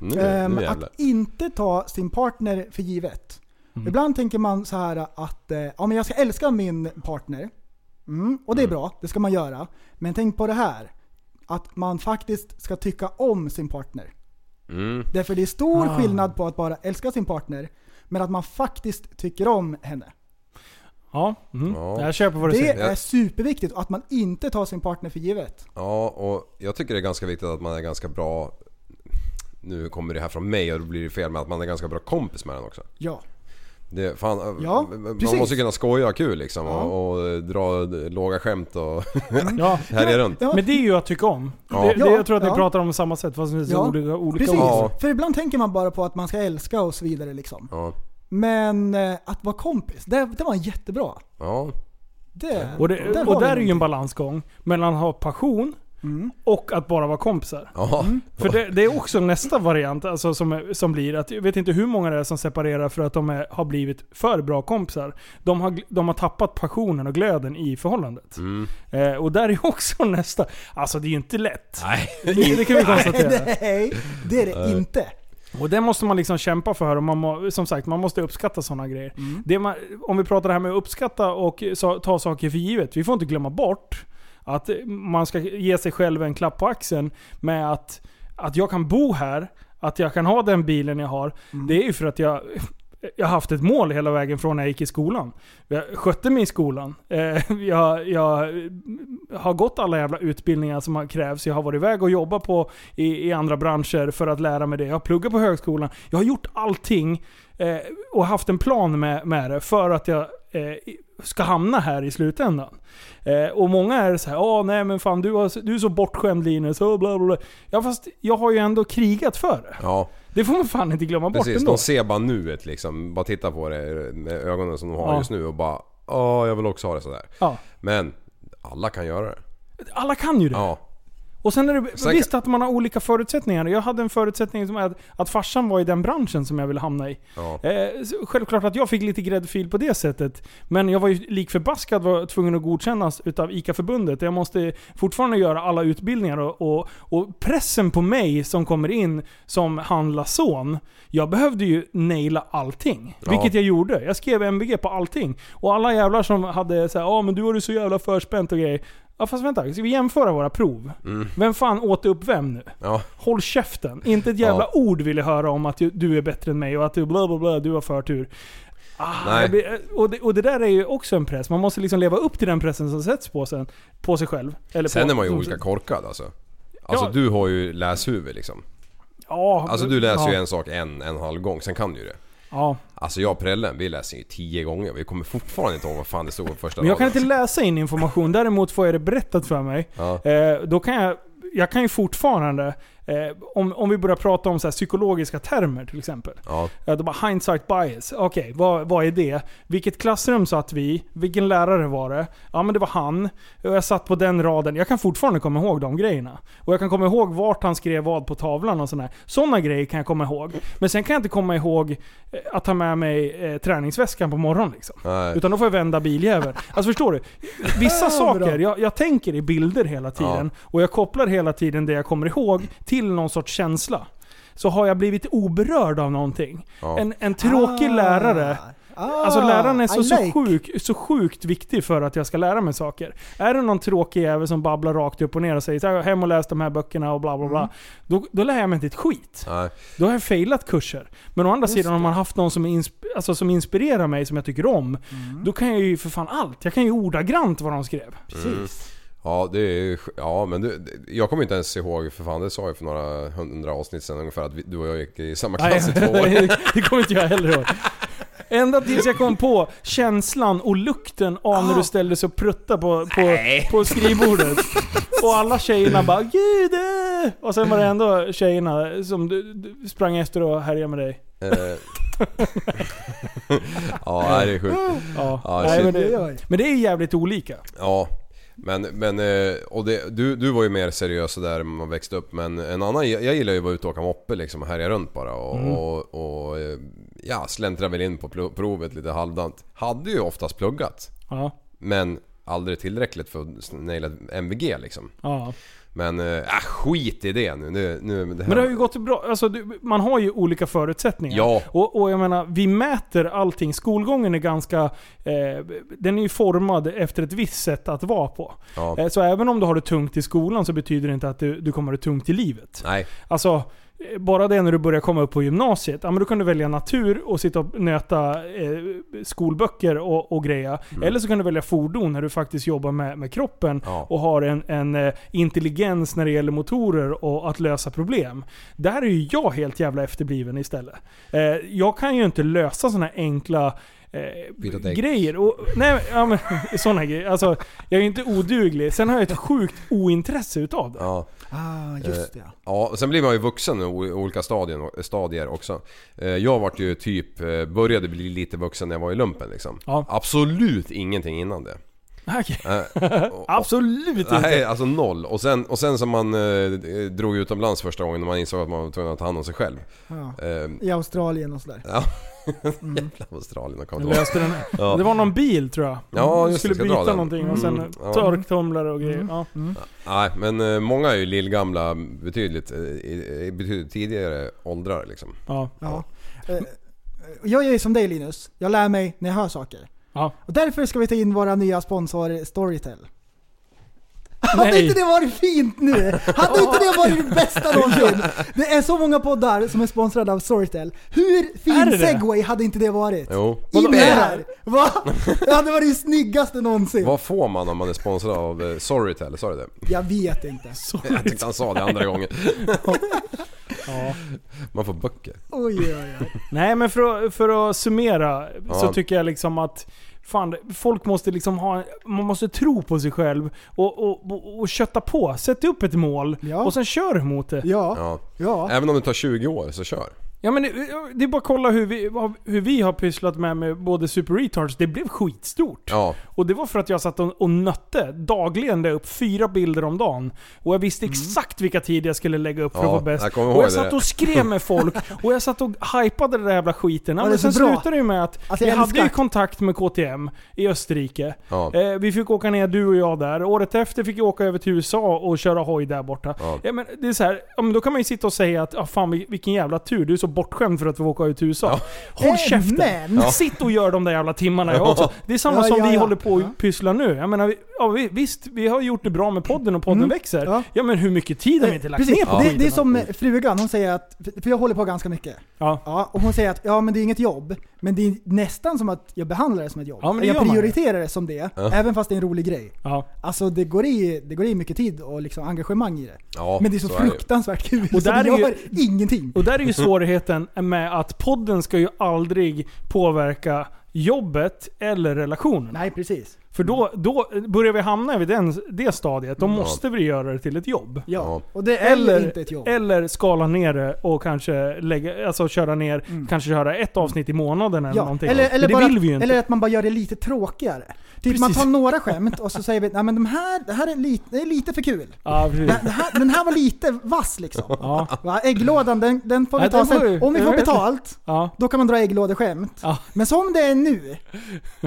G: Nu,
H: Ehm,
G: nu jävlar.
H: att inte ta sin partner för givet.
F: Mm.
H: Ibland tänker man så här att eh, ja, men jag ska älska min partner. Mm, och det är bra, det ska man göra. Men tänk på det här. Att man faktiskt ska tycka om sin partner.
G: Mm.
H: Därför det är stor
F: Ah.
H: skillnad på att bara älska sin partner, men att man faktiskt tycker om henne.
F: Ja. Mm.
G: Ja.
F: Jag köper vad du
H: Det
F: säger.
H: är superviktigt, och att man inte tar sin partner för givet.
G: Ja, och jag tycker det är ganska viktigt att man är ganska bra... Nu kommer det här från mig och då blir det fel, men att man är ganska bra kompis med den också.
H: Ja.
G: Det, fan,
H: Ja,
G: man
H: precis.
G: måste kunna skoja och kul liksom och, och dra låga skämt och
F: Ja.
G: härja runt.
H: Ja,
F: Men det är ju att tycka om.
G: Ja.
F: Det, det,
H: Ja,
F: jag tror att ni
H: mm. ja.
F: pratar om samma sätt fast med så
H: Ja,
F: olika, olika
H: Precis,
F: ord.
G: Ja.
H: för ibland tänker man bara på att man ska älska och så vidare liksom.
G: Ja,
H: Men eh, att vara kompis, det, det var jättebra.
G: ja,
H: Det,
F: Och,
H: där
F: det,
H: har
F: och
H: vi
F: där är ju en
H: någonting. Mm.
F: balansgång mellan att ha passion och att bara vara kompisar.
G: ja.
F: För det, det är också nästa variant alltså, som, är- som blir att, jag vet inte hur många det är som separerar för att de är, har blivit för bra kompisar. De har, gl- de har tappat passionen och glöden i förhållandet.
G: Mm.
F: Eh, och där är också nästa. Alltså det är ju inte lätt.
G: Nej.
F: Det, det kan vi konstatera.
H: Nej, det är det inte.
F: Och det måste man liksom kämpa för. Och man må, som sagt, man måste uppskatta sådana grejer. Det man, om vi pratar det här med att uppskatta och sa- ta saker för givet. Vi får inte glömma bort att man ska ge sig själv en klapp på axeln med att, att jag kan bo här, att jag kan ha den bilen jag har. Det är ju för att jag jag har haft ett mål hela vägen från när jag gick i skolan. Jag skötte mig i skolan. Eh, Jag, jag har gått alla jävla utbildningar som har krävs. Jag har varit iväg och jobbat på i, i andra branscher för att lära mig det. Jag har pluggat på högskolan. Jag har gjort allting eh, och haft en plan med, med det för att jag eh, ska hamna här i slutändan. Eh, och många är så här, ja nej men fan du, har, du är så bortskämd Linus. Och bla, bla, bla. Ja fast jag har ju ändå krigat för det.
G: ja.
F: Det får man fan inte glömma bort
G: Precis,
F: ändå.
G: de ser bara nuet liksom. Bara titta på det med ögonen som de har
F: Ja.
G: just nu och bara Åh, jag vill också ha det sådär.
F: Ja.
G: Men alla kan göra det.
F: Alla kan ju det.
G: Ja.
F: Och sen är det
G: Sen-
F: visst att man har olika förutsättningar. Jag hade en förutsättning som är att, att farsan var i den branschen som jag ville hamna i.
G: ja.
F: Eh, så självklart att jag fick lite gräddfil på det sättet. Men jag var ju lik förbaskad var tvungen att godkännas utav ICA-förbundet. Jag måste fortfarande göra alla utbildningar och, och, och pressen på mig som kommer in som handlarson. Jag behövde ju naila allting.
G: Ja.
F: Vilket jag gjorde. Jag skrev MBG på allting. Och alla jävlar som hade såhär ja men du har det så jävla förspänt och grejer. Ja fast vänta, ska vi jämföra våra prov?
G: Mm.
F: Vem fan åt upp vem nu?
G: Ja.
F: Håll käften. Inte ett jävla ord vill jag höra om att du- du är bättre än mig och att du bla bla bla, du har förtur. Ah,
G: Nej.
F: jag blir, eh, och, det, och det där är ju också en press. Man måste liksom leva upp till den pressen som sätts på, sen, på sig själv. Eller
G: Sen
F: på,
G: är man ju olika korkad alltså. Alltså
F: Ja.
G: du har ju läshuvud liksom.
F: Ja,
G: Alltså du läser
F: ja,
G: ju en sak en, en halv gång, sen kan du ju det.
F: Ja.
G: Alltså jag och prällen, vi läser ju tio gånger. Vi kommer fortfarande inte ihåg vad fan det stod på första
F: Men jag kan
G: raden.
F: inte läsa in information, däremot får jag det berättat för mig.
G: Ja.
F: Eh, då kan jag, jag kan ju fortfarande, eh, om, om vi börjar prata om så här psykologiska termer till exempel.
G: Ja.
F: Ja, det var hindsight bias. Okej, vad, vad är det? Vilket klassrum satt vi i? Vilken lärare var det? Ja, men det var han. Och Jag satt på den raden. Jag kan fortfarande komma ihåg de grejerna. Och jag kan komma ihåg vart han skrev vad på tavlan och sådär. Sådana grejer kan jag komma ihåg. Men sen kan jag inte komma ihåg eh, att ta med mig eh, träningsväskan på morgonen liksom.
G: Nej.
F: Utan då får jag vända biljäveln. Alltså förstår du? Vissa saker, jag, jag tänker i bilder hela tiden. Och jag kopplar hela tiden det jag kommer ihåg till någon sorts känsla. Så har jag blivit oberörd av någonting.
G: Ja.
F: En, en tråkig lärare.
H: Ah,
F: Alltså läraren är
H: I
F: så, så,
H: like.
F: sjuk, så sjukt viktig för att jag ska lära mig saker. Är det någon tråkig jävel som babblar rakt upp och ner och säger så här, hem och läs de här böckerna och bla bla
H: Mm.
F: bla. Då, då lär jag mig inte ett skit.
G: Nej.
F: Då har jag failat kurser. Men å andra
H: Just
F: sidan om man haft någon som, är insp- alltså, som inspirerar mig, som jag tycker om.
H: Mm.
F: Då kan jag ju för fan allt. Jag kan ju ordagrant vad de skrev.
H: Precis.
G: Mm. Ja, det är ju- Ja, men du, det- jag kommer inte ens ihåg, för fan det sa jag för några hundra avsnitt sedan ungefär att vi, du och jag gick i samma klass i två år.
F: Nej, det kommer inte jag heller ihåg. Ända tills jag kom på känslan och lukten av
G: Ah.
F: när du ställde dig och pruttade på, på, på skrivbordet. Och alla tjejerna bara 'Gud!' eh." Och sen var det ändå tjejerna som du, du sprang efter och härjade med dig.
G: Eh. ja, nej, det är sjukt.
F: Ja.
G: Ja,
F: Nej,
G: shit.
F: men,
H: Oj,
F: det,
H: oj.
F: men det är jävligt olika.
G: Ja. Men, men eh, och det, du, du var ju mer seriös där när man växte upp men en annan, jag, jag gillar ju att vara ute och åka moppe liksom och härja runt bara och,
F: Mm.
G: och, och eh, ja, släntra väl in på plo- provet lite halvdant. Hade ju oftast pluggat
F: Ja.
G: men aldrig tillräckligt för att naila MVG liksom.
F: Ja.
G: Men äh, skit i det nu. nu, nu det här.
F: Men det har ju gått bra. Alltså, du, man har ju olika förutsättningar.
G: Ja.
F: Och, och jag menar, vi mäter allting. Skolgången är ganska... Eh, den är ju formad efter ett visst sätt att vara på.
G: Ja.
F: Eh, så även om du har det tungt i skolan så betyder det inte att du, du kommer ha det tungt i livet.
G: Nej,
F: Alltså, eh, bara det när du börjar komma upp på gymnasiet. Ja, men då kan du välja natur och sitta och nöta eh, skolböcker och, och greja.
G: Mm.
F: Eller så kan du välja fordon när du faktiskt jobbar med, med kroppen
G: Ja.
F: och har en, en eh, intelligens när det gäller motorer och att lösa problem. Där är ju jag helt jävla efterbliven istället. Eh, jag kan ju inte lösa sådana enkla
G: Byta
F: Eh,
G: däck.
F: grejer. Och, nej, ja, men, såna grejer. Alltså, jag är ju inte oduglig. Sen har jag ett sjukt ointresse utav det.
G: ja.
H: Ah, just
G: Eh.
H: det.
G: ja. Och sen blir man ju vuxen i o- olika stadion, stadier också. Eh, Jag vart ju typ, eh, började bli lite vuxen när jag var i lumpen liksom.
F: Ja.
G: Absolut ingenting innan det.
F: Okej.
G: Eh, och-
F: Absolut inte.
G: Nej, alltså noll. Och sen, och sen som man eh, drog utomlands första gången när man insåg att man var tvungen att ta hand om sig själv.
H: Ja.
G: Eh,
H: I Australien och sådär. Mm,
G: ja. Jävla Australien och
F: Jag
G: kommer
F: löste den. Det var någon bil tror jag.
G: Ja,
F: Vi
G: just det,
F: skulle
G: ska
F: byta
G: dra den.
F: någonting och sen
G: Mm, ja.
F: torktumlare och grejer. Ja.
G: Nej, men eh, många är ju lillgamla betydligt, eh, i- i betydligt tidigare åldrar liksom.
F: Ja.
H: Ja. Eh, Jag är ju som dig Linus, jag lär mig när jag hör saker.
F: Ja.
H: Och därför ska vi ta in våra nya sponsor Storytel. Hade
F: Nej.
H: inte det varit fint nu? Hade inte det varit det bästa någonsin? Det är så många poddar som är sponsrade av Storytel. Hur
F: Är det
H: fin
F: det?
H: segway hade inte det varit?
G: Jo.
H: In med det här! Va? Det hade varit det snyggaste någonsin.
G: Vad får man om man är sponsrad av eh, Storytel? Sa du det?
H: Jag vet inte.
G: Jag tyckte han sa det andra gången.
F: Ja.
G: Man får böcker.
H: Oj, oj, oj.
F: Nej men för att, för att summera så
G: Ja.
F: tycker jag liksom att Fan, folk måste liksom ha, man måste tro på sig själv och, och, och, och kötta på. Sätt upp ett mål
H: Ja.
F: och sen kör mot det.
H: Ja,
G: Ja.
H: ja.
G: Även om det tar 20 år så kör.
F: Ja men det, det är bara att kolla hur vi, vad- hur vi har pysslat med, med både Super Retards. Det blev skitstort.
G: Ja.
F: Och det var för att jag satt och, och nötte dagligen där upp fyra bilder om dagen. Och jag visste exakt vilka tider jag skulle lägga upp för
G: Ja,
F: att vara bäst.
G: jag kommer ihåg
F: och jag
G: det
F: satt
G: där.
F: och skrev med folk och jag satt och hypade den där jävla skiten. Ja,
H: Var det
F: men sen
H: så bra?
F: slutade det ju med att
H: Alltså,
F: vi
H: jag
F: hade ju
H: älskar-
F: kontakt med KTM i Österrike.
G: Ja.
F: Eh, vi fick åka ner du och jag där. Året efter fick jag åka över till USA och köra hoj där borta.
G: Ja.
F: Ja. men det är så här, ja, men då kan man ju sitta och säga att ah, fan vil- vilken jävla tur, du är så bortskämd för att vi åker ut till USA. Håll
H: Men-
F: käften!
H: Ja.
F: Sitt och gör de där jävla timmarna jag också. Det är samma
H: Ja,
F: som
H: ja,
F: vi
H: ja.
F: håller på och
H: Ja.
F: pysslar nu. Jag menar, vi, ja, vi, visst, vi har gjort det bra med podden och podden
H: Mm.
F: växer.
H: Ja.
F: Ja. men hur mycket tid har vi inte lagt
H: Precis,
F: ner på
H: det,
F: skiten?
H: det är som frugan, hon säger att, för- för jag håller på ganska mycket.
F: Ja.
H: Ja, och hon säger att ja men det är inget jobb, men det är nästan som att jag behandlar det som ett jobb.
F: Ja, men det
H: jag
F: gör man ju.
H: prioriterar det som det, även fast det är en rolig grej.
F: Ja.
H: Alltså det går i, det går i mycket tid och liksom engagemang i det.
G: Ja,
H: men det är så,
G: så är det ju.
H: fruktansvärt kul,
F: Och
H: så
F: där
H: det
F: är ju-
H: gör ingenting.
F: Och där är ju svårigheten med att podden ska ju aldrig påverka jobbet eller relationen.
H: Nej precis.
F: För då, då börjar vi hamna vid den, det stadiet, då måste vi göra det till ett jobb.
H: Ja.
G: Ja.
H: Och det är
F: Eller,
H: inte ett jobb.
F: eller skala ner det och kanske lägga, alltså köra ner, kanske köra ett avsnitt i månaden eller
H: Mm. Ja.
F: någonting.
H: Eller,
F: Men
H: eller,
F: det
H: bara,
F: vill vi ju inte.
H: eller att man bara gör det lite tråkigare. Typ man
F: Precis.
H: tar några skämt och så säger vi nej men de här, det här är lite, det är lite för kul.
F: ja,
H: Det
F: precis.
H: här, den här var lite vass liksom.
F: Ja,
H: Va? Ägglådan, den, den får vi
F: Nej,
H: ta
F: den får vi-
H: sen. Om vi
F: jag
H: får
F: vet
H: betalt,
F: ja.
H: då kan man dra ägglådeskämt.
F: Ja.
H: Men som det är nu,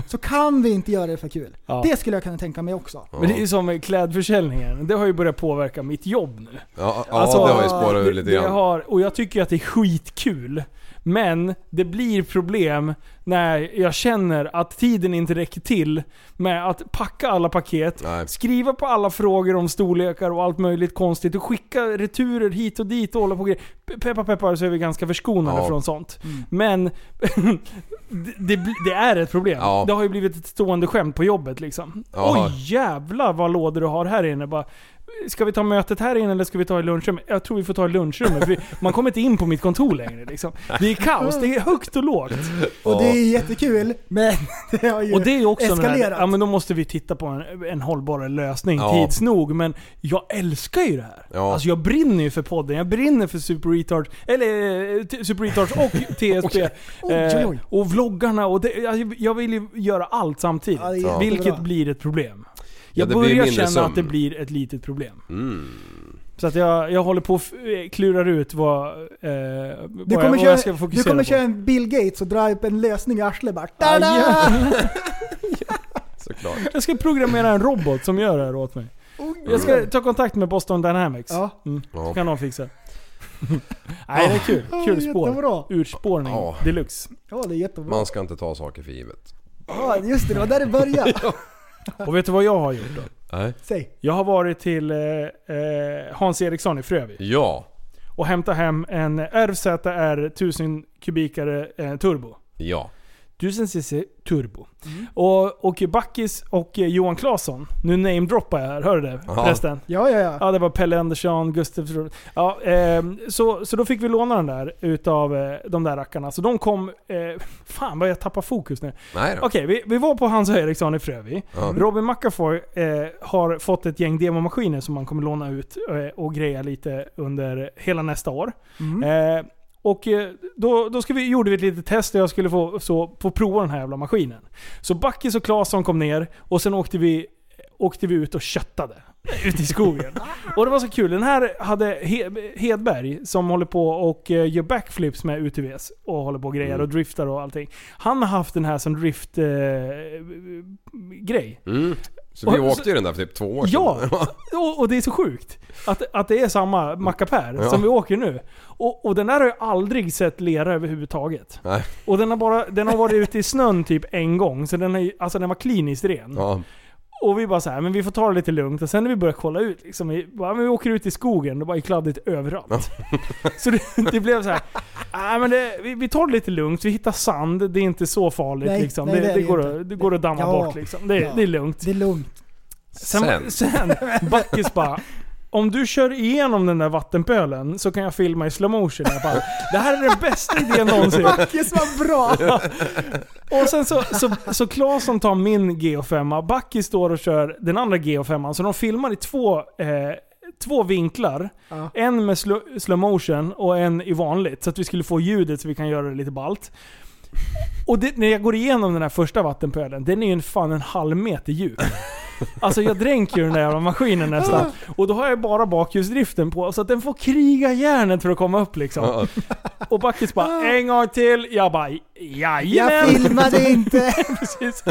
H: så kan vi inte göra det för kul.
F: Ja.
H: Det skulle jag kunna tänka mig också.
F: Men det är ju som med klädförsäljningen. Det har ju börjat påverka mitt jobb nu.
G: Ja, ja
F: Alltså,
G: det har ju spårat ur lite
F: det
G: grann.
F: har, och jag tycker att det är skitkul. Men det blir problem när jag känner att tiden inte räcker till med att packa alla paket,
G: Nej.
F: skriva på alla frågor om storlekar och allt möjligt konstigt och skicka returer hit och dit och hålla på grejer. Pe- Peppar peppar så är vi ganska förskonade
G: Ja.
F: från sånt. Men det, det, bli- det är ett problem.
G: Ja.
F: Det har ju blivit ett stående skämt på jobbet liksom.
G: Ja.
F: Oj jävlar vad lådor du har här inne. Bara, Ska vi ta mötet här inne eller ska vi ta i lunchrummet? Jag tror vi får ta i lunchrummet. För vi- man kommer inte in på mitt kontor längre. Liksom. Det är kaos, det är högt och lågt.
H: Och det är jättekul, men det har ju
F: Och det är ju också den här,
H: eskalerat.
F: ja, men då måste vi titta på en, en hållbarare lösning
G: Ja.
F: tids nog. Men jag älskar ju det här.
G: Ja.
F: Alltså jag brinner ju för podden, jag brinner för Super Retards, eller eh, t- Super Retards och TSP.
H: Oj, oj, oj.
F: Eh, och vloggarna och det, jag, jag vill ju göra allt samtidigt.
H: Ja, det är jättebra.
F: Vilket blir ett problem.
G: Ja,
F: Jag
G: det blir
F: börjar
G: mindre
F: känna
G: sömn.
F: att det blir ett litet problem.
G: Mm,
F: Så att jag, jag håller på att f- eh, klurar ut vad, eh, vad,
H: du
F: jag,
H: kommer,
F: vad jag ska
H: köra,
F: fokusera
H: du kommer
F: på.
H: köra en Bill Gates och dra upp en lösning i arslet bara.
F: Ah,
H: Tada!
F: jävlar.
G: Såklart.
F: Jag ska programmera en robot som gör det här åt mig. Jag ska ta kontakt med Boston Dynamics.
H: Oh, Ja.
F: Mm.
G: Ja.
F: kan de fixa. Nej, det är kul. Kul spår.
H: Jättebra.
F: Urspårning
G: Ja.
F: deluxe.
H: Ja, det är jättebra.
G: Man ska inte ta saker för givet.
H: Ja, just det, det var där det började.
F: Och vet du vad jag har gjort då?
G: Nej.
H: Säg.
F: Jag har varit till eh, eh, Hans Eriksson i Frövi
G: Ja.
F: och hämtat hem en RZR 1000 kubikare eh, turbo.
G: Ja.
F: 1000cc turbo. Och, och Backis och eh, Johan Claesson, nu namedroppar jag här, hör du det
G: Ja.
F: förresten?
H: Ja, ja, ja.
F: Ja, det var Pelle Andersson, Gustav... Ja, ehm, så, så då fick vi låna den där utav eh, de där rackarna. Så de kom... Eh, fan vad jag tappar fokus nu.
G: Nej då.
F: Okej, vi, vi var på Hans Eriksson i Frövi.
G: Ja.
F: Robin McAfoy eh, har fått ett gäng demomaskiner som man kommer låna ut eh, och greja lite under hela nästa år. Eh, och eh, då, då ska vi, gjorde vi ett litet test där jag skulle få, så, få prova den här jävla maskinen. Så Backis och Claesson kom ner och sen åkte vi, åkte vi ut och köttade. Ute i skogen. och det var så kul. Den här hade He- Hedberg som håller på och eh, gör backflips med UTVs och håller på och grejer och driftar och allting. Han har haft den här som drift eh, grej.
G: Mm. Så vi
F: Och-
G: åkte ju den där för typ två år
F: Ja!
G: sedan.
F: Och, och det är så sjukt. Att, att det är samma mackapär
G: Ja.
F: som vi åker nu. Och, och den där har jag aldrig sett lera överhuvudtaget.
G: Nej.
F: Och den har, bara, den har varit ute i snön typ en gång, så den, är, ju- alltså den var kliniskt ren.
G: Ja.
F: Och vi bara så här, men vi får ta det lite lugnt. Och sen när vi börjar kolla ut, liksom, vi, bara, men vi åker ut i skogen, det bara är kladdigt överallt. så det, det blev så här, "Nej, men det, vi, vi tar det lite lugnt, vi hittar sand, det är inte så farligt.
H: Nej,
F: liksom.
H: nej,
F: det,
H: det
F: det,
H: är det
F: går,
H: inte.
F: att- det går att damma
H: Ja.
F: bort liksom. Det,
H: Ja.
F: det är lugnt.
H: Det är lugnt.
F: Sen, sen Backis bara om du kör igenom den där vattenpölen så kan jag filma i slow motion. Jag bara, det här är den bästa idén någonsin.
H: Backes var bra!
F: Och sen så, så, så Claesson tar min GH5, Backis står och kör den andra GH5, så de filmar i två, eh, två vinklar.
H: Ja.
F: En med sl- slow motion och en i vanligt. Så att vi skulle få ljudet så vi kan göra det lite balt. Och det, när jag går igenom den här första vattenpölen, den är ju en fan en halv meter djup. Alltså jag dränker ju den där jävla maskinen nästan. Och då har jag bara bakhjulsdriften på, så att den får kriga järnet för att komma upp liksom.
G: Ja,
F: Och Backis bara en gång till. Jag bara
H: Jag
F: jajamän.
H: filmade inte!
F: Precis.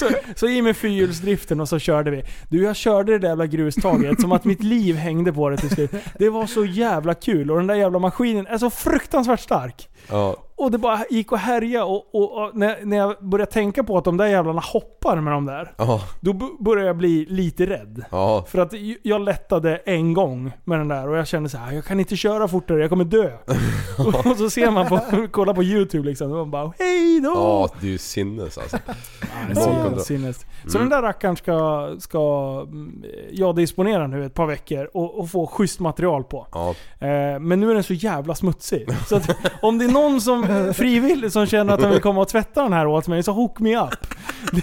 F: Så, så i med fyrhjulsdriften och så körde vi. Du, jag körde det där jävla grustaget som att mitt liv hängde på det till slut. Det var så jävla kul och den där jävla maskinen är så fruktansvärt stark.
G: ja.
F: Och det bara gick och härja och, och, och när, när jag började tänka på att de där jävlarna hoppar med de där.
G: Ja,
F: Då b- började jag bli lite rädd.
G: ja.
F: För att ju- jag lättade en gång med den där och jag kände så här: jag kan inte köra fortare, jag kommer dö. och, och så ser man på, kollar på YouTube liksom, och man bara hej då!
G: Ja, det är ju sinnes alltså.
F: Det är så
G: Noll
F: jävla
G: kontroll.
F: sinnes. Så
G: Mm.
F: den där rackaren ska, ska mm, jag disponera nu ett par veckor och, och få schysst material på.
G: Ja,
F: Eh, men nu är den så jävla smutsig. Så att, om det är någon som eh, frivilligt som känner att de vill komma och tvätta den här åt mig, så hook me up. Det,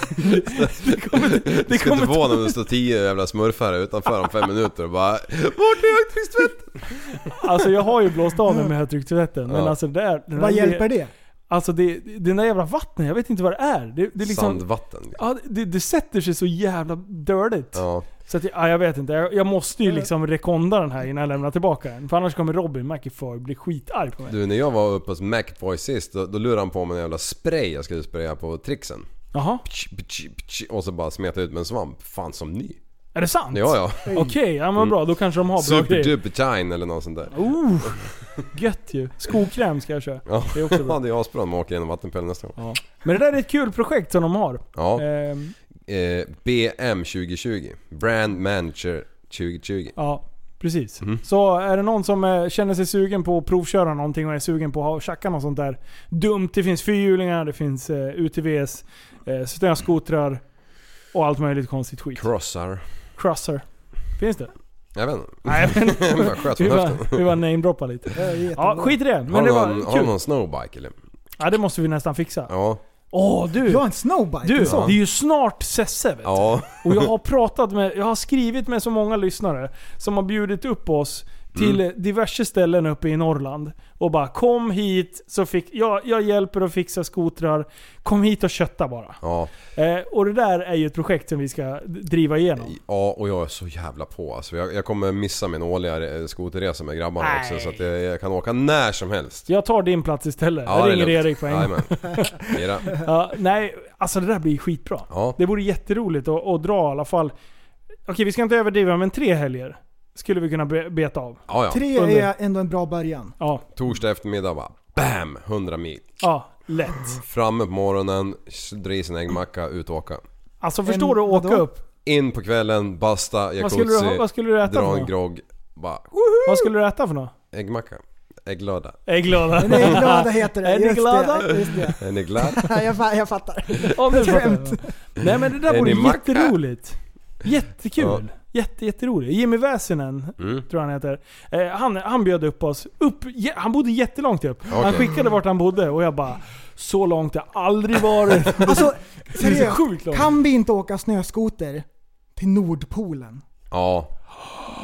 F: det kommer, det
G: jag skulle
F: kommer
G: inte förvåna om det står tio jävla smurfar här utanför om fem minuter och bara Vart är högtryckstvätt?
F: Alltså jag har ju blåst av den med högtryckstvätten, men
G: Ja.
F: alltså där... Den
H: Vad
F: där-
H: hjälper det?
F: Alltså det, den där jävla vattnet, jag vet inte vad det är. Det, det är liksom...
G: Sandvatten.
F: Ja, det, det sätter sig så jävla dirtigt.
G: Ja.
F: Så att, jag- ja, jag vet inte. Jag, jag måste ju liksom rekonda den här innan jag lämnar tillbaka den. För annars kommer Robin McIfoy bli skitarg på mig.
G: Du, när jag var uppe hos Macboy sist, då, då lurade han på mig en jävla spray jag skulle spraya på trixen.
F: Jaha?
G: Ptsch, ptsch, ptsch, Och så bara smeta ut med en svamp. Fan som ny.
F: Är det sant?
G: Ja, ja.
F: Okej, ja men bra. Då kanske de har bra
G: Super
F: grejer.
G: duper shine eller något sånt där.
F: Oh, gött ju. Skokräm ska jag köra.
G: Ja,
F: Det är också bra.
G: det är asbra om man åker genom vattenpölen nästa gång.
F: Men det där är ett kul projekt som de har.
G: Ja.
F: Ehm,
G: Eh, BM 2020. Brand Manager 2020.
F: ja, precis.
G: Mm.
F: Så är det någon som eh, känner sig sugen på att provköra någonting och är sugen på att ha och tjacka något sånt där dumt. Det finns fyrhjulingar, det finns eh, UTVs, eh, snöskotrar och allt möjligt konstigt skit.
G: Crossar.
F: Crusher. Finns det?
G: Jag vet inte.
F: Nej men...
G: Alltså, Jag bara sköt
F: Vi
G: från höften.
F: bara, vi bara namedroppar lite.
H: Jag vet
F: Ja,
H: inte.
F: skit i det.
G: Har
F: Men
G: du
F: det var
G: någon, har du
F: kul.
G: någon snowbike eller?
F: Ja, det måste vi nästan fixa.
G: Ja.
F: Åh du!
H: Jag har en snowbike.
F: Du,
H: en
F: det
H: sån.
F: är ju snart Sesse vet du.
G: Ja.
F: Och jag har pratat med, jag har skrivit med så många lyssnare som har bjudit upp oss till
G: Mm.
F: diverse ställen uppe i Norrland. Och bara kom hit, så fick, jag, jag hjälper att fixa skotrar. Kom hit och kötta bara.
G: Ja.
F: Eh, och det där är ju ett projekt som vi ska d- driva igenom.
G: Ja, och jag är så jävla på alltså. jag, jag kommer missa min årliga re- skoterresa med grabbarna också. Så att jag, jag kan åka när som helst.
F: Jag tar din plats istället.
G: Ja,
F: jag
G: det är
F: ringer
G: lugnt.
F: Erik på en gång.
G: Jajamän. Mira.
F: Ja, nej, alltså det där blir skitbra.
G: Ja.
F: Det vore jätteroligt att, att dra i alla fall. Okej, vi ska inte överdriva, men tre helger skulle vi kunna be- beta av.
G: Ja, ja.
H: Tre
F: Under.
H: är ändå en bra början.
F: Ja,
G: Torsdag eftermiddag bara BAM! 100 mil.
F: ja lätt.
G: Framme på morgonen, s- dra i sin äggmacka, ut och åka.
F: Alltså
H: En-
F: förstår du att åka
H: vadå?
F: upp?
G: In på kvällen, basta,
F: Vad skulle, du,
G: jacuzzi,
F: ha- vad skulle du äta för
G: dra en
F: något?
G: grogg. Bara
F: Vad skulle du äta för något?
G: äggmacka. Ägglöda.
F: Ägglöda.
H: Men är glada heter det.
F: Är ni
H: Just
F: glada?
H: Det. Just det.
G: Är ni glad?
H: Jag, fa- jag fattar.
F: Om du fattar.
H: Skämt.
F: Nej men det
G: Är
F: där vore
G: ni macka?
F: jätteroligt.
G: Ja.
F: Jättekul. Jätte, jätteroligt. Jimmy Väsinen,
G: Mm.
F: tror jag han heter. Eh, han, han bjöd upp oss. Upp, jä- han bodde jättelångt upp. Han
G: Okej.
F: skickade vart han bodde och jag bara Så långt har jag aldrig varit.
H: Alltså,
F: Det är så
H: seriöst.
F: sjukt långt.
H: Kan vi inte åka snöskoter till Nordpolen?
G: Ja.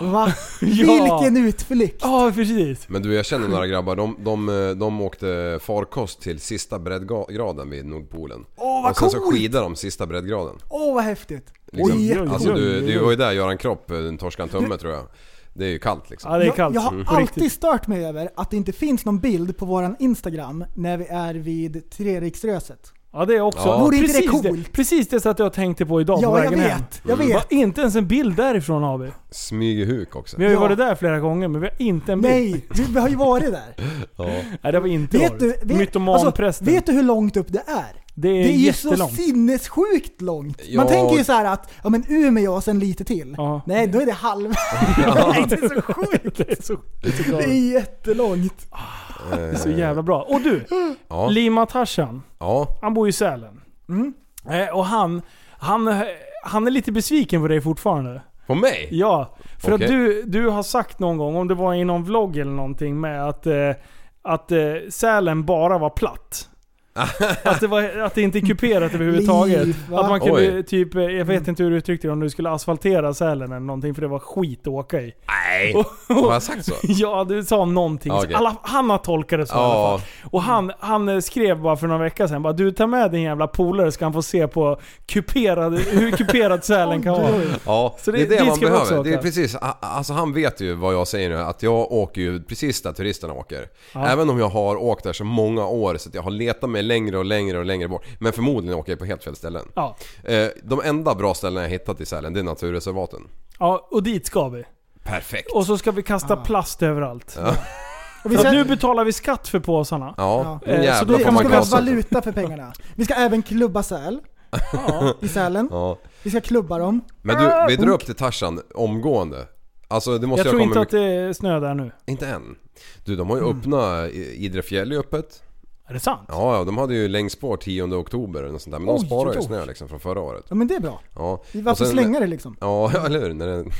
H: Va?
F: Ja.
H: Vilken utflykt!
F: Ja, precis.
G: Men du jag känner några grabbar, de, de, eh, de åkte farkost till sista breddgraden vid Nordpolen.
H: Åh vad
G: och sen så
H: coolt!
G: skidade de sista breddgraden.
H: Åh vad häftigt!
G: Liksom.
H: Oj,
F: oj,
G: Alltså
F: oj,
G: du,
F: oj,
G: det
F: oj.
G: var ju där Göran Kropp eh, torskade en tumme tror jag. Det är ju kallt liksom.
F: Ja, det är
H: Jag,
F: kallt.
H: jag har
F: Mm. På
H: alltid
F: riktigt.
H: stört mig över att det inte finns någon bild på våran Instagram när vi är vid Treriksröset.
F: Ja, det är också.
G: Ja.
H: Vore inte det
F: precis,
H: coolt?
F: precis det satt jag och tänkte på idag på
H: Ja, jag
F: vägen hem. Mm.
H: vet! Jag vet!
F: Va, inte ens en bild därifrån har vi.
G: Smygehuk också.
F: Vi har ju
H: Ja.
F: varit där flera gånger men vi har inte en bild.
H: Nej, vi, vi har ju varit där.
G: Ja.
F: Nej, det var inte
H: Vet du,
F: varit.
H: vet, alltså,
F: Mytomanprästen.
H: vet du hur långt upp det är?
F: det är,
H: Det är ju så
F: jättelångt.
H: sinnessjukt långt. Man
G: Ja.
H: tänker ju så här att, ja men Umeå och sen lite till.
F: Ja.
H: Nej, då är det halva. Nej, det är så sjukt.
F: det är så, det är så,
H: Det
F: galet.
H: är jättelångt.
F: Det är så jävla bra. Och du,
G: Ja.
F: Lima Tarzan.
G: ja.
F: Han bor ju i Sälen.
H: Mm.
F: Eh, och han, han, eh, han är lite besviken på dig fortfarande.
G: På mig?
F: Ja, för
G: Okej.
F: att du, du har sagt någon gång, om det var i någon vlogg eller någonting, med att, eh, att eh, Sälen bara var platt. att, det var, att det inte är kuperat överhuvudtaget.
H: Liv, va?
F: att man kunde
G: Oj.
F: typ, eh, jag vet inte hur du uttryckte det, om du skulle asfaltera Sälen eller någonting för det var skit att åka i.
G: Nej! Har jag sagt så?
F: Ja, du sa någonting.
G: Ja, okej.
F: Alla, han har tolkat det så i
G: Ja.
F: alla fall. Och han, han eh, skrev bara för några veckor sedan bara du tar med din jävla polare ska han få se på kuperad, hur kuperad sälen kan vara.
G: Ja,
F: Så det-
G: det, är det
F: dit
G: man
F: ska vi också
G: behöver. Det är
F: åka.
G: precis, a- alltså han vet ju vad jag säger nu, att jag åker ju precis där turisterna åker. Även om jag har åkt där så många år så att jag har letat mig längre och längre och längre bort. Men förmodligen åker jag på helt fel ställen.
F: Ja.
G: Eh, De enda bra ställen jag hittat i Sälen, det är naturreservaten.
F: ja, och dit ska vi.
G: Perfekt!
F: Och så ska vi kasta plast överallt.
H: Och vi
F: Så
H: ska,
F: nu betalar vi skatt för påsarna.
G: Ja,
F: Eh, så
G: nu
F: då
G: jävlar
H: vi
G: får
H: ska
F: man
G: man
H: vi ha
G: gasa.
H: valuta för pengarna. Vi ska även klubba säl. I Sälen.
G: Ja.
H: Vi ska klubba dem.
G: Men du, vi drar upp till Tarzan omgående. Alltså det måste
F: Jag
G: jag,
F: tror
G: komma
F: inte Mm. att
G: mycket...
F: det är snö där nu.
G: Inte än. Du, de har ju öppnat I- Idre fjäll är öppet.
F: Är det sant?
G: Ja, ja, de hade ju längdspår 10 oktober eller något sånt där. Men
H: Oj,
G: de sparar ju
H: oj, oj.
G: snö liksom från förra året.
H: Ja men det är bra.
G: Ja.
H: Vi
G: och
H: varför
G: sen-
H: slänga det liksom?
G: Ja, ja, eller hur? När den-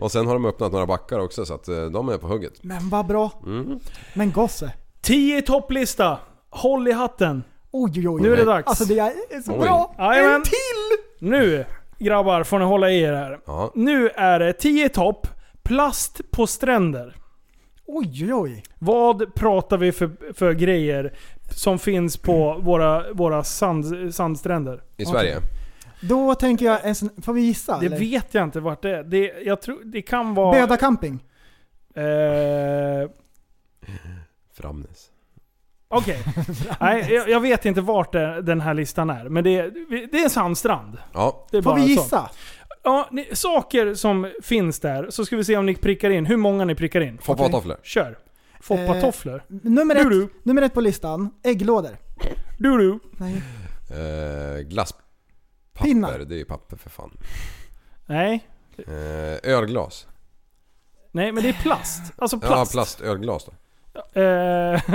G: Och sen har de öppnat några backar också så att eh, de är på hugget.
H: Men vad bra.
F: Mm.
H: Men gosse.
F: 10 i topplista. Håll i hatten.
H: Oj oj oj.
F: Nu är det dags.
H: Alltså det är så
G: Oj.
H: bra.
F: Jajamän.
H: En till!
F: Nu grabbar får ni hålla i er här.
G: Ja.
F: Nu är det 10 i topp. Plast på stränder.
H: Oj oj oj.
F: Vad pratar vi för, för grejer som finns på våra, våra sand, sandstränder?
G: I Sverige.
H: Då tänker jag en sån, får vi gissa
F: Det
H: eller?
F: vet jag inte vart det är. Det, jag tror, det kan vara...
H: Böda camping.
F: Eh,
G: Framnäs.
F: Okej. Nej, jag, jag vet inte vart det, den här listan är. Men det, är- det är en sandstrand.
G: Ja.
F: Det är
H: Får
F: bara
H: vi
F: så.
H: gissa?
F: Ja, ni, saker som finns där, så ska vi se om ni prickar in. Hur många ni prickar in.
G: Foppa tofflor.
F: Kör.
H: Eh.
F: Foppatofflor.
H: Nummer
F: Du, du.
H: ett, nummer ett på listan, ägglådor.
F: Du du.
H: Nej.
G: Eh, glasspapper.
H: Pinnar.
G: Det är ju papper för fan.
F: Nej.
G: Eh, ölglas.
F: Nej, men det är plast. Alltså
G: Ja,
F: plast.
G: plast. Ölglas då.
F: Eh,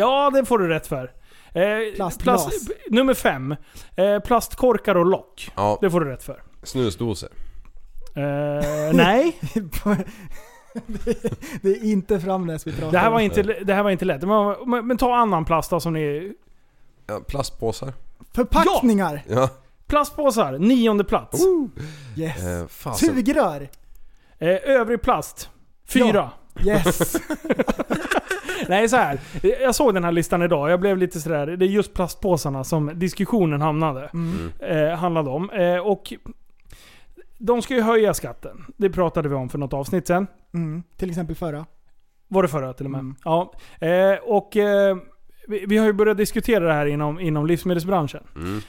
F: ja, det får du rätt för. Eh,
H: Plastglas.
F: nummer fem. Eh, plastkorkar och lock.
G: Ja,
F: Det får du rätt för.
G: snusdoser.
F: Eh, nej,
H: Det är inte Framnäs vi pratar
F: det här, var
H: om.
F: inte, det här var inte lätt. Men, men, men ta annan plast då, som ni...
G: Ja, plastpåsar.
H: Förpackningar!
G: Ja.
F: Plastpåsar, nionde plats.
H: Yes.
G: Eh, fasen.
H: Sugrör!
F: Eh, övrig plast, fyra.
H: Yes!
F: Nej, så här. Jag såg den här listan idag. Jag blev lite sådär. Det är just plastpåsarna som diskussionen hamnade,
H: Mm,
G: Mm,
F: eh, handlade om. Eh, och de ska ju höja skatten. Det pratade vi om för något avsnitt sen.
H: Mm. Till exempel förra.
F: Var det förra till och med?
H: Mm.
F: Ja. Eh, och eh, vi, vi har ju börjat diskutera det här inom, inom livsmedelsbranschen.
G: mm.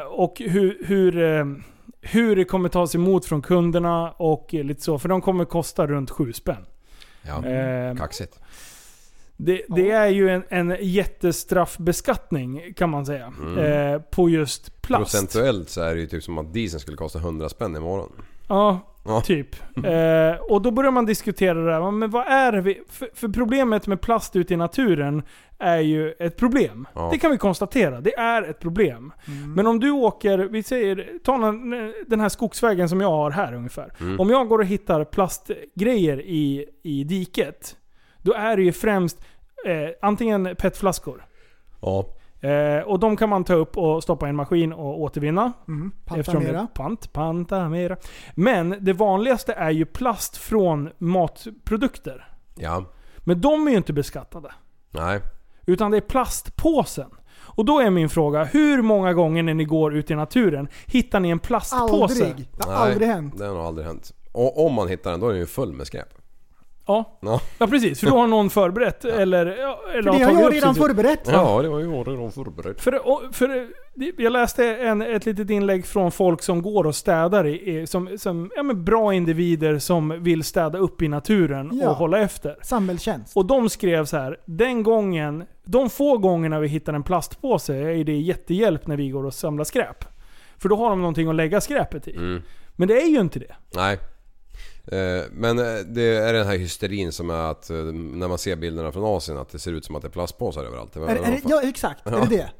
F: Eh, och hur, hur, eh, hur det kommer tas emot från kunderna och eh, lite så. För de kommer kosta runt sju spänn.
G: Ja. Mm.
F: Eh,
G: Kaxigt.
F: det, det är ju en, en jättestraffbeskattning kan man säga.
G: Mm.
F: Eh, på just plast.
G: Procentuellt så är det ju typ som att dieseln skulle kosta 100 spänn imorgon.
F: Ja,
G: Ja.
F: typ. Eh, och då börjar man diskutera det här. Men vad är det vi... För, för problemet med plast ute i naturen är ju ett problem.
G: Ja.
F: Det kan vi konstatera. Det är ett problem.
H: Mm,
F: Men om du åker, vi säger, ta någon- den här skogsvägen som jag har här ungefär.
G: Mm.
F: Om jag går och hittar plastgrejer i, i diket. Då är det ju främst eh, antingen petflaskor.
G: Ja.
F: Eh, och de kan man ta upp och stoppa i en maskin och återvinna.
H: Mm.
F: Eftersom det är
H: Pantamera.
F: pant, Pantamera. Men det vanligaste är ju plast från matprodukter.
G: Ja.
F: Men de är ju inte beskattade.
G: Nej.
F: Utan det är plastpåsen. Och då är min fråga, hur många gånger när ni går ut i naturen hittar ni en plastpåse?
H: Aldrig. Det har
G: Nej.
H: aldrig hänt.
G: Det har nog aldrig hänt. Och om man hittar den då är den ju full med skräp.
F: Ja.
G: Ja.
F: ja, precis. För då har någon förberett eller, ja, eller
H: För det
F: har tagit
H: har jag
F: upp
H: redan
F: sin tur.
H: förberett.
G: Ja, det var ju redan förberett.
F: För, och- för, det- jag läste en, ett litet inlägg från folk som går och städar, i, i- som, som ja, men bra individer som vill städa upp i naturen
H: Ja.
F: och hålla efter.
H: Samhällstjänst.
F: Och de skrev så här, den gången, de få gångerna vi hittar en plastpåse är det jättehjälp när vi går och samlar skräp. För då har de någonting att lägga skräpet i.
G: Mm.
F: Men det är ju inte det.
G: Nej. Eh, Men eh, det är den här hysterin som är att eh, när man ser bilderna från Asien att det ser ut som att det är plastpåsar överallt. Det var-
H: Är, är det, ja exakt, är det det?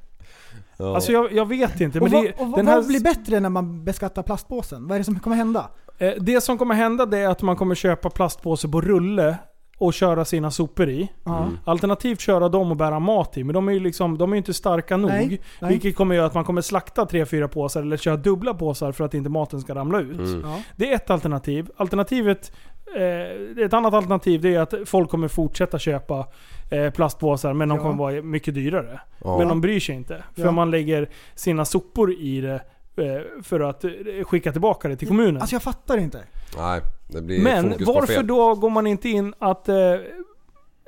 G: Ja.
F: Alltså jag, jag vet inte.
H: Och,
F: Men
H: vad,
F: det,
H: och vad,
F: den här,
H: vad blir bättre när man beskattar plastpåsen? Vad är det som kommer hända?
F: eh, det som kommer hända det är att man kommer köpa plastpåse på rulle och köra sina sopor i.
H: Ja.
F: Alternativt köra dem och bära mat i. Men de är ju liksom, de är ju inte starka nog.
H: Nej, nej.
F: Vilket kommer göra att man kommer slakta 3-4 påsar eller köra dubbla påsar för att inte maten ska ramla ut.
G: Mm.
H: Ja.
F: Det är ett alternativ. Alternativet eh, ett annat alternativ det är att folk kommer fortsätta köpa eh, plastpåsar men de
H: Ja.
F: kommer vara mycket dyrare.
G: Ja.
F: Men de bryr sig inte. För
H: Ja.
F: man lägger sina sopor i det eh, för att eh, skicka tillbaka det till kommunen.
H: Alltså jag fattar inte.
G: Nej, det blir
F: Men
G: fokus på
F: varför
G: fel.
F: då går man inte in att eh,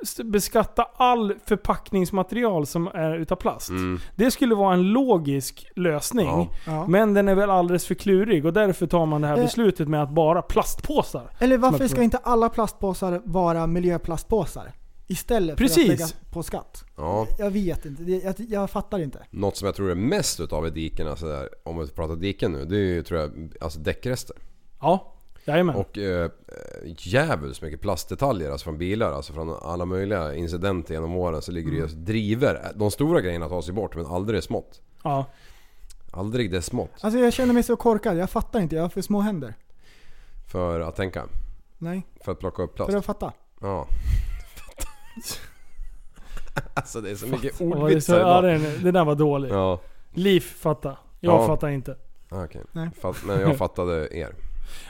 F: s- beskatta all förpackningsmaterial som är utav plast?
G: Mm.
F: Det skulle vara en logisk lösning.
G: Ja.
H: Ja.
F: Men den är väl alldeles för klurig och därför tar man det här
H: Eh.
F: beslutet med att bara plastpåsar.
H: Eller
F: Som
H: varför
F: att-
H: ska inte alla plastpåsar vara miljöplastpåsar? Istället för
F: Precis.
H: att lägga på skatt.
G: Ja.
H: Jag vet inte. Det- Jag, jag fattar inte.
G: Något som jag tror är mest utav i dikena sådär, om vi pratar diken nu, det är ju tror jag, alltså däckrester.
F: Ja, jajamän.
G: Och eh, jävligt mycket plastdetaljer alltså från bilar, alltså från alla möjliga incidenter genom åren så ligger det ju driver. De stora grejerna tas ju bort men aldrig det smått.
F: Ja.
G: Aldrig det smått.
H: Alltså jag känner mig så korkad. Jag fattar inte. Jag har för små händer.
G: För att tänka.
H: Nej,
G: För att plocka upp plast.
H: för att fatta.
G: Ja. alltså det är så mycket
F: Och det, är så,
G: ordvitsar
F: ja,
G: idag.
F: det, det där var dåligt.
G: Ja,
F: Liv fatta. Jag
G: Ja.
F: fattar inte.
G: ah, okej.
H: Nej.
G: Fatt- Men jag fattade er.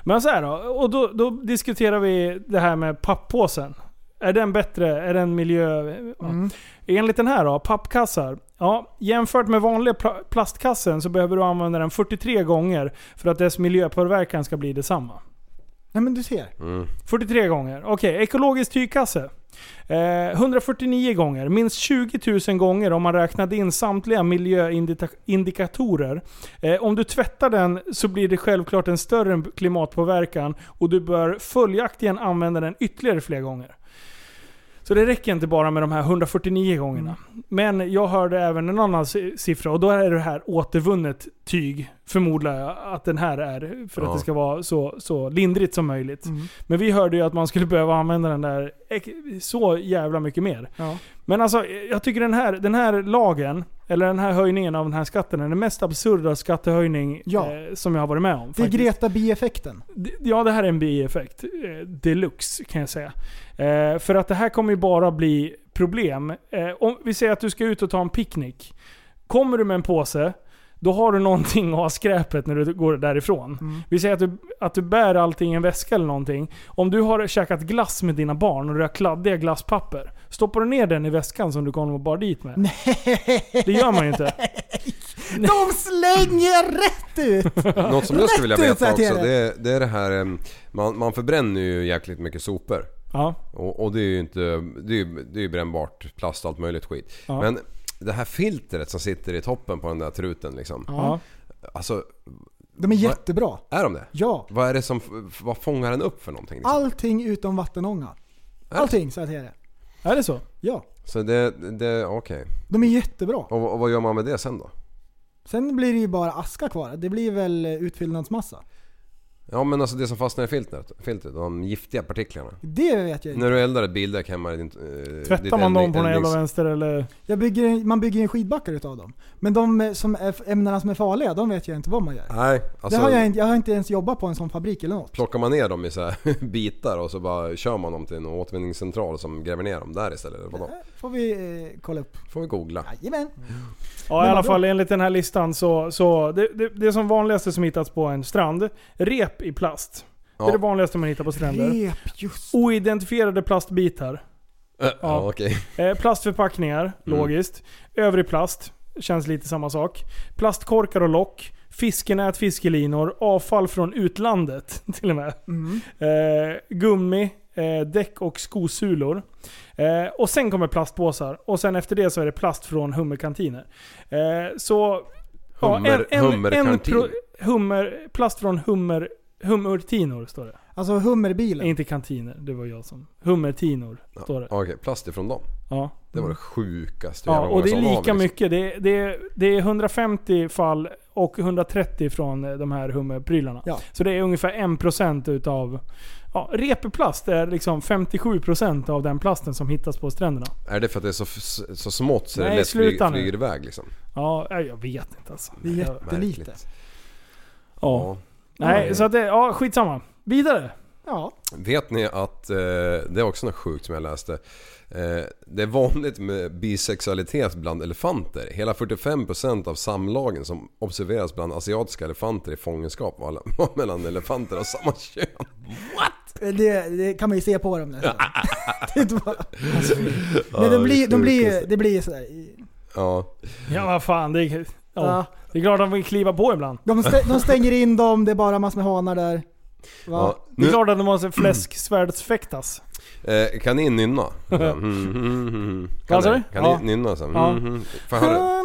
F: Men så här då. Och då, då diskuterar vi det här med papppåsen. Är den bättre? Är den miljö... Ja.
H: Mm.
F: Enligt den här då, pappkassar. Ja, jämfört med vanliga pla- plastkassen så behöver du använda den 43 gånger för att dess miljöpåverkan ska bli detsamma.
H: Nej men du ser.
G: Mm.
F: 43 gånger. Okej, ekologisk tygkasse. Eh, 149 gånger. Minst 20 000 gånger om man räknade in samtliga miljöindikatorer. Eh, om du tvättar den så blir det självklart en större klimatpåverkan och du bör följaktligen använda den ytterligare fler gånger. Så det räcker inte bara med de här 149 gångerna. Men jag hörde även en annan si- siffra och då är det här återvunnet tyg, förmodar jag att den här är. För att
G: Ja.
F: det ska vara så, så lindrigt som möjligt.
H: Mm.
F: Men vi hörde ju att man skulle behöva använda den där ek- så jävla mycket mer.
H: Ja.
F: Men alltså, jag tycker den här, den här lagen, eller den här höjningen av den här skatten, är den mest absurda skattehöjning
H: Ja.
F: eh, som jag har varit med om.
H: Det är
F: faktiskt.
H: Greta B-effekten.
F: D- Ja, det här är en bieffekt. eh, Deluxe kan jag säga. Eh, För att det här kommer ju bara bli problem. Eh, Om vi säger att du ska ut och ta en picknick. Kommer du med en påse, då har du någonting att ha skräpet när du går därifrån. Vi säger att du, att du bär allting i en väska eller någonting. Om du har käkat glass med dina barn och du har kladdiga glasspapper. Stoppar du ner den i väskan som du kommer och bar dit med? Nej. Det gör man ju inte.
H: De slänger rätt ut!
G: Något som jag skulle vilja
H: Rätt ut,
G: veta
H: säger
G: också,
H: jag till
G: det är det, är det här... em, Man, man förbränner ju jäkligt mycket sopor.
F: Ja.
G: Och, och det är ju inte... Det är, ju- det är ju brännbart, plast, allt möjligt skit.
F: Ja.
G: Men det här filtret som sitter i toppen på den där truten liksom.
F: Ja.
G: Alltså,
H: De är jättebra.
G: är de det?
H: Ja.
G: Vad är det som... f- Vad fångar den upp för någonting? Liksom?
H: Allting utom vattenånga. Allting, så här är det.
F: Är det så?
H: Ja.
G: Så det... det Okej.
H: De är jättebra.
G: Och, och vad gör man med det sen då?
H: Sen blir det ju bara aska kvar. Det blir väl eh, utfyllnadsmassa.
G: Ja men alltså det som fastnar i filtret, filtret de giftiga partiklarna.
H: Det vet jag inte.
G: När du eldar ett bildäck hemma i din... Eh, ditt
F: Mm. Tvättar man
G: eldning-
F: dem på den jävla
G: eldnings-
F: vänster eller?
H: Jag bygger, en- man bygger en skidbackar utav dem. Men de eh, som är, ämnena som är farliga, de vet jag inte vad man gör.
G: Nej, alltså...
H: det har jag, inte, jag har inte ens jobbat på en sån fabrik eller något.
G: Plockar man ner dem i så här bitar och så bara kör man dem till en återvinningscentral som gräver ner dem där istället? Eller vadå?
H: Får vi eh, kolla upp.
G: Får vi googla.
H: Jajamän.
F: Ja i
H: Men
F: alla
H: vadå?
F: fall enligt den här listan så, så det, det, det är som vanligaste som hittats på en strand, rep i plast. Det är det
G: Ja,
F: vanligaste man hittar på stränder.
H: Rep, just
F: Oidentifierade plastbitar.
G: Äh, ja okej.
F: Eh, plastförpackningar,
H: Mm.
F: logiskt. Övrig plast, känns lite samma sak. Plastkorkar och lock. Fiskenät, fiskelinor, avfall från utlandet till och med.
H: Mm.
F: Eh, gummi, eh, däck och skosulor. Eh, och sen kommer plastpåsar. Och sen efter det så är det plast från hummerkantiner. Eh, så... ja,
G: Hummer- hummerkantin.
F: hummer, plast från hummer, hummertinor står det.
H: Alltså hummerbilen.
F: Inte kantiner, det var jag som... Hummertinor står det.
G: Ja, okej, plast ifrån dem.
F: Ja.
G: Det var det sjukaste
F: Ja,
G: jävla
F: och
G: många
F: det är
G: sådana har vi,
F: lika
G: liksom.
F: mycket. Det är, det, är, det är 150 fall och 130 från eh, de här hummerprylarna.
H: Ja.
F: Så det är ungefär 1% utav... Ja, repeplast är liksom 57% av den plasten som hittas på stränderna.
G: Är det för att det är så, f- så smått så det
F: Nej,
G: lätt fly,
F: sluta nu.
G: flyger iväg liksom?
F: Ja, eh, jag vet inte alltså.
H: Det är
F: Jag-
H: jättelite.
G: Märkligt.
F: ja.
G: Ja. Mm.
F: Nej, så att det... Ja, skitsamma. Vidare.
H: Ja.
G: Vet ni att, eh, det är också något sjukt som jag läste. Eh, det är vanligt med bisexualitet bland elefanter. Hela 45% av samlagen som observeras bland asiatiska elefanter i fångenskap var alla- var mellan elefanter av samma kön.
H: Det, det kan man ju se på dem nästan. det är inte bara... Men
G: det
H: de blir, de blir,
G: sjukaste.
H: det blir ju sådär. i-
G: Ja.
F: Ja, vad fan. Det är, ja.
H: Ja.
F: det är klart att de vill kliva på ibland.
H: De, stä- de stänger in dem, det är bara massor med hanar där. Va?
G: ja.
F: Det är
G: Nu, Mm.
F: klart att de måste fläsksvärdsfäktas.
G: eh, kan ni nynna? Mm, mm, mm. Kan
F: Vad sa
G: ni,
F: du?
G: kan
F: Ja.
G: ni nynna sen?
F: Ja.
G: Mm, mm. Får jag höra? Ja.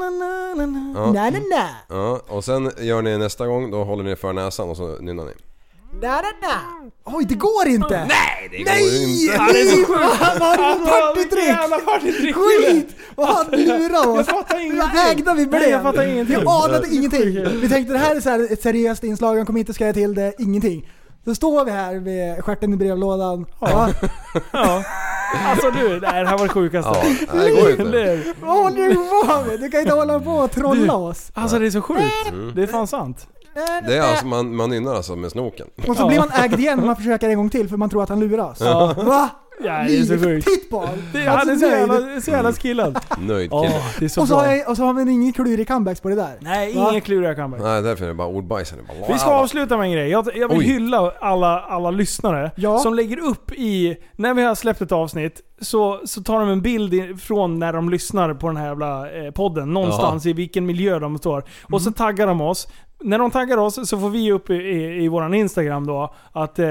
H: Na na na,
G: Ja, och sen gör ni nästa gång, då håller ni för näsan och så nynnar ni.
H: na na na. Oj, det går inte! Nej!
G: Det Nej!
F: Ja, det är så sjukt.
H: Vad var det för
F: Fan, vilken
H: partytrick?
F: jävla partytrick!
H: Skit! Vad han lurar
F: Jag
H: oss!
F: fattar
H: Hur
F: ingenting.
H: ägda vi blev!
F: Nej, jag fattar ingenting.
H: Jag anade ingenting. Vi tänkte det här är så här ett seriöst inslag, han kommer inte skoja till det, ingenting. Så står vi här med stjärten i brevlådan. Ja.
F: Ja. Alltså du, nej, det här var det sjukaste.
G: Ja, nej, det går ju inte.
F: Eller?
H: Vad håller du på med? Du kan inte hålla på och trolla oss.
F: Alltså det är så sjukt.
G: Mm.
F: Det är fan sant.
G: Det är alltså, man, man nynnar alltså med snoken.
H: Och så blir man ägd igen när man försöker en gång till för man tror att han lurar oss.
F: Ja.
H: Va?
F: Ja, det är så sjukt.
H: Titt på honom!
F: Det,
H: Han
F: han är så
H: nöjd.
F: jävla, så jävla skillad.
G: Nöjd
F: Ja,
G: kille.
F: det är så
H: Och så,
F: bra.
H: har jag, och så har vi ingen klurig comebacks på det där.
F: Nej,
H: Va?
F: ingen kluriga comeback.
G: Nej, därför är det bara ordbajsare. Bara,
F: Vi ska avsluta med en grej. Jag, jag vill
G: Oj.
F: hylla alla, alla lyssnare
H: Ja.
F: som lägger upp i... När vi har släppt ett avsnitt så, så tar de en bild i- från när de lyssnar på den här jävla eh, podden. Någonstans i vilken miljö de står. Och så taggar de oss. När de taggar oss så får vi upp i, i, i vår Instagram då att eh,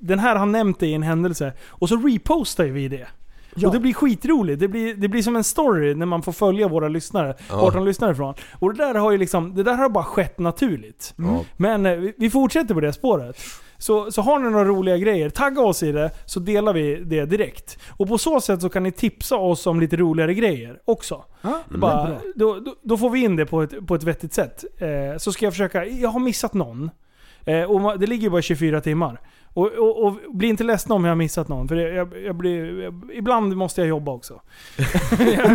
F: den här har nämnt det i en händelse. Och så repostar ju vi det.
H: Ja.
F: Och det blir skitroligt. Det blir, det blir som en story när man får följa våra lyssnare. Vart de lyssnar ifrån. Och det där har ju liksom, det där har bara skett naturligt.
G: Ja. Mm.
F: Men eh, vi- vi fortsätter på det spåret. Så, så har ni några roliga grejer, tagga oss i det så delar vi det direkt. Och på så sätt så kan ni tipsa oss om lite roligare grejer också.
H: Ja,
F: Det Bara, då, då, då får vi in det på ett, på ett vettigt sätt. Eh, så ska jag försöka, jag har missat någon. Eh, och ma- det ligger ju bara 24 timmar. Och, och, och bli inte ledsna om jag har missat någon, för det- jag, jag blir, jag, ibland måste jag jobba också.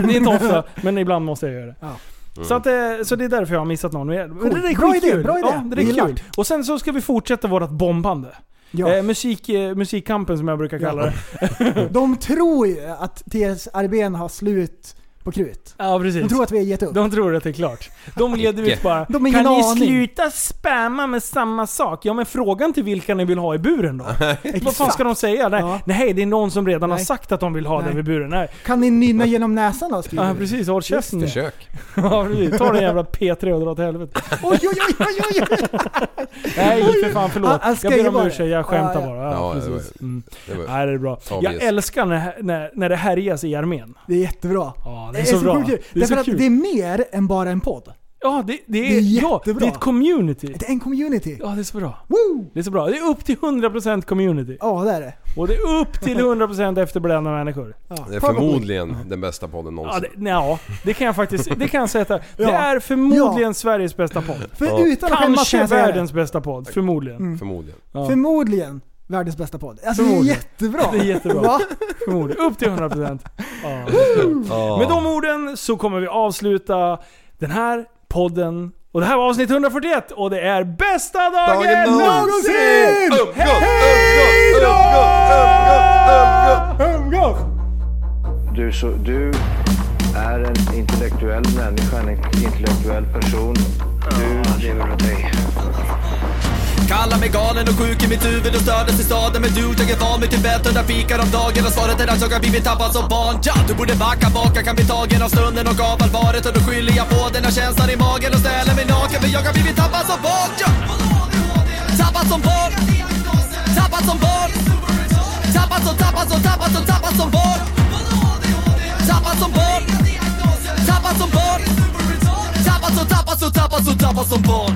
F: det är inte ofta, men ibland måste jag göra det.
H: Ja.
F: Så, att, eh, så det är därför jag har missat någon. Men
H: Cool.
F: Det är
H: Bra idé,
F: skitkul.
H: bra idé.
F: Ja, det är
H: Gillar.
F: kul. Och sen så ska vi fortsätta vårt bombande.
H: Ja.
F: Eh, musik, eh, musikkampen som jag brukar kalla
H: Ja.
F: det.
H: De tror ju att TSRBn har slut på krut.
F: Ja,
H: De
F: precis.
H: tror att vi har gett upp.
F: De tror att det är klart. De leder ut bara
H: De har ingen
F: Kan ni
H: aning."
F: sluta spamma med samma sak? Ja men frågan till vilka ni vill ha i buren då? Vad fan ska de säga? Nej,
H: Ja.
F: nej det är någon som redan har
H: Nej.
F: sagt att de vill ha
H: Nej.
F: den i buren. Nej.
H: Kan ni nynna genom näsan då? skriver
F: Ja
H: vi.
F: precis, håll käften.
G: Försök.
F: Ja, precis. Ta den jävla P3 och dra åt helvete.
H: Oj, oj, oj, oj, oj, oj.
F: Nej för fan förlåt.
H: Han- han
F: Jag ber
H: skrev
F: om
H: bara.
F: ursäkt, jag skämtar
H: Ja, ja.
F: bara.
G: Ja,
F: Ja,
G: det var-
F: precis. Mm.
G: Det var,
F: Nej det är bra. Jag
G: Obvious.
F: älskar när, när, när det härjas i armén.
H: Det är jättebra.
F: Ja det är så bra.
H: sjukt kul.
F: Det är
H: Därför
F: så
H: att det
F: kul.
H: är mer än bara en podd.
F: Ja det, det, är,
H: det är
F: ja, det
H: jättebra.
F: är ett community.
H: Det är en community.
F: Ja det är så bra.
H: Woo!
F: Det är så bra. Det är upp till 100% community.
H: Ja, det är det.
F: Och det är upp till 100% efterblivna människor.
H: Ja.
G: det är
H: Fan vad sjukt.
G: förmodligen den bästa podden
F: Ja
G: någonsin.
F: det, ja, det kan jag faktiskt det kan jag sätta. Det
H: Ja.
F: är förmodligen Sveriges bästa podd.
H: För
G: Ja.
H: utan att skämmas kan
F: Kanske
H: jag säga det.
F: världens bästa podd, förmodligen.
G: Mm. Förmodligen.
F: Ja.
H: Förmodligen världens bästa podd. Alltså det är
F: Förmodligen.
H: jättebra.
F: Det är jättebra.
H: Va?
F: Förmodligen. Upp till 100%. Ja, det är så bra. Med de orden så kommer vi avsluta den här podden. Och det här var avsnitt 141 och det är bästa dagen, någonsin! Hej då!
C: Du, så, du är en intellektuell människa, en intellektuell person. Du lever åt dig.
A: Kallar mig galen och sjuk i mitt huvud och stördes i staden Men du, jag är van vid Tibet och där fikar om dagen Och svaret är att jag har blivit tappad som barn ja, Du borde backa baka, kan bli tagen av stunden och av allvaret Och då skyller jag på den här känslan i magen och ställer mig naken För jag har blivit tappad som barn ja. Tappad som barn Tappad som barn Tappad som, tappad som, tappad som, tappad som barn Tappad som barn Tappad som barn Tappad som, tappad som, tappad som, tappad som barn